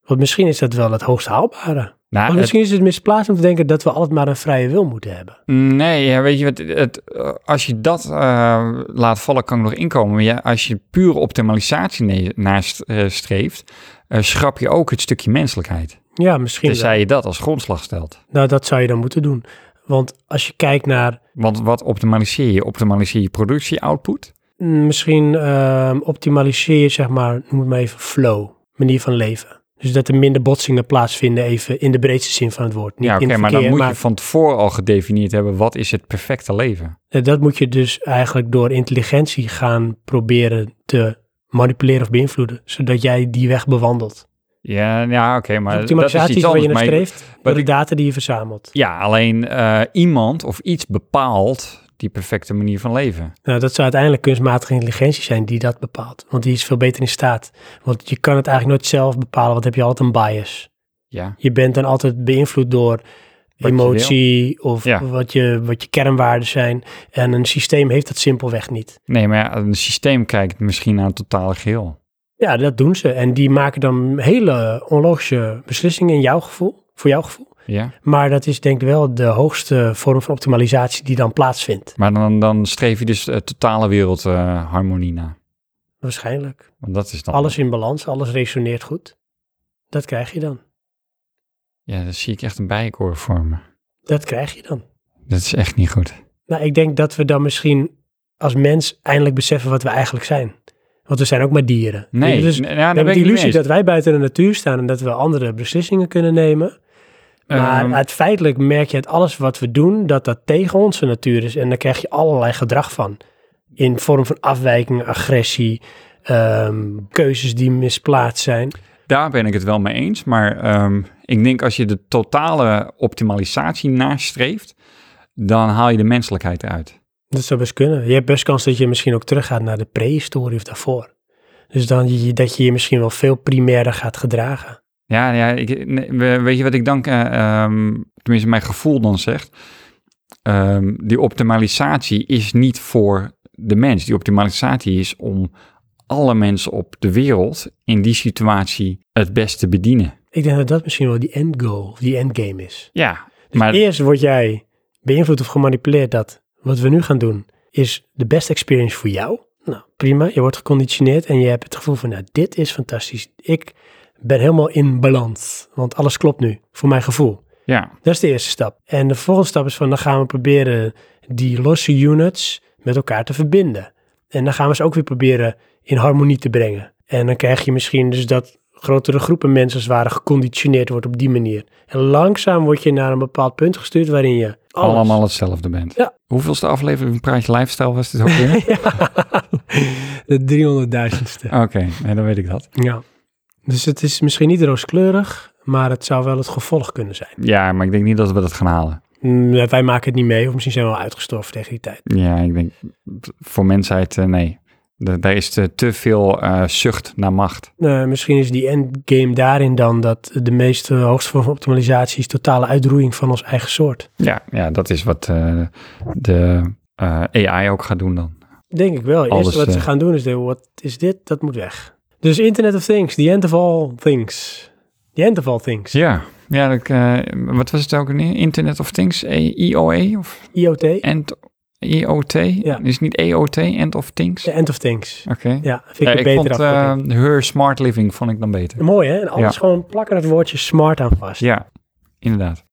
A: Want misschien is dat wel het hoogst haalbare.
B: Nou,
A: Of
B: het-
A: misschien is het misplaatst om te denken dat we altijd maar een vrije wil moeten hebben.
B: Nee, ja, weet je wat, het, eh, als je dat eh, laat vallen, kan ik nog inkomen. Maar ja, als je pure optimalisatie ne- naast eh, streeft, eh, schrap je ook het stukje menselijkheid.
A: Ja, misschien wel.
B: Tenzij je dat als grondslag stelt.
A: Nou, dat zou je dan moeten doen. Want als je kijkt naar
B: Want wat optimaliseer je? Optimaliseer je productie-output?
A: mm, misschien ehm, optimaliseer je, zeg maar, noem het maar even flow, manier van leven. Dus dat er minder botsingen plaatsvinden, even in de breedste zin van het woord. Niet
B: Ja, oké,
A: in het
B: maar dan
A: verkeer,
B: moet
A: maar
B: je van tevoren al gedefinieerd hebben wat is het perfecte leven.
A: eh, dat moet je dus eigenlijk door intelligentie gaan proberen te manipuleren of beïnvloeden, zodat jij die weg bewandelt.
B: Ja, ja oké,
A: Dus
B: maar dat is
A: optimalisatie
B: iets
A: is waar
B: anders.
A: je naar
B: maar
A: streeft, door de
B: ik-
A: data die je verzamelt.
B: ja, alleen eh, iemand of iets bepaalt die perfecte manier van leven.
A: Nou, dat zou uiteindelijk kunstmatige intelligentie zijn die dat bepaalt. Want die is veel beter in staat. Want je kan het eigenlijk nooit zelf bepalen, want dan heb je altijd een bias.
B: Ja,
A: Je bent dan altijd beïnvloed door
B: je
A: emotie of
B: Ja.
A: wat, je, wat je kernwaarden zijn. En een systeem heeft dat simpelweg niet.
B: nee, maar ja, een systeem kijkt misschien naar het totale geheel.
A: Ja, dat doen ze. En die maken dan hele onlogische beslissingen in jouw gevoel, voor jouw gevoel.
B: Ja,
A: Maar dat is denk ik wel de hoogste vorm van optimalisatie die dan plaatsvindt.
B: maar dan, dan streef je dus de totale wereldharmonie harmonie na.
A: Waarschijnlijk.
B: Want dat is dan...
A: Alles in balans, alles resoneert goed. Dat krijg je dan.
B: Ja, dat zie ik echt een bijenkoor voor me.
A: Dat krijg je dan.
B: Dat is echt niet goed.
A: Nou, ik denk dat we dan misschien als mens eindelijk beseffen wat we eigenlijk zijn. Want we zijn ook maar dieren. Weet
B: Nee,
A: je, Dus
B: n- ja,
A: we
B: Ah, daar ben
A: hebben de
B: ik niet mee
A: illusie
B: eens.
A: dat wij buiten de natuur staan en dat we andere beslissingen kunnen nemen. Maar
B: Ehm,
A: uit feitelijk merk je uit alles wat we doen, dat dat tegen onze natuur is. En daar krijg je allerlei gedrag van. In vorm van afwijking, agressie, ehm, keuzes die misplaatst zijn.
B: Daar ben ik het wel mee eens. Maar ehm, ik denk als je de totale optimalisatie nastreeft, dan haal je de menselijkheid eruit.
A: Dat zou best kunnen. Je hebt best kans dat je misschien ook teruggaat naar de prehistorie of daarvoor. Dus dan je- dat je je misschien wel veel primairder gaat gedragen.
B: Ja, ja ik, nee, we- weet je wat ik dan, eh, ehm, tenminste mijn gevoel dan zegt? Ehm, die optimalisatie is niet voor de mens. Die optimalisatie is om alle mensen op de wereld in die situatie het best te bedienen.
A: Ik denk dat dat misschien wel die endgoal of die endgame is.
B: Ja,
A: Dus
B: maar
A: eerst word jij beïnvloed of gemanipuleerd dat wat we nu gaan doen is de best experience voor jou. Nou, prima. Je wordt geconditioneerd en je hebt het gevoel van, nou, dit is fantastisch. Ik ben helemaal in balans, want alles klopt nu, voor mijn gevoel.
B: ja,
A: Dat is de eerste stap. En de volgende stap is van, dan gaan we proberen die losse units met elkaar te verbinden. En dan gaan we ze ook weer proberen in harmonie te brengen. En dan krijg je misschien dus dat grotere groepen mensen als het ware geconditioneerd wordt op die manier. En langzaam word je naar een bepaald punt gestuurd waarin je alles-
B: allemaal hetzelfde bent.
A: Ja.
B: Hoeveelste aflevering van Praatje Lifestyle was dit ook weer?
A: De 300.000ste.
B: Oké, nee, dan weet ik dat.
A: Ja. Dus het is misschien niet rooskleurig, maar het zou wel het gevolg kunnen zijn.
B: Ja, maar ik denk niet dat we dat gaan halen.
A: Mm, ja, Wij maken het niet mee, of misschien zijn we al uitgestorven tegen die tijd.
B: Ja, ik denk voor mensheid, eh, nee. Da- daar is te, te veel eh, zucht naar macht.
A: Eh, misschien is die endgame daarin dan dat de meeste hoogste vorm van optimalisatie is totale uitroeiing van ons eigen soort.
B: Ja, ja dat is wat eh, de eh, AI ook gaat doen dan.
A: Denk ik wel. Eerst
B: Alles,
A: wat ze
B: eh,
A: gaan doen is, denken, wat is dit? Dat moet weg. Dus Internet of Things, the end of all things. The end of all things.
B: Ja, Ja, dat, eh, wat was het ook weer? Internet of Things, E- IOE of
A: IoT,
B: End, IOT?
A: Ja.
B: Is het niet EOT, End of Things?
A: The End of Things.
B: Oké.
A: Ja, vind ik
B: Ja,
A: een
B: ik
A: beter
B: vond
A: afkorting.
B: eh, Her Smart Living vond ik dan beter.
A: Mooi hè? En alles gewoon plakken dat woordje smart aan vast.
B: Ja, inderdaad.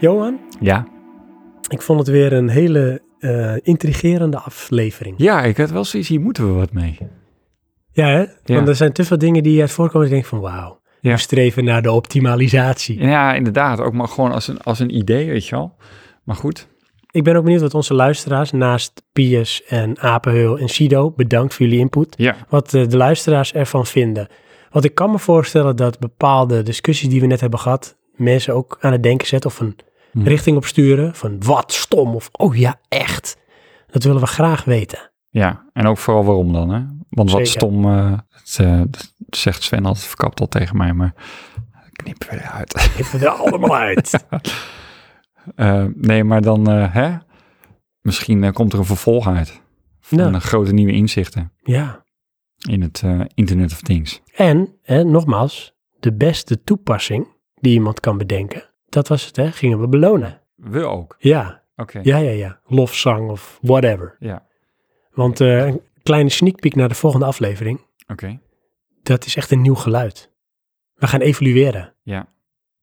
A: Johan,
B: Ja.
A: ik vond het weer een hele eh, intrigerende aflevering.
B: Ja, ik had wel zoiets, hier moeten we wat mee.
A: Ja, hè?
B: Ja.
A: Want er zijn te veel dingen die uit voorkomen. Ik denk van wauw,
B: Ja.
A: we streven naar de optimalisatie.
B: Ja, inderdaad. Ook maar gewoon als een, als een idee, weet je wel. Maar goed.
A: Ik ben ook benieuwd wat onze luisteraars, naast Piers en Apenheul en Sido, bedankt voor jullie input,
B: Ja.
A: wat eh, de luisteraars ervan vinden. Want ik kan me voorstellen dat bepaalde discussies die we net hebben gehad, mensen ook aan het denken zetten of een
B: Hmm.
A: richting op sturen. Van wat stom of oh ja, echt. Dat willen we graag weten.
B: Ja, en ook vooral waarom dan, hè? Want
A: Zeker.
B: wat stom, eh, het, eh, dat zegt Sven altijd verkapt al tegen mij, maar knip weer uit.
A: Knippen we er allemaal uit.
B: Eh, nee, maar dan, eh, hè? Misschien eh, komt er een vervolg uit van
A: Nou.
B: eh, grote nieuwe inzichten
A: Ja.
B: in het eh, Internet of Things.
A: En, hè, nogmaals, de beste toepassing die iemand kan bedenken, dat was het, hè? Gingen we belonen.
B: We ook.
A: Ja,
B: Oké.
A: ja, ja, ja. Lofzang of whatever.
B: Ja.
A: Want eh, een kleine sneak peek naar de volgende aflevering.
B: Oké.
A: Dat is echt een nieuw geluid. We gaan evolueren.
B: Ja.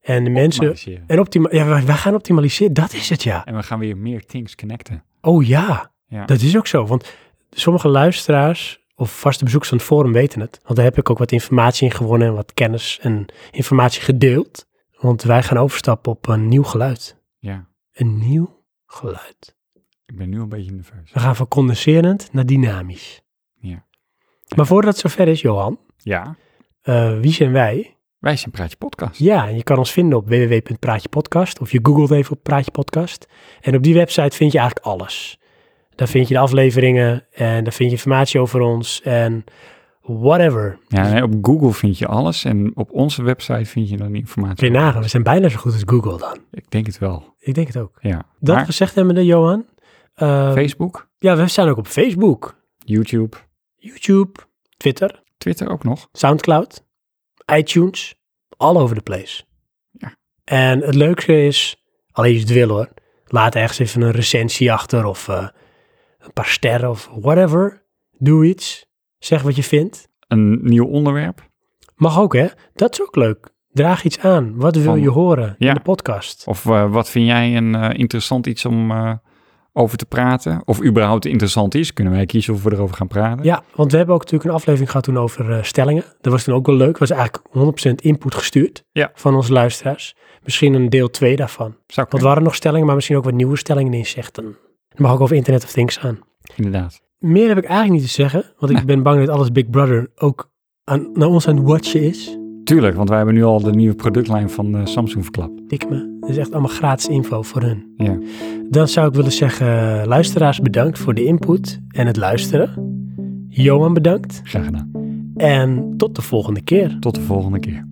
A: En de mensen.
B: Optimaliseren.
A: En optima ja, wij wij gaan optimaliseren. Dat is het, ja.
B: En we gaan weer meer things connecten.
A: Oh ja.
B: Ja.
A: Dat is ook zo. Want sommige luisteraars of vaste bezoekers van het forum weten het. Want daar heb ik ook wat informatie in gewonnen en wat kennis en informatie gedeeld. Want wij gaan overstappen op een nieuw geluid.
B: Ja.
A: Een nieuw geluid.
B: Ik ben nu een beetje nerveus.
A: We gaan van condenserend naar dynamisch.
B: Ja.
A: Maar voordat het zover is, Johan,
B: Ja.
A: eh, wie zijn wij?
B: Wij zijn Praatje Podcast.
A: Ja, en je kan ons vinden op www.praatjepodcast of je googelt even op Praatje Podcast. En op die website vind je eigenlijk alles. Daar vind je de afleveringen en daar vind je informatie over ons en whatever.
B: Ja, nee, op Google vind je alles en op onze website vind je dan
A: Kun
B: informatie.
A: je nagaan, we zijn bijna zo goed als Google dan.
B: Ik denk het wel.
A: Ik denk het ook.
B: Ja.
A: Dat
B: Maar-
A: gezegd hebbende, Johan. eh,
B: Facebook,
A: ja, we zijn ook op Facebook,
B: YouTube,
A: YouTube, Twitter,
B: Twitter ook nog.
A: Soundcloud, iTunes, all over the place.
B: Ja.
A: En het leukste is, alleen als je het wil hoor, laat ergens even een recensie achter of eh, een paar sterren of whatever. Doe iets. Zeg wat je vindt.
B: Een nieuw onderwerp.
A: Mag ook hè, dat is ook leuk. Draag iets aan. Wat wil
B: Van-
A: je horen
B: ja.
A: in de podcast?
B: Of eh, wat vind jij een eh, interessant iets om eh, over te praten? Of überhaupt interessant is? Kunnen wij kiezen of we erover gaan praten?
A: Ja, want we hebben ook natuurlijk een aflevering gehad toen over eh, stellingen. Dat was toen ook wel leuk. Was eigenlijk 100% input gestuurd
B: Ja.
A: van onze luisteraars. Misschien een deel 2 daarvan.
B: Zou
A: Want
B: kunnen,
A: er waren nog stellingen, maar misschien ook wat nieuwe stellingen in inzichten. Dat mag ook over Internet of Things aan.
B: inderdaad.
A: Meer heb ik eigenlijk niet te zeggen, want ik ben bang dat alles Big Brother ook aan, naar ons aan het watchen is.
B: Tuurlijk, want wij hebben nu al de nieuwe productlijn van eh, Samsung verklapt.
A: Dik me. Dat is echt allemaal gratis info voor hun.
B: Ja.
A: Dan zou ik willen zeggen, luisteraars bedankt voor de input en het luisteren. Johan bedankt
B: Graag gedaan.
A: en tot de volgende keer.
B: Tot de volgende keer.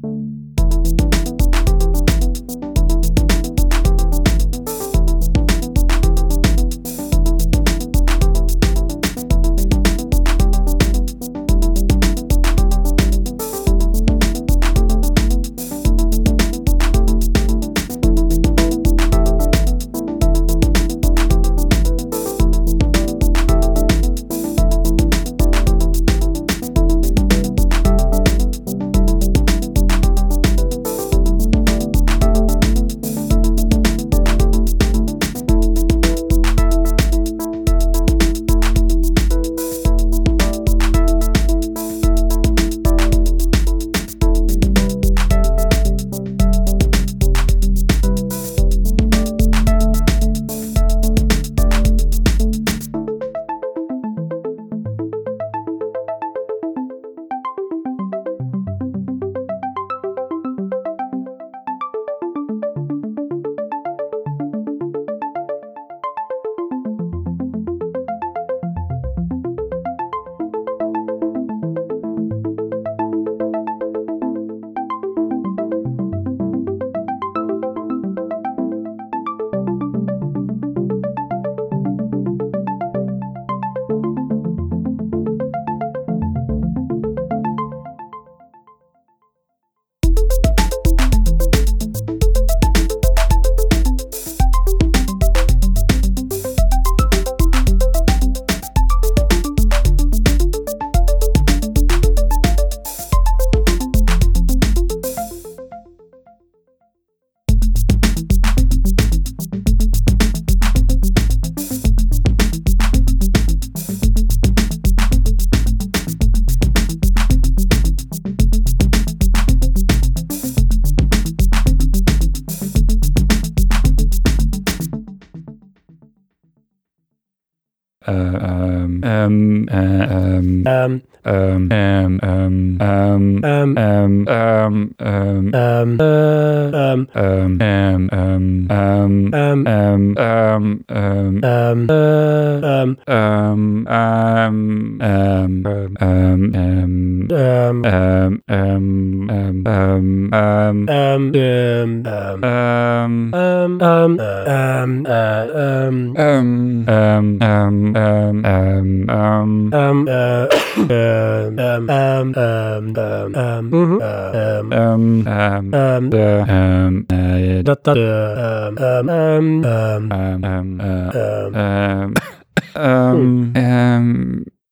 B: Eh, ehm, eh, ehm,
A: Ehm,
B: ehm, ehm, ehm, ehm,
A: ehm,
B: ehm, ehm, ehm,
A: ehm, eh, ehm,
B: ehm, ehm, ehm, ehm,
A: ehm,
B: ehm, ehm,
A: ehm,
B: ehm,
A: eh, ehm,
B: ehm, ehm, ehm, ehm, ehm,
A: ehm,
B: ehm, ehm, ehm, ehm,
A: ehm, ehm,
B: ehm,
A: ehm,
B: ehm,
A: ehm, ehm, ehm, eh, ehm,
B: ehm, ehm, ehm, ehm, ehm, ehm.
A: ehm, eh, ehm, ehm, ehm, ehm, ehm, ehm, mhm, eh, ehm,
B: Ehm, ehm,
A: ehm,
B: de, ehm, eh,
A: dat dat eh, ehm, ehm, ehm, ehm,
B: ehm, ehm, eh,
A: ehm,
B: ehm, ehm, ehm,